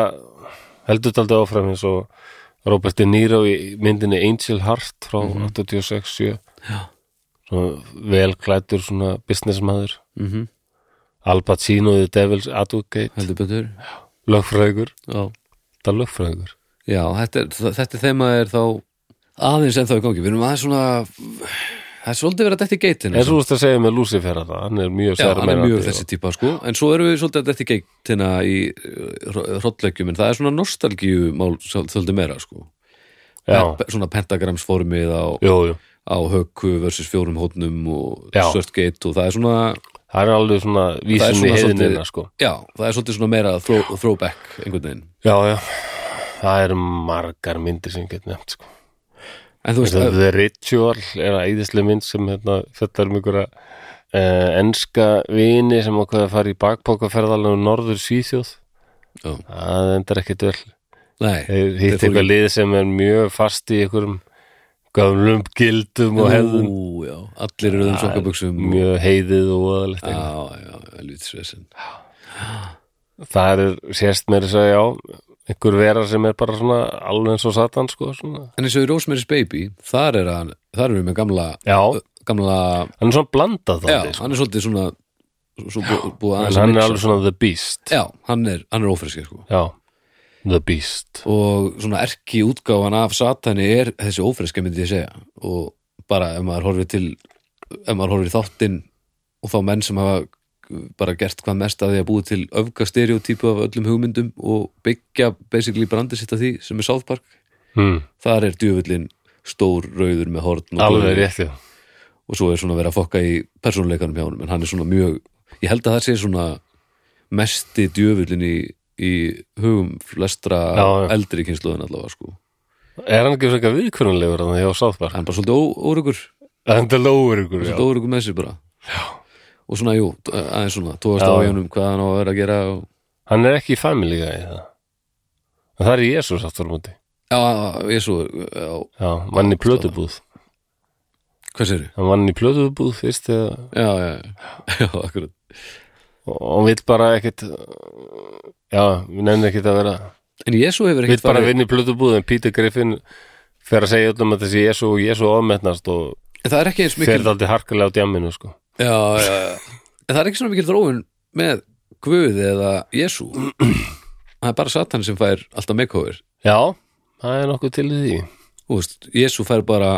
Speaker 1: heldur taldi áfram eins og Robert De Niro í myndinni Angel Heart frá
Speaker 2: Mhm.
Speaker 1: 86-7 svona velklættur svona businessmaður
Speaker 2: Mm -hmm.
Speaker 1: Al Pacino The Devil's Advocate
Speaker 2: Heldur betur
Speaker 1: lögfræðingur,
Speaker 2: Já
Speaker 1: þetta er lögfræðingur
Speaker 2: Já, þetta er, þa- þetta er þema er þá aðeins en þá í gangi, við erum aðeins svona það er svolítið verið að þetta í geitina sko.
Speaker 1: eins og þú veist að segja með Lucifer að það, hann er mjög
Speaker 2: Já, hann er
Speaker 1: sérmennandi
Speaker 2: mjög
Speaker 1: og-
Speaker 2: þessi típa sko en svo erum við svolítið að þetta í geitina í hrottlegjum, en það er svona nostalgíumál svolítið meira sko
Speaker 1: Já,
Speaker 2: Pe- svona pentagramsformið á,
Speaker 1: jú, jú
Speaker 2: á höku versus fjórum hótnum og
Speaker 1: Já.
Speaker 2: svört geit og það er svona
Speaker 1: Það er alveg svona vísin í
Speaker 2: svona svolítið-
Speaker 1: heiðinina sko.
Speaker 2: já, það er svolítið svona meira throw, throwback einhvern veginn
Speaker 1: Já, já Það eru margar myndir sem ég get nefnt sko.
Speaker 2: en þú veist,
Speaker 1: The,
Speaker 2: að-
Speaker 1: The Ritual er að æðislega mynd sem hérna, þetta er um einhverja uh, enska vini sem ákveða að fara í bakpókaferðalegu norður Svíþjóð
Speaker 2: Já.
Speaker 1: Það endar ekkit vel
Speaker 2: nei, Þeir
Speaker 1: Þeir hitt
Speaker 2: fóru í-
Speaker 1: eitthvað lið sem er mjög fast í einhverjum gömlum gildum og hefðum
Speaker 2: Ú, já, allir eru þeim sokkabuxum og-
Speaker 1: mjög heiðið og óðalegt eitthvað.
Speaker 2: Já, já, helvítisvesen
Speaker 1: Það er sérst mér að segja já einhver vera sem er bara svona alveg eins og satan sko svona.
Speaker 2: En eins og í Rosemary's Baby, þar er hann þar erum við með gamla,
Speaker 1: Já,
Speaker 2: gamla
Speaker 1: hann er svona blandað
Speaker 2: Já,
Speaker 1: þannig sko.
Speaker 2: hann er svolítið svona svo bú, búið
Speaker 1: en
Speaker 2: aðeins
Speaker 1: hann er
Speaker 2: mixa.
Speaker 1: alveg svona the beast
Speaker 2: Já, hann er, hann er ófreskir sko
Speaker 1: já, the beast
Speaker 2: og svona erki útgáfan af satani er þessi ófreska myndi ég segja og bara ef maður horfir til ef maður horfir í þáttinn og þá menn sem hafa bara gert hvað mest að því að búið til öfga stereotípu af öllum hugmyndum og byggja basically brandið sitt að því sem er South Park
Speaker 1: hmm.
Speaker 2: þar er djöfullin stór rauður með horn og,
Speaker 1: alveg
Speaker 2: blöð.
Speaker 1: rétt já.
Speaker 2: og svo er svona verið að fokka í persónuleikanum hjá honum en hann er svona mjög, ég held að það sé svona mesti djöfullin í, í hugum flestra
Speaker 1: Já, já.
Speaker 2: eldri kynsluðin allavega sko
Speaker 1: er hann ekki frekar viðkunnanlegur þannig hjá Sáðbar
Speaker 2: hann er bara svolítið ó- órugur
Speaker 1: hann er lóður ykkur já.
Speaker 2: svolítið órugur með sér bara já. og svona jú, aðeins svona tóast
Speaker 1: Já,
Speaker 2: á
Speaker 1: já.
Speaker 2: hjónum hvað hann á að vera að gera og...
Speaker 1: hann er ekki í family guy það. En það er Jésús aftur á móti
Speaker 2: já, ég svo já,
Speaker 1: já, vann í plötubúð
Speaker 2: hvað sér
Speaker 1: hann vann í plötubúð fyrst eða,
Speaker 2: já, já, [laughs] já, akkurat
Speaker 1: og, og vill bara ekkit já, við nefnum ekkit að vera
Speaker 2: en Jésu hefur
Speaker 1: vill
Speaker 2: ekkert
Speaker 1: bara vinna í plötubúð en Peter Griffin fer að segja öllum að þessi Jésu og Jésu ofmetnast og
Speaker 2: En það er ekki eins
Speaker 1: fer
Speaker 2: mikil
Speaker 1: það aldrei harkalega á djamminu sko.
Speaker 2: já, já, já. En það er ekki svona mikil þróun með Guð eða Jésu það er bara Satan sem fær alltaf meikóður
Speaker 1: já, það er nokkuð til í því
Speaker 2: Jésu fær bara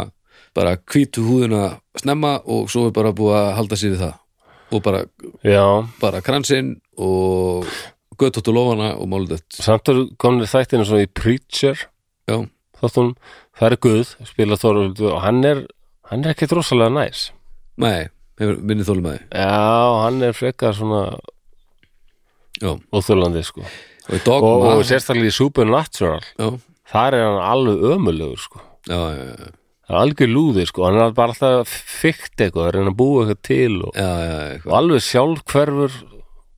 Speaker 2: bara hvítu húðuna snemma og svo er bara búið að halda sér við það og bara,
Speaker 1: já,
Speaker 2: bara kransinn og göttóttu lofana og máludött
Speaker 1: samt eru komin þættinu svona í Preacher
Speaker 2: já,
Speaker 1: þáttunum, það er Guð spila Þorvaldur og hann er hann er ekkit rosalega næs
Speaker 2: nei, hefur minni þólum að
Speaker 1: já, hann er frekar svona
Speaker 2: því já,
Speaker 1: óþjólandi sko
Speaker 2: og í dogma
Speaker 1: og, og sérstaklega í Supernatural
Speaker 2: já,
Speaker 1: þar er hann alveg ömulegur sko
Speaker 2: já, já, já,
Speaker 1: það er algjör lúði sko, hann er bara alltaf fykt eitthvað, er hann að búa eitthvað til og,
Speaker 2: já, já, eitthvað.
Speaker 1: og alveg sjálfhverfur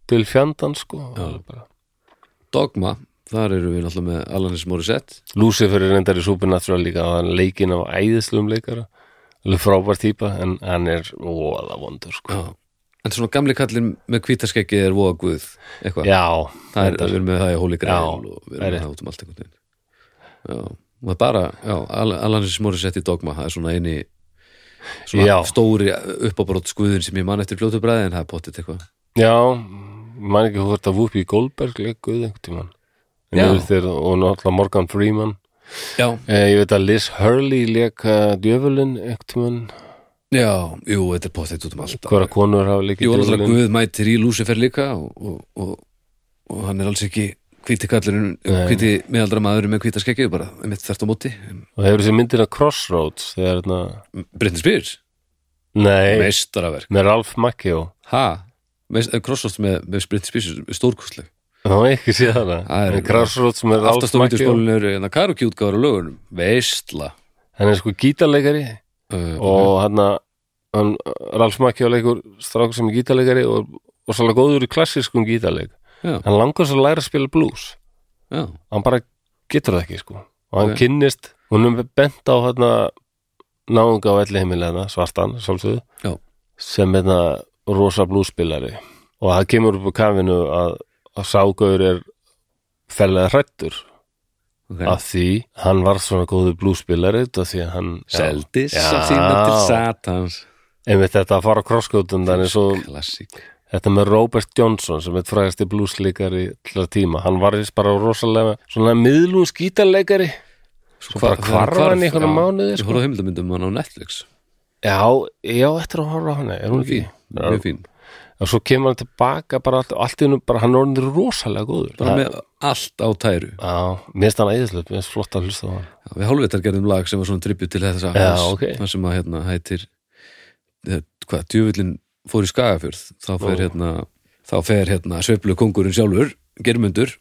Speaker 1: til fjandan sko Alveg bara.
Speaker 2: dogma, þar eru við náttúrulega með Alanis Morissette
Speaker 1: Lucifer er reyndar í Supernatural líka og hann er leikinn af æðislum leikara alveg frábær típa en hann er óaða vondur sko
Speaker 2: já. en svona gamli kallinn með hvítaskeggi er voða guð eitthvað,
Speaker 1: já,
Speaker 2: það er
Speaker 1: reyndar.
Speaker 2: við erum með það í Holy Grail
Speaker 1: Já,
Speaker 2: og við
Speaker 1: það
Speaker 2: erum
Speaker 1: er
Speaker 2: með það út um allt einhvern veginn já, og það er bara já, Al- Alanis Morissette í dogma, það er svona eini svona
Speaker 1: Já.
Speaker 2: stóri uppábrótt skuðin sem ég man eftir fljótu bræði en það er pottit eitthvað
Speaker 1: já mann ekki hvort að Whoopi Goldberg leikuð einhvern tímann En
Speaker 2: Já.
Speaker 1: yfir þér- og náttúrulega Morgan Freeman
Speaker 2: já,
Speaker 1: eh, ég veit að Liz Hurley leika djöfulinn einhvern tímann
Speaker 2: já, jú, þetta er pottit út um allt
Speaker 1: hverja konur hafa leikið
Speaker 2: jú, náttúrulega
Speaker 1: djöfulinn
Speaker 2: guð mætir í Lucifer líka og, og, og, og hann er alls ekki hvíti kallurinn,
Speaker 1: Nei.
Speaker 2: hvíti meðaldra maðurinn með hvítaskeggið bara, mitt þvert á móti
Speaker 1: og hefur þessi myndina Crossroads þegar hérna
Speaker 2: Britney Spears,
Speaker 1: nei,
Speaker 2: meistaraverk
Speaker 1: með Ralph Macchio
Speaker 2: Ha? Meist, crossroads með, með Britney Spears stórkostleg
Speaker 1: þá hef ég ekki séð hana
Speaker 2: Það er-
Speaker 1: En Crossroads með Ralph
Speaker 2: aftast á
Speaker 1: Macchio
Speaker 2: vídeospólun eru en að karaoke útgáður á lögunum veistla
Speaker 1: hann er sko gítarleikari
Speaker 2: uh,
Speaker 1: og hann að- hann Ralph Macchio leikur strákur sem er gítarleikari og, og svolítið góður í klassískum gítarleik
Speaker 2: já,
Speaker 1: hann langar svo að læra að spila blues
Speaker 2: já,
Speaker 1: hann bara getur það ekki sko og hann
Speaker 2: Ok.
Speaker 1: kynnist, hún er bent á hérna náunga á elli heimilegna svartan, sálsöðu
Speaker 2: Já.
Speaker 1: sem hérna rosa blúspilari og það kemur upp á kafinu að, að ságaur er ferlega hrættur
Speaker 2: okay.
Speaker 1: af því hann var svona góður blúspilari út af því að hann já.
Speaker 2: seldi
Speaker 1: Já.
Speaker 2: sína til satans
Speaker 1: einmitt þetta að fara á krosskjótundan eins og
Speaker 2: klassík
Speaker 1: þetta með Robert Johnson sem er frægasti blúsleikari til að tíma, hann var þess bara rosalega svona miðlún skítarleikari
Speaker 2: svo
Speaker 1: bara hvarf hann í einhverja
Speaker 2: já.
Speaker 1: mánuði,
Speaker 2: ég
Speaker 1: sko.
Speaker 2: horfði á heimildamindum hann á Netflix
Speaker 1: Já, já, eftir að horfa á hana, er hún ekki?
Speaker 2: mjög fín
Speaker 1: Og svo kemur hann tilbaka bara allt, allt í hennu, bara hann er orðin rosalega góður.
Speaker 2: bara með allt á tæru
Speaker 1: Já, mér finnst hann æðislega, mér finnst flott að hlusta á hann.
Speaker 2: Já, við hálfvitar gerðum lag sem var svona tribut til þess að
Speaker 1: Já, ok.
Speaker 2: það sem að hérna hættir eh, hvað, djöfullin fór í Skagafjörð þá fer hérna þá fer hérna sveiflu kongurinn sjálfur germundur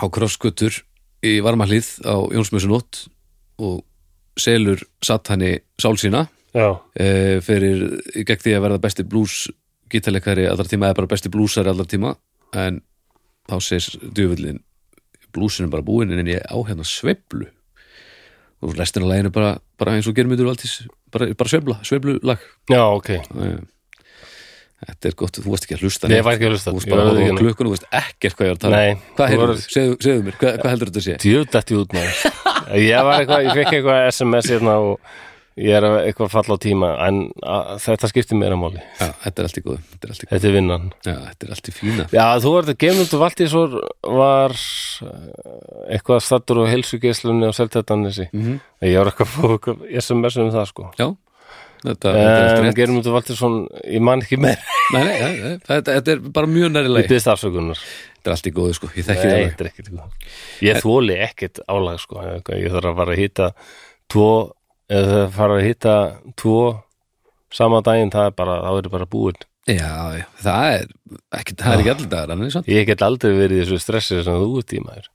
Speaker 2: á krosskötur í varmahlíð á Jónsmessunótt og selur satt hann í sál sína
Speaker 1: Já.
Speaker 2: e, fyrir í gegn því að verða besti blues gítarleikari allra tíma eða bara besti bluesari allra tíma en þá segir djöfullin bluesin er bara búin en ég á hérna sveiflu og restin af læginu bara, bara eins og germyndur valdís bara, bara sveifla, sveiflu lag
Speaker 1: Já, ok.
Speaker 2: þetta er gott, þú varst ekki að hlusta
Speaker 1: Nei, ég
Speaker 2: neitt.
Speaker 1: var ekki að hlusta.
Speaker 2: þú varst
Speaker 1: Ég
Speaker 2: bara
Speaker 1: var
Speaker 2: að horfa á
Speaker 1: ekki-
Speaker 2: klukkun og veist ekkert hvað ég var að tala
Speaker 1: Nei,
Speaker 2: um. hvað
Speaker 1: þú
Speaker 2: heyrðu,
Speaker 1: varst-
Speaker 2: segðu, segðu mér, hvað, hvað heldur þetta sé
Speaker 1: Djöð dætti út
Speaker 2: [laughs]
Speaker 1: maður. Ég var eitthvað, ég fekk eitthvað SMS hérna og ég er að eitthvað falla á tíma, en að, þetta skiptir meira máli.
Speaker 2: já, þetta er allt í góð þetta er allt í, góð.
Speaker 1: Þetta er vinnan.
Speaker 2: já, þetta er allt í fína
Speaker 1: Já, þú varst að geimund og valdið svo var eh, eitthvað stattur á helsugeslunni og seltættanissi. Mm
Speaker 2: Mhm.
Speaker 1: -hmm. Ég var eitthvað að fá eitthvað SMS um það, sko.
Speaker 2: já, þetta, þetta er allt
Speaker 1: En
Speaker 2: rétt
Speaker 1: Germundur Valdinsson, ég man ekki meir
Speaker 2: Nei, nei, nei, nei, þetta, þetta er bara mjög næri leið
Speaker 1: Ég byrðst afsökunar
Speaker 2: Þetta er allt í góðu sko, ég þekki það
Speaker 1: Nei,
Speaker 2: alveg.
Speaker 1: þetta er ekkert eitthvað. Ég þóli ekkert álag sko. Ég þarf að fara að hýta tvo eða það fara að hitta tvo sama daginn, það er bara, þá er bara búin
Speaker 2: Já, já, það er ekki, það er ekki allir dagar annars, sant?
Speaker 1: ég get aldrei verið í þessu stressi sem þú ert í maður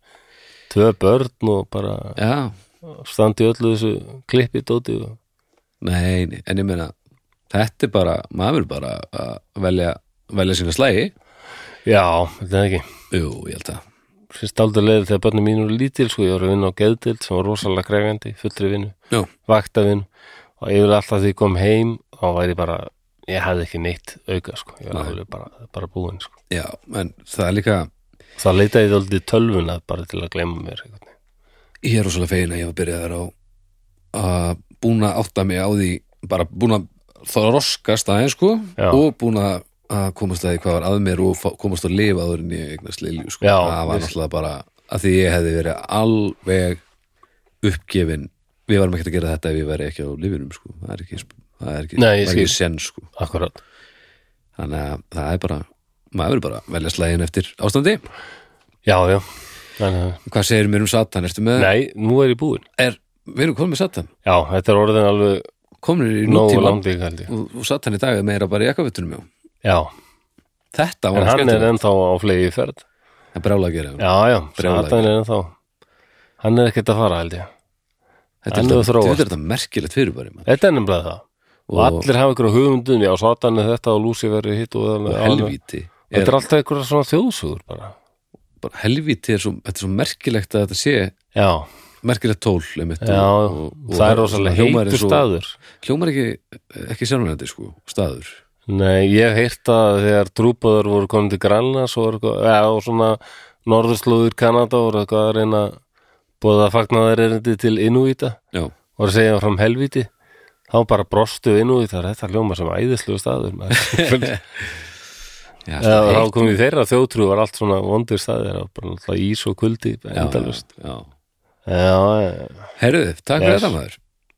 Speaker 1: tvö börn og bara
Speaker 2: Já,
Speaker 1: standi í öllu þessu klippi dóti og
Speaker 2: nei, nei, en ég meina þetta er bara, maður er bara að velja, velja sína slægi
Speaker 1: já, þetta er ekki
Speaker 2: Jú, ég held að
Speaker 1: finnst aldrei leið þegar börnum mín eru lítil sko, ég var að vinna á geðdild sem var rosalega krefjandi, fullri vinnu
Speaker 2: Jú,
Speaker 1: vaktavinn og yfir alltaf því ég kom heim þá væri bara, ég hafði ekki neitt auka sko, ég var alveg bara, bara búinn sko.
Speaker 2: já, en það er líka
Speaker 1: það leitaði ég aldrei tölvuna bara til að gleyma mér einhvern veginn.
Speaker 2: ég er rosalega fegin að ég var byrjaður á að búin að átta mig á því bara búin að þroskast aðeins sko
Speaker 1: Já.
Speaker 2: og búin að að komast að því hvað var að mér og fá- komast að lifa áður en ég eignast Lilju sko
Speaker 1: Já,
Speaker 2: það var
Speaker 1: veist.
Speaker 2: náttúrulega bara að því ég hefði verið alveg uppgefin við varum ekkert að gera þetta ef ég væri ekki á lifinum sko það er ekki, það er ekki,
Speaker 1: Nei, ég
Speaker 2: var ekki
Speaker 1: skil.
Speaker 2: sen sko
Speaker 1: akkurat,
Speaker 2: þannig að það er bara maður er bara að velja slægin eftir ástandi
Speaker 1: já, já Þannig, að-
Speaker 2: hvað segir mér um Satan, ertu með
Speaker 1: nei, nú er ég búinn
Speaker 2: er, við erum komin með Satan
Speaker 1: já, þetta er orðin alveg
Speaker 2: komin í
Speaker 1: nógu
Speaker 2: nútíma
Speaker 1: langt í kaldi
Speaker 2: og, og satan í dag er meira bara í jakkafutunum já.
Speaker 1: já,
Speaker 2: þetta
Speaker 1: en
Speaker 2: var
Speaker 1: hann er
Speaker 2: skemmtilegt
Speaker 1: ennþá á flegi ferð
Speaker 2: en brála að gera já.
Speaker 1: já, já,
Speaker 2: Brjálæði.
Speaker 1: Satan er ennþá hann er ekkert að fara held ég
Speaker 2: þetta
Speaker 1: hann
Speaker 2: er
Speaker 1: hefur
Speaker 2: þetta-
Speaker 1: þróast.
Speaker 2: þetta er þetta merkilegt fyrir bara mann.
Speaker 1: þetta er nefnilega það og,
Speaker 2: Og-
Speaker 1: allir hafa ykkur á hugumdun, já, Satan er þetta og Lucifer er hitt og,
Speaker 2: og
Speaker 1: og
Speaker 2: helvíti
Speaker 1: þetta
Speaker 2: er,
Speaker 1: er alltaf ykkur svona þjóðsugur bara
Speaker 2: bara, helvíti er svo, þetta er svo merkilegt að þetta sé
Speaker 1: Já,
Speaker 2: merkilegt tól einmitt,
Speaker 1: já, það er rosalega
Speaker 2: hljómar
Speaker 1: heitur
Speaker 2: eins og-
Speaker 1: staður
Speaker 2: hljómar ekki, ekki sjálfnændi sko, staður
Speaker 1: Nei, ég hef heyrt að þegar trúpaður voru komin til Grænlands og, voru eitthvað- ja, og svona norðurslóður Kanada voru eitthvað að reyna búið að fagna þeir erindi til Inúíta
Speaker 2: já,
Speaker 1: og að segja fram helvíti þá bara brostu Inúítar þetta hljóma sem æðislu staður
Speaker 2: [laughs]
Speaker 1: maður.
Speaker 2: já,
Speaker 1: Já,
Speaker 2: heitt-
Speaker 1: þá kom í þeirra þjóðtrú var allt svona vondur staðir og bara alltaf ís og kuldi endalust
Speaker 2: já, já.
Speaker 1: Já, já,
Speaker 2: herðu, takk fyrir
Speaker 1: Yes.
Speaker 2: þetta maður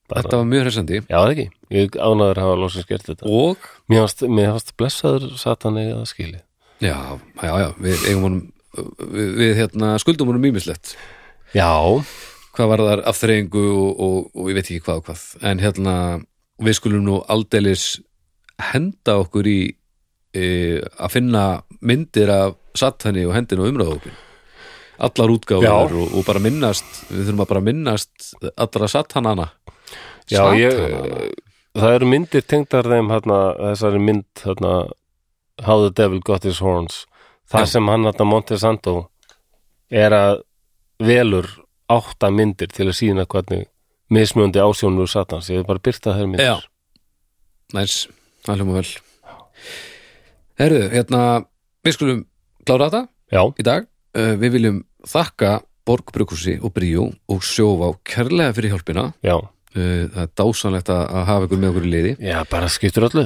Speaker 1: Bara-
Speaker 2: þetta var mjög hressandi
Speaker 1: já, það ekki ég ánæður hafa losið skert þetta
Speaker 2: og,
Speaker 1: Mér varst, mér varst blessaður satan eða skili
Speaker 2: já, já, já við eigum honum við, við hérna, skuldum honum mýmislegt
Speaker 1: Já,
Speaker 2: hvað var þar afþreyingu og, og, og ég veit ekki hvað og hvað en hérna, við skulum nú aldeilis henda okkur í e, að finna myndir af satani og hendin og umræðahópin allar útgáfur
Speaker 1: Já.
Speaker 2: og, og bara minnast við þurfum að bara minnast allra satanana
Speaker 1: já ég, það eru myndir tengdar þeim hérna, þessari mynd hérna, How the Devil Got His Horns það
Speaker 2: Já.
Speaker 1: sem hann hérna Montesanto er að velur átta myndir til að sína hvernig mismjöndi ásjónu satans, ég hef bara byrtað þeir myndir
Speaker 2: Já. næs, það hljóma vel herðu, hérna við skulum klára þetta
Speaker 1: Já,
Speaker 2: í dag. Uh, við viljum þakka Borgbrukursi og Bríó og Sjóvá kærlega fyrir hjálpina.
Speaker 1: já,
Speaker 2: Uh, það er dásanlegt að, að hafa ykkur með okkur í liði.
Speaker 1: já, bara skiptur öllu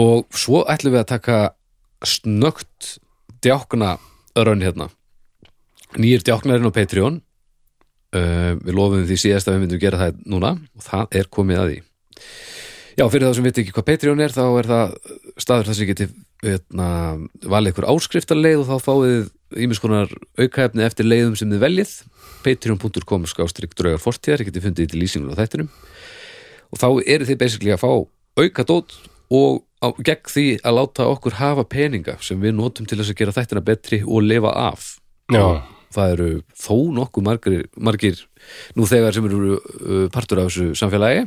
Speaker 2: Og svo ætlum við að taka snöggt djákna örön hérna. Nýjir djáknarinn á Patreon. Uh, við lofum því síðast að við myndum gera það núna og það er komið að því. Já, fyrir þá sem við ekki hvað Patreon er þá er það staður þar sem geti veitna, valið ykkur áskriftarleið og þá fáið þið ýmis konar aukaefni eftir leiðum sem þið veljið patreon.com skástrík draugar fortíðar, ég geti fundið til lýsingur á þættinum og þá eru þið basically að fá auka dót og á, gegn því að láta okkur hafa peninga sem við notum til þess að gera þættina betri og lifa af
Speaker 1: Já,
Speaker 2: það eru þó nokkuð margir, margir nú þegar sem eru uh, partur af þessu samfélagi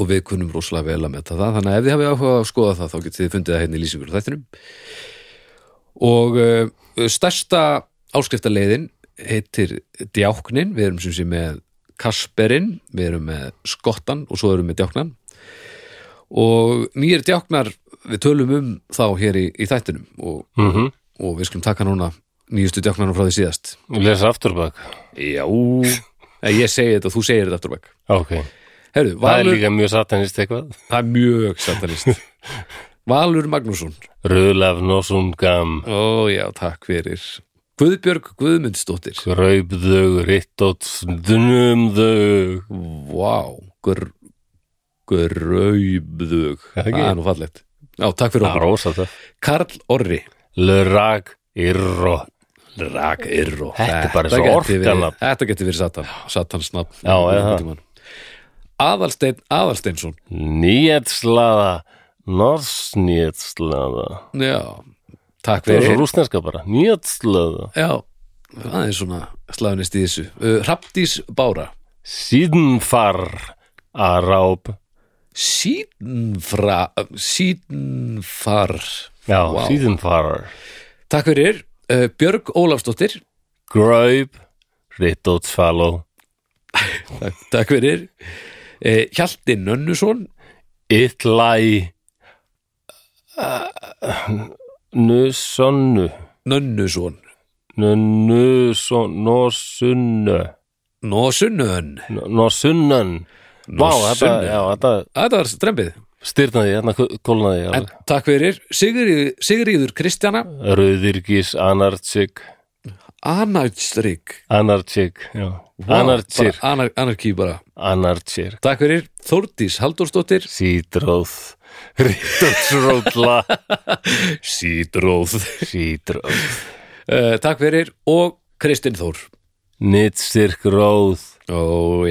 Speaker 2: og við kunnum rosalega vel að metta það þannig að ef þið hafið áhuga á að skoða það þá getið þið fundið það hérna í lýsingur á þættinum og uh, stærsta áskriftaleiðin heitir Djáknin við erum sem sé með Kasperinn við erum með Skottan og svo erum við með Djáknan og nýjir Djáknar við tölum um þá hér í, í þættinum og,
Speaker 1: mhm,
Speaker 2: og við skulum taka núna nýjustu Djáknarna frá því síðast
Speaker 1: ég lesa aftur bak
Speaker 2: Já Nei, Ég segi þetta og þú segir þetta aftur á bak
Speaker 1: Ok,
Speaker 2: Herru,
Speaker 1: það er
Speaker 2: Valur,
Speaker 1: líka mjög satanist eitthvað
Speaker 2: það er mjög satanist [laughs] Valur Magnússon
Speaker 1: Rulaf Nosum Gam
Speaker 2: Ó já, takk fyrir Guðbjörg Guðmundsdóttir
Speaker 1: Graup þau, ritt og snum þau
Speaker 2: Vá, gr gröybðug
Speaker 1: Er það ekki?
Speaker 2: Það er nú fallegt Já, takk fyrir
Speaker 1: Það er
Speaker 2: okkur
Speaker 1: rosa það
Speaker 2: Karl Orri
Speaker 1: Lurag, irro
Speaker 2: Rak Irro
Speaker 1: Þetta er bara eins og
Speaker 2: gæti verið-
Speaker 1: orkanafn.
Speaker 2: Þetta getur verið satan Satans nafn
Speaker 1: Já, eða það.
Speaker 2: Einhvern tímann. Aðalsteinn Aðalsteinsson
Speaker 1: Nýjetslaða Norsnýjetslaða
Speaker 2: Já, takk
Speaker 1: Það er svo
Speaker 2: fyrir
Speaker 1: rúsneska bara Nýjetslaða
Speaker 2: Já, aðeins svona slagunist í þessu uh, Hrafdís Bára
Speaker 1: Síðnfar Aráb
Speaker 2: Síðnfra Síðnfar
Speaker 1: Já,
Speaker 2: Vá.
Speaker 1: síðnfar
Speaker 2: Takk fyrir uh, Björg Ólafsdóttir
Speaker 1: Gröib Rittótsfaló
Speaker 2: Takk, takk fyrir uh, Hjalti Nönnuson
Speaker 1: Itlæ Nusonnu
Speaker 2: Nönnuson
Speaker 1: hérna
Speaker 2: uh, uh, uh, sko-
Speaker 1: eh,
Speaker 2: Eh, Eh, hérna, eh, sko.
Speaker 1: sko.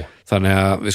Speaker 2: sko,